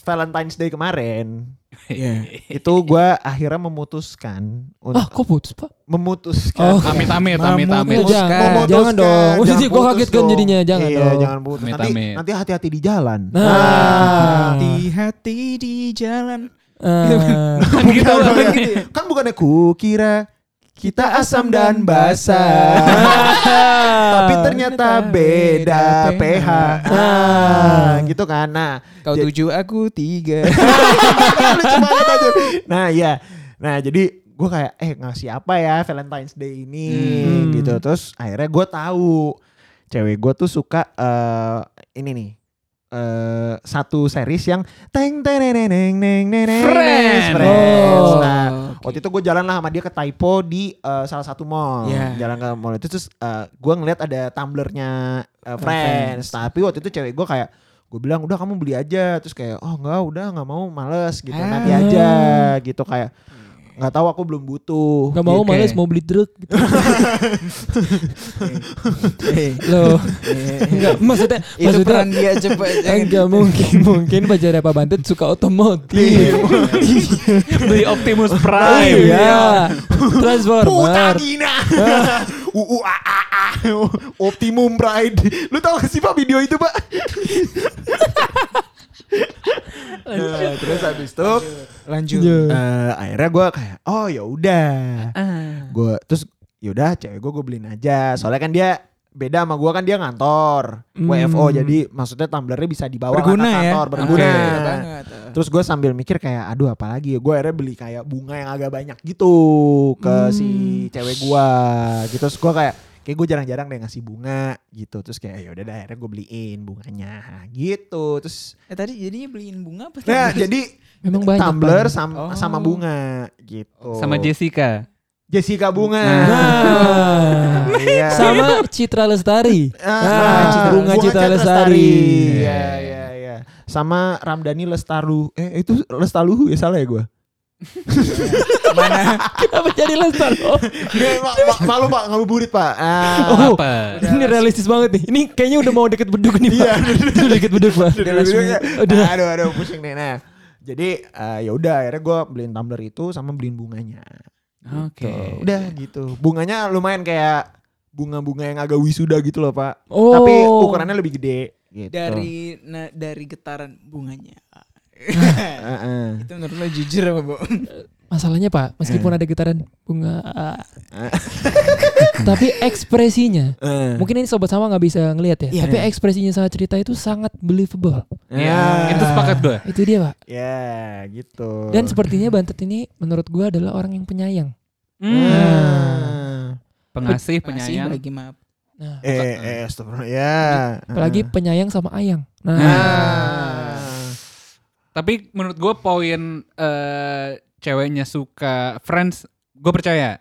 [SPEAKER 2] Valentine's Day kemarin
[SPEAKER 4] Iya.
[SPEAKER 2] itu gue akhirnya memutuskan
[SPEAKER 3] Ah,
[SPEAKER 2] untuk
[SPEAKER 3] kok putus pak?
[SPEAKER 2] memutuskan.
[SPEAKER 3] Oh.
[SPEAKER 1] Amit amit amit amit.
[SPEAKER 3] Eh, jangan,
[SPEAKER 4] Memutuskan.
[SPEAKER 3] jangan dong. Jadi gue kaget kan jadinya, jangan
[SPEAKER 2] iya,
[SPEAKER 3] dong.
[SPEAKER 2] jangan putus. Nanti,
[SPEAKER 1] Amit-amit.
[SPEAKER 2] nanti hati-hati di jalan.
[SPEAKER 3] Nah.
[SPEAKER 4] Hati-hati di jalan.
[SPEAKER 3] Ah.
[SPEAKER 1] Kan
[SPEAKER 2] Bukan,
[SPEAKER 1] gitu
[SPEAKER 2] bukan.
[SPEAKER 1] banget.
[SPEAKER 2] kan bukannya ku kira kita asam dan basah. Tapi ternyata beda
[SPEAKER 4] beda
[SPEAKER 2] PH.
[SPEAKER 4] PH.
[SPEAKER 2] Ah, gitu kan. Nah,
[SPEAKER 4] Kau
[SPEAKER 2] Jadi-
[SPEAKER 4] tujuh, aku tiga.
[SPEAKER 2] lucu banget aja. Nah, iya. Nah, jadi gue kayak eh ngasih apa ya Valentine's Day ini
[SPEAKER 4] Hmm.
[SPEAKER 2] gitu. Terus akhirnya gue tahu cewek gue tuh suka eh ini nih eh satu series yang teng teng neng neng neng neng neng neng,
[SPEAKER 1] Friends.
[SPEAKER 2] Friends.
[SPEAKER 4] Oh,
[SPEAKER 2] Nah,
[SPEAKER 4] oke.
[SPEAKER 2] waktu itu gue jalan lah sama dia ke Taipo di eh, salah satu mall.
[SPEAKER 4] Iya.
[SPEAKER 2] Jalan ke mall itu terus eh, gue ngeliat ada tumblernya eh, Friends. Tapi waktu itu cewek gue kayak gue bilang udah kamu beli aja terus kayak oh enggak udah nggak mau males gitu
[SPEAKER 4] Ah.
[SPEAKER 2] nanti aja gitu kayak nggak tahu aku belum butuh
[SPEAKER 3] Gak mau
[SPEAKER 1] Oke.
[SPEAKER 3] males mau beli drug gitu.
[SPEAKER 4] Eh,
[SPEAKER 3] Loh,
[SPEAKER 4] eh,
[SPEAKER 3] enggak maksudnya
[SPEAKER 4] itu
[SPEAKER 3] maksudnya
[SPEAKER 4] peran dia coba. jangan.
[SPEAKER 3] enggak mungkin mungkin pacarnya Pak Bantet
[SPEAKER 2] Gitu. Iya.
[SPEAKER 3] suka otomotif.
[SPEAKER 1] Beli Optimus Prime.
[SPEAKER 3] Iya.
[SPEAKER 2] Puta
[SPEAKER 3] Transformer.
[SPEAKER 2] gina uu a a a optimum pride lu tau gak sih pak video itu pak Nah, terus habis itu
[SPEAKER 4] Lanjut.
[SPEAKER 3] Iya.
[SPEAKER 2] eh, akhirnya gue kayak oh ya udah gue terus yaudah cewek gue gue beliin aja soalnya kan dia beda sama gue kan dia ngantor
[SPEAKER 3] Hmm.
[SPEAKER 2] WFO jadi maksudnya tumblernya bisa dibawa ke
[SPEAKER 4] Berguna
[SPEAKER 2] atas
[SPEAKER 4] ya.
[SPEAKER 2] kantor berguna kan?
[SPEAKER 4] Oke. Berguna banget.
[SPEAKER 2] terus gue sambil mikir kayak aduh apa lagi ya gue akhirnya beli kayak bunga yang agak banyak gitu ke si cewek gue gitu terus gue kayak kayak gue jarang-jarang deh ngasih bunga gitu terus kayak yaudah dah akhirnya gue beliin bunganya gitu terus
[SPEAKER 4] Eh, tadi jadinya beliin bunga apa?
[SPEAKER 2] nah
[SPEAKER 4] tadi?
[SPEAKER 2] jadi
[SPEAKER 3] Memang banyak.
[SPEAKER 2] tumbler
[SPEAKER 3] Pak.
[SPEAKER 2] sama,
[SPEAKER 4] Oh.
[SPEAKER 2] sama bunga gitu
[SPEAKER 1] Sama Jessica.
[SPEAKER 2] Jessica bunga Nah.
[SPEAKER 3] Nah.
[SPEAKER 2] Iya.
[SPEAKER 3] sama Citra Lestari.
[SPEAKER 2] Ah,
[SPEAKER 3] Ah, bunga Citra Lestari.
[SPEAKER 2] Iya, iya, iya. Sama Ramdhani Lestaru. Eh, itu Lestaluhu ya salah ya gue?
[SPEAKER 4] mana?
[SPEAKER 3] Kenapa jadi Lestari? Oh,
[SPEAKER 2] Iya, malu pak, ngabuburit pak. Ah.
[SPEAKER 3] Oh.
[SPEAKER 1] Apa?
[SPEAKER 3] ini realistis banget nih. Ini kayaknya udah mau deket beduk nih, Pak. Udah deket beduk, Pak.
[SPEAKER 2] Udah,
[SPEAKER 3] langsung-
[SPEAKER 2] udah,
[SPEAKER 3] udah.
[SPEAKER 2] aduh, aduh, pusing nih. Nah, jadi eh, ya udah akhirnya gue beliin tumbler itu sama beliin bunganya.
[SPEAKER 1] Oke.
[SPEAKER 2] Tuh, udah gitu. Bunganya lumayan kayak bunga-bunga yang agak wisuda gitu loh pak.
[SPEAKER 3] Oh.
[SPEAKER 2] Tapi ukurannya lebih gede. Gitu.
[SPEAKER 4] Dari na- dari getaran bunganya.
[SPEAKER 2] Heeh.
[SPEAKER 4] Itu menurut lo jujur apa, Bu?
[SPEAKER 3] Masalahnya, Pak, meskipun
[SPEAKER 2] Eh.
[SPEAKER 3] ada getaran bunga ah. tapi ekspresinya
[SPEAKER 2] Eh.
[SPEAKER 3] Mungkin ini sobat sama nggak bisa ngelihat ya,
[SPEAKER 4] Iya.
[SPEAKER 3] tapi ekspresinya saat cerita itu sangat believable.
[SPEAKER 1] Ya, itu sepakat gue.
[SPEAKER 3] Itu dia, Pak.
[SPEAKER 2] Ya, gitu.
[SPEAKER 3] Dan sepertinya Bantet ini menurut gua adalah orang yang penyayang.
[SPEAKER 2] Hmm.
[SPEAKER 1] Hmm. Pengasih,
[SPEAKER 4] Masih
[SPEAKER 1] penyayang.
[SPEAKER 4] bagi maaf.
[SPEAKER 3] Nah,
[SPEAKER 2] Eh, eh, stop. Ya.
[SPEAKER 3] apalagi penyayang sama ayang. Nah,
[SPEAKER 2] Nah.
[SPEAKER 1] Tapi menurut gue poin eh, ceweknya suka Friends, gue percaya.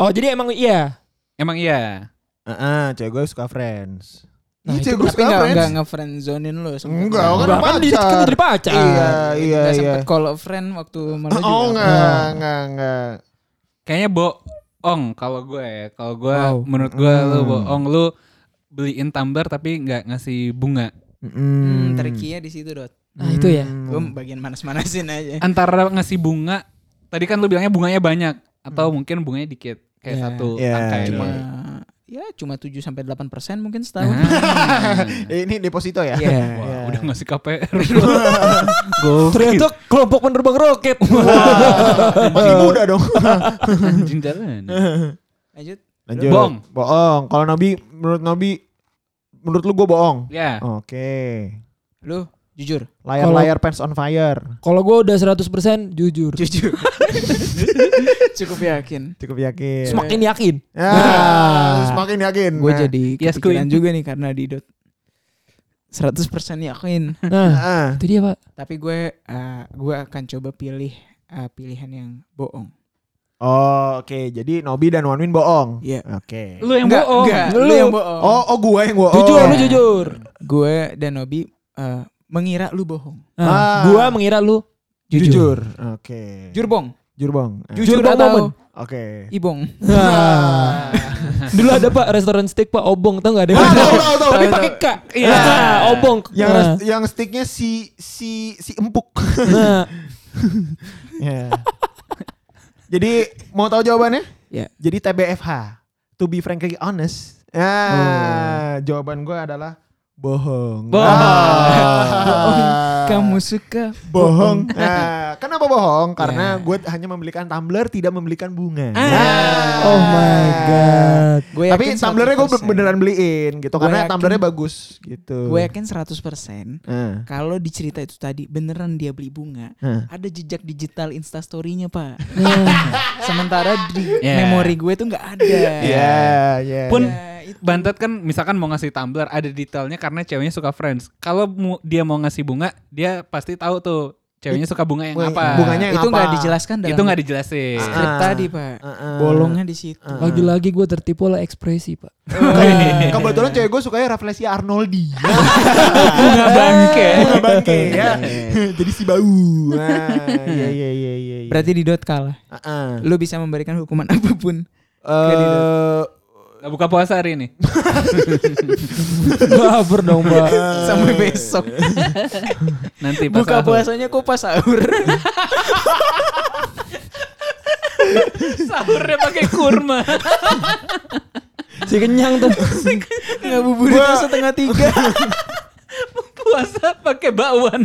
[SPEAKER 3] oh jadi emang iya.
[SPEAKER 1] Emang iya.
[SPEAKER 2] Heeh, cewek gue suka Friends. Ih,
[SPEAKER 3] Nah, itu-
[SPEAKER 2] gue
[SPEAKER 4] Tapi enggak enggak nge-friendzonin lo sebenarnya.
[SPEAKER 2] Enggak, Iya, kan
[SPEAKER 3] Bahkan
[SPEAKER 2] pacar.
[SPEAKER 3] dia kan jadi pacar.
[SPEAKER 2] Iya,
[SPEAKER 4] Jadi
[SPEAKER 2] iya,
[SPEAKER 4] nggak
[SPEAKER 2] iya.
[SPEAKER 4] sempet call a friend waktu malu juga.
[SPEAKER 2] Oh, enggak, enggak, enggak.
[SPEAKER 1] Kayaknya bohong kalau gue ya. Kalau gue
[SPEAKER 3] Wow.
[SPEAKER 1] menurut gue lu
[SPEAKER 2] Hmm.
[SPEAKER 1] bohong lu beliin tumbler tapi nggak ngasih bunga.
[SPEAKER 4] Hmm, tricky-nya di situ, Dot.
[SPEAKER 3] Nah, itu ya.
[SPEAKER 2] Hmm.
[SPEAKER 4] Gue bagian manas-manasin aja.
[SPEAKER 2] Ah,
[SPEAKER 1] Antara ngasih bunga, tadi kan lu bilangnya bunganya banyak atau mungkin bunganya dikit kayak
[SPEAKER 4] Iya.
[SPEAKER 1] satu
[SPEAKER 2] Iya,
[SPEAKER 1] angka
[SPEAKER 2] iya.
[SPEAKER 1] doang.
[SPEAKER 4] Cuma- ya cuma 7 sampai 8% mungkin setahun.
[SPEAKER 1] Ah.
[SPEAKER 2] Eh, ini deposito ya?
[SPEAKER 4] Iya.
[SPEAKER 1] Wah,
[SPEAKER 2] Iya.
[SPEAKER 1] udah ngasih KPR.
[SPEAKER 3] Ternyata kelompok penerbang roket.
[SPEAKER 2] Wah, Masih muda dong.
[SPEAKER 1] Anjing jalan.
[SPEAKER 4] Lanjut.
[SPEAKER 2] Lanjut.
[SPEAKER 1] Bohong.
[SPEAKER 2] Bohong. Kalau Nabi, menurut Nabi, menurut lu gue bohong.
[SPEAKER 1] Ya.
[SPEAKER 2] Oke.
[SPEAKER 4] Lu jujur.
[SPEAKER 2] Layar-layar pants on fire.
[SPEAKER 3] Kalau gue udah 100% jujur.
[SPEAKER 2] Iya.
[SPEAKER 4] Jujur. Cukup yakin.
[SPEAKER 2] Cukup yakin.
[SPEAKER 3] Semakin yakin.
[SPEAKER 2] Ah, semakin yakin.
[SPEAKER 4] Gue
[SPEAKER 2] Nah.
[SPEAKER 4] jadi
[SPEAKER 1] Yes, Queen.
[SPEAKER 4] kepikiran juga nih karena di Dot. 100% yakin.
[SPEAKER 3] Nah,
[SPEAKER 2] Ah.
[SPEAKER 3] itu dia, Pak.
[SPEAKER 4] Tapi gue eh, gue akan coba pilih eh, pilihan yang bohong.
[SPEAKER 2] Oh, oke. Jadi Nobi dan Wanwin bohong.
[SPEAKER 4] Iya.
[SPEAKER 2] Oke.
[SPEAKER 1] Lu yang
[SPEAKER 4] Enggak,
[SPEAKER 1] bohong.
[SPEAKER 4] enggak,
[SPEAKER 3] Lu.
[SPEAKER 4] lu yang bohong.
[SPEAKER 2] Oh, oh gue yang bohong.
[SPEAKER 3] Jujur, lu jujur.
[SPEAKER 4] Gue dan Nobi eh, mengira lu bohong.
[SPEAKER 3] Nah,
[SPEAKER 2] Ah.
[SPEAKER 3] Gua mengira lu
[SPEAKER 2] Jujur.
[SPEAKER 3] jujur.
[SPEAKER 2] Oke.
[SPEAKER 4] Jujur bong.
[SPEAKER 2] Jujur bong. Ah,
[SPEAKER 4] Jujur,
[SPEAKER 3] bong,
[SPEAKER 4] atau
[SPEAKER 3] Bong.
[SPEAKER 2] Oke.
[SPEAKER 4] ibong.
[SPEAKER 3] Nah. Dulu ada Pak restoran steak Pak Obong tau gak ada?
[SPEAKER 2] Ah, tahu, tahu,
[SPEAKER 4] nah,
[SPEAKER 2] tahu.
[SPEAKER 3] Tapi
[SPEAKER 2] Tahu,
[SPEAKER 3] pakai K.
[SPEAKER 1] Iya.
[SPEAKER 3] Nah, Obong.
[SPEAKER 2] Yang
[SPEAKER 3] Nah.
[SPEAKER 2] res- yang sticknya si si si empuk.
[SPEAKER 3] Nah,
[SPEAKER 2] Ya. Jadi mau tahu jawabannya?
[SPEAKER 4] Ya.
[SPEAKER 2] Jadi TBFH. To be frankly honest. Ah, jawaban gue adalah bohong.
[SPEAKER 1] Bohong.
[SPEAKER 2] Ah.
[SPEAKER 4] Kamu suka
[SPEAKER 2] bohong. Ah, Kenapa bohong? Karena gue hanya membelikan tumbler, tidak membelikan bunga. Nah.
[SPEAKER 3] Oh my god.
[SPEAKER 4] Gue
[SPEAKER 2] Tapi
[SPEAKER 4] yakin
[SPEAKER 2] tumblernya gue
[SPEAKER 4] 100%.
[SPEAKER 2] beneran beliin gitu
[SPEAKER 4] Gua
[SPEAKER 2] karena
[SPEAKER 4] yakin-
[SPEAKER 2] tumblernya bagus gitu.
[SPEAKER 4] Gue yakin 100%
[SPEAKER 2] Eh.
[SPEAKER 4] kalau di cerita itu tadi beneran dia beli bunga,
[SPEAKER 2] Eh.
[SPEAKER 4] ada jejak digital instastory-nya, Pak.
[SPEAKER 3] Nah,
[SPEAKER 2] Ah.
[SPEAKER 4] Sementara di
[SPEAKER 1] Yeah.
[SPEAKER 4] memori gue tuh nggak ada.
[SPEAKER 2] Iya, iya.
[SPEAKER 1] Pun
[SPEAKER 2] iya.
[SPEAKER 1] Bantet kan misalkan mau ngasih tumbler ada detailnya karena ceweknya suka Friends. Kalau mu- dia mau ngasih bunga, dia pasti tahu tuh ceweknya suka bunga yang
[SPEAKER 2] Wait,
[SPEAKER 1] apa.
[SPEAKER 2] bunganya yang
[SPEAKER 4] itu nggak
[SPEAKER 2] apa?
[SPEAKER 4] dijelaskan dalam
[SPEAKER 1] itu nggak dijelasin.
[SPEAKER 2] Ah.
[SPEAKER 4] skrip tadi, Pak.
[SPEAKER 2] Heeh.
[SPEAKER 4] Bolongnya di
[SPEAKER 3] Iya.
[SPEAKER 4] situ.
[SPEAKER 2] Heeh.
[SPEAKER 3] Lagi-lagi gue tertipu oleh ekspresi pak.
[SPEAKER 2] Ke- Kebetulan cewek gue sukanya Rafflesia Arnoldi.
[SPEAKER 1] bunga bangke.
[SPEAKER 2] Bunga bangke
[SPEAKER 1] Iya.
[SPEAKER 2] ya. Jadi si bau. Nah, Iya iya iya iya. iya.
[SPEAKER 4] Berarti di dot kalah.
[SPEAKER 2] Heeh.
[SPEAKER 4] Lu bisa memberikan hukuman apapun.
[SPEAKER 2] Eh,
[SPEAKER 1] Nggak Nah, buka puasa hari ini.
[SPEAKER 3] Baper dong pak.
[SPEAKER 4] sampai besok.
[SPEAKER 1] Nanti pas
[SPEAKER 4] Buka
[SPEAKER 1] sahur.
[SPEAKER 4] puasanya kok pas sahur.
[SPEAKER 1] Sahurnya pakai kurma.
[SPEAKER 3] Si kenyang tuh.
[SPEAKER 4] Ngabuburitnya setengah tiga.
[SPEAKER 1] puasa pakai bakwan.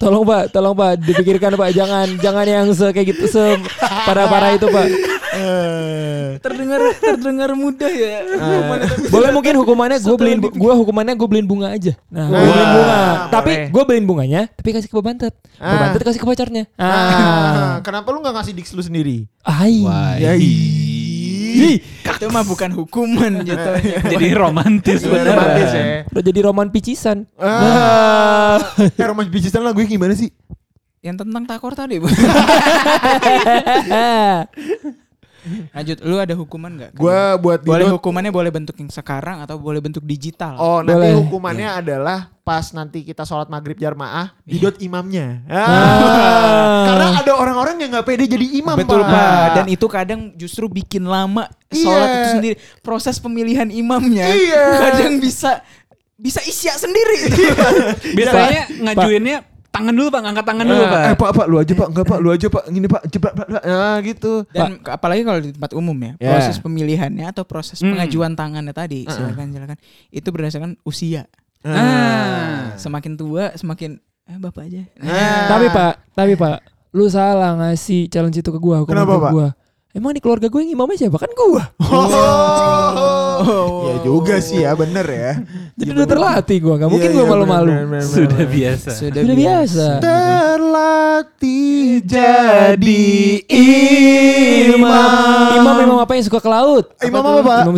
[SPEAKER 3] Tolong pak, tolong pak, dipikirkan pak, jangan, jangan yang se kayak gitu, se parah-parah itu pak.
[SPEAKER 2] eh,
[SPEAKER 4] terdengar terdengar mudah ya. Hukuman itu.
[SPEAKER 3] Boleh mungkin hukumannya gue beliin, gue hukumannya gue beliin bunga aja. Nah, gua
[SPEAKER 2] Wah,
[SPEAKER 3] beliin bunga.
[SPEAKER 2] Ah, boleh.
[SPEAKER 3] Tapi gue beliin bunganya, tapi kasih ke Babantet. Babantet kasih ke pacarnya.
[SPEAKER 2] ah,
[SPEAKER 3] Ah,
[SPEAKER 2] Kenapa lu gak ngasih dix lu sendiri?
[SPEAKER 3] ai.
[SPEAKER 2] Ya, iya.
[SPEAKER 3] Ih,
[SPEAKER 4] Itu mah bukan hukuman jatuhnya.
[SPEAKER 1] Jadi romantis beneran.
[SPEAKER 2] romantis ya.
[SPEAKER 3] Udah jadi roman picisan.
[SPEAKER 2] Ah. Eh, romantis bijisan lagu gimana sih?
[SPEAKER 4] Yang tentang takor tadi, Bu. Lanjut, lu ada hukuman nggak?
[SPEAKER 2] Gue buat
[SPEAKER 4] boleh
[SPEAKER 2] Didot-
[SPEAKER 4] hukumannya boleh bentuk yang sekarang atau boleh bentuk digital.
[SPEAKER 2] Oh, nanti
[SPEAKER 3] Boleh.
[SPEAKER 2] hukumannya adalah pas nanti kita sholat maghrib jarmaah didot imamnya. Ah. Karena ada orang-orang yang nggak pede jadi imam.
[SPEAKER 4] Betul
[SPEAKER 2] Pak.
[SPEAKER 4] Pak. Dan itu kadang justru bikin lama sholat
[SPEAKER 2] Iya.
[SPEAKER 4] itu sendiri. Proses pemilihan imamnya
[SPEAKER 2] Iya.
[SPEAKER 4] kadang bisa bisa isya sendiri.
[SPEAKER 1] Biasanya ngajuinnya tangan dulu pak, ngangkat tangan kan dulu pak.
[SPEAKER 2] Iya, Eh pak pak lu aja pak enggak pak lu aja pak gini pak jebak pak pak. nah gitu
[SPEAKER 4] Dan apalagi kalau di tempat umum ya,
[SPEAKER 2] Ya.
[SPEAKER 4] proses pemilihannya atau proses
[SPEAKER 1] Hmm.
[SPEAKER 4] pengajuan tangannya tadi, silakan silakan. Itu berdasarkan usia.
[SPEAKER 1] Ah.
[SPEAKER 4] Semakin tua semakin eh bapak aja.
[SPEAKER 2] Ah.
[SPEAKER 3] Tapi pak, tapi pak, lu salah ngasih challenge itu ke gue, hukuman
[SPEAKER 2] Kenapa,
[SPEAKER 3] ke
[SPEAKER 2] Pak? Iya,
[SPEAKER 3] gue. Emang di keluarga gue yang imamnya siapa kan gue.
[SPEAKER 2] ya juga sih ya bener ya
[SPEAKER 3] Jadi udah terlatih gue, gak mungkin
[SPEAKER 2] Iya,
[SPEAKER 3] gue
[SPEAKER 2] iya,
[SPEAKER 3] malu-malu.
[SPEAKER 2] bener, bener, bener,
[SPEAKER 1] Sudah
[SPEAKER 2] bener.
[SPEAKER 1] biasa.
[SPEAKER 4] Sudah,
[SPEAKER 3] Sudah biasa.
[SPEAKER 2] terlatih jadi imam Ah,
[SPEAKER 3] Imam imam apa yang suka ke laut?
[SPEAKER 2] Imam apa, Pak?
[SPEAKER 3] Imam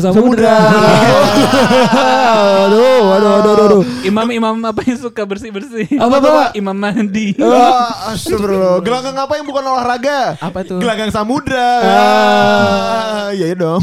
[SPEAKER 3] Samudra.
[SPEAKER 2] Samudra.
[SPEAKER 3] aduh, aduh, aduh, aduh, aduh.
[SPEAKER 1] Imam-imam apa yang suka bersih-bersih?
[SPEAKER 3] Apa, Pak?
[SPEAKER 1] Imam mandi.
[SPEAKER 2] Ah, Astagfirullah. Gelanggang apa yang bukan olahraga?
[SPEAKER 4] Apa tuh?
[SPEAKER 2] Gelanggang samudra. Ah, iya iya dong.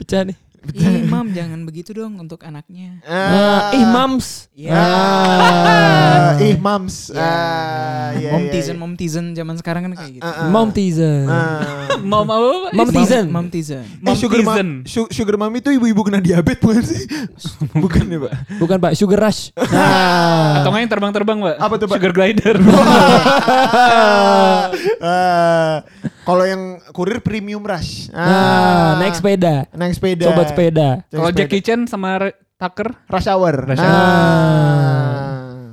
[SPEAKER 3] Pecah nih.
[SPEAKER 4] Imam jangan begitu dong untuk anaknya.
[SPEAKER 2] Iya,
[SPEAKER 3] Ah, Ya. imams.
[SPEAKER 2] Ya. Ah, ih mams. Ah, iya,
[SPEAKER 4] mom
[SPEAKER 2] iya,
[SPEAKER 4] tizen,
[SPEAKER 2] iya.
[SPEAKER 4] mom tizen zaman sekarang kan kayak gitu.
[SPEAKER 2] Ah, ah.
[SPEAKER 3] Mom teaser.
[SPEAKER 2] Ah.
[SPEAKER 1] Mau mau apa?
[SPEAKER 3] Mom tizen.
[SPEAKER 4] Mom tizen.
[SPEAKER 2] Eh, sugar, ma-
[SPEAKER 1] Momtizen.
[SPEAKER 2] su- sugar mami itu ibu-ibu kena diabetes bukan sih? bukan ya pak?
[SPEAKER 3] Bukan Pak, Sugar Rush.
[SPEAKER 1] Atau nggak yang terbang-terbang, Pak?
[SPEAKER 2] Ah. Apa tuh, Pak?
[SPEAKER 1] Sugar glider.
[SPEAKER 2] Ah, Kalau yang kurir premium rush.
[SPEAKER 3] Nah, naik sepeda.
[SPEAKER 2] Naik Ah. sepeda.
[SPEAKER 3] Sobat sepeda.
[SPEAKER 2] Naik
[SPEAKER 1] Kalau
[SPEAKER 2] sepeda.
[SPEAKER 1] Jackie Chan sama Re- Tucker,
[SPEAKER 2] Rush hour.
[SPEAKER 1] Rush
[SPEAKER 2] Ah.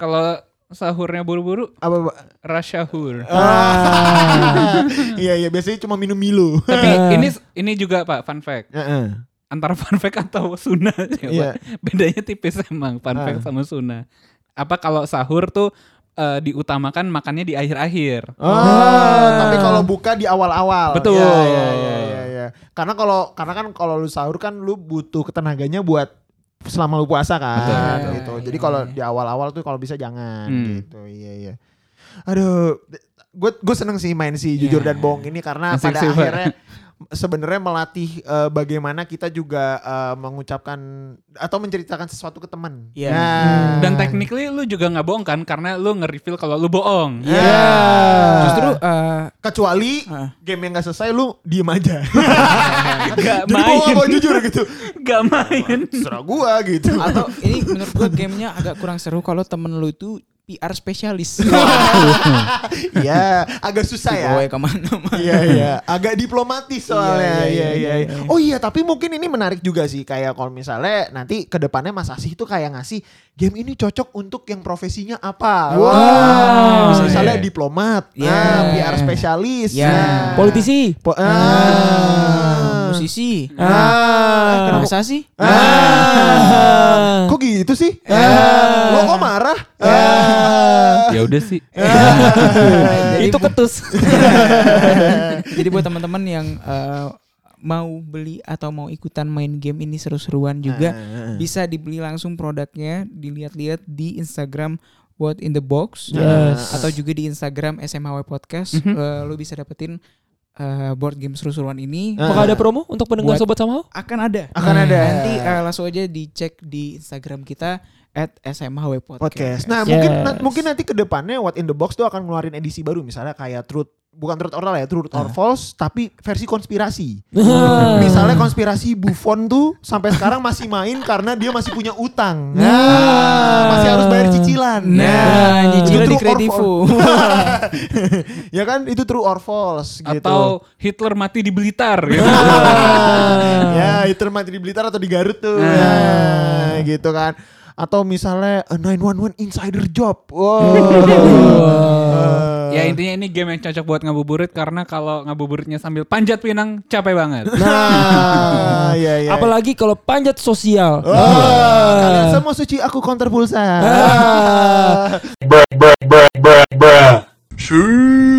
[SPEAKER 1] kalau sahurnya buru-buru,
[SPEAKER 2] Apa, Pak?
[SPEAKER 1] rasyahur.
[SPEAKER 2] Ah. Iya, iya. Biasanya cuma minum Milo.
[SPEAKER 1] Tapi ini ini juga Pak fun fact.
[SPEAKER 2] Heeh.
[SPEAKER 1] Antara fun fact atau sunnah coba.
[SPEAKER 2] Iya.
[SPEAKER 1] Bedanya tipis emang fun fact
[SPEAKER 2] Ah.
[SPEAKER 1] sama sunnah. Apa kalau sahur tuh eh, diutamakan makannya di akhir-akhir.
[SPEAKER 2] Oh, tapi kalau buka di
[SPEAKER 1] Ah.
[SPEAKER 2] awal-awal.
[SPEAKER 1] Betul.
[SPEAKER 2] Iya, iya, iya, iya, iya. Karena kalau karena kan kalau lu sahur kan lu butuh ketenaganya buat selama lu puasa kan
[SPEAKER 1] Betul, betul.
[SPEAKER 2] gitu. Jadi kalau di awal-awal tuh kalau bisa jangan
[SPEAKER 1] Hmm.
[SPEAKER 2] gitu. Iya, iya. Aduh, gue gue seneng sih main si jujur
[SPEAKER 1] Iya.
[SPEAKER 2] dan bohong ini karena
[SPEAKER 1] Asik
[SPEAKER 2] pada
[SPEAKER 1] sih, Pak.
[SPEAKER 2] akhirnya sebenarnya melatih eh, bagaimana kita juga eh, mengucapkan atau menceritakan sesuatu ke teman.
[SPEAKER 4] Iya.
[SPEAKER 2] Nah.
[SPEAKER 1] Dan technically lu juga nggak bohong kan karena lu nge-reveal kalau lu bohong.
[SPEAKER 2] Iya.
[SPEAKER 4] Justru eh,
[SPEAKER 2] kecuali
[SPEAKER 4] Heeh.
[SPEAKER 2] game yang gak selesai lu diem aja
[SPEAKER 1] Gak
[SPEAKER 2] jadi mau
[SPEAKER 1] main.
[SPEAKER 2] nggak mau jujur gitu
[SPEAKER 1] Gak main.
[SPEAKER 2] serah gua gitu
[SPEAKER 4] atau ini menurut gua gamenya agak kurang seru kalau temen lu itu PR spesialis.
[SPEAKER 2] Iya, agak susah ya.
[SPEAKER 4] Dibawa kemana-mana.
[SPEAKER 2] Iya iya, agak diplomatis soalnya. Iya
[SPEAKER 4] Iya, iya,
[SPEAKER 2] iya.
[SPEAKER 4] iya,
[SPEAKER 2] iya.
[SPEAKER 4] iya.
[SPEAKER 2] Oh iya, tapi mungkin ini menarik juga sih kayak kalau misalnya nanti ke depannya Mas Asih tuh kayak ngasih game ini cocok untuk yang profesinya apa.
[SPEAKER 4] Wow.
[SPEAKER 2] Bisa
[SPEAKER 1] Iya.
[SPEAKER 2] misalnya diplomat, nah,
[SPEAKER 4] Iya.
[SPEAKER 2] PR spesialis,
[SPEAKER 4] Iya.
[SPEAKER 2] nah.
[SPEAKER 3] Politisi.
[SPEAKER 2] Po- ah.
[SPEAKER 4] Ah, musisi. Ah,
[SPEAKER 2] Ah.
[SPEAKER 4] kenapa sih?
[SPEAKER 2] Ah. Kok gitu sih? Ah. Lo kok marah? Ah.
[SPEAKER 1] ya udah sih
[SPEAKER 4] Jadi
[SPEAKER 3] Itu ketus.
[SPEAKER 4] Jadi buat teman-teman yang eh, mau beli atau mau ikutan main game ini seru-seruan
[SPEAKER 2] Ah,
[SPEAKER 4] juga bisa dibeli langsung produknya dilihat-lihat di Instagram What in the Box
[SPEAKER 2] Iya.
[SPEAKER 4] eh,
[SPEAKER 3] Yes.
[SPEAKER 4] atau juga di Instagram SMHW Podcast
[SPEAKER 2] Mhm.
[SPEAKER 4] Eh, lu bisa dapetin eh, board game seru-seruan ini
[SPEAKER 2] Ah.
[SPEAKER 3] Apakah ada promo untuk pendengar
[SPEAKER 4] Buat-
[SPEAKER 3] sobat sama?
[SPEAKER 4] akan ada
[SPEAKER 2] Akan ada.
[SPEAKER 4] nanti eh, langsung aja dicek di Instagram kita at SMHW
[SPEAKER 2] podcast.
[SPEAKER 4] Podcast
[SPEAKER 2] Nah, mungkin
[SPEAKER 3] Yes.
[SPEAKER 2] na- mungkin nanti ke depannya What in the Box tuh akan ngeluarin edisi baru misalnya kayak Truth bukan Truth or Lie ya, Truth or False tapi versi konspirasi. Misalnya konspirasi Buffon tuh sampai sekarang masih main karena dia masih punya utang. Nah, masih harus bayar cicilan.
[SPEAKER 4] nah
[SPEAKER 2] Itu
[SPEAKER 4] nyicilnya di
[SPEAKER 2] true or
[SPEAKER 4] Kredivo
[SPEAKER 2] false. ya kan itu True or False gitu.
[SPEAKER 1] atau Hitler mati di Blitar gitu.
[SPEAKER 2] ya itu mati di Blitar atau di Garut tuh Ya, gitu kan atau misalnya a 911 insider job wow Eh,
[SPEAKER 1] ya intinya ini game yang cocok buat ngabuburit karena kalau ngabuburitnya sambil panjat pinang capek banget
[SPEAKER 2] nah ya ya
[SPEAKER 3] Apalagi kalau panjat sosial.
[SPEAKER 2] Wah, kalian semua suci aku counter pulsa
[SPEAKER 5] bruh, bruh, bruh, bruh, bruh. Shoo.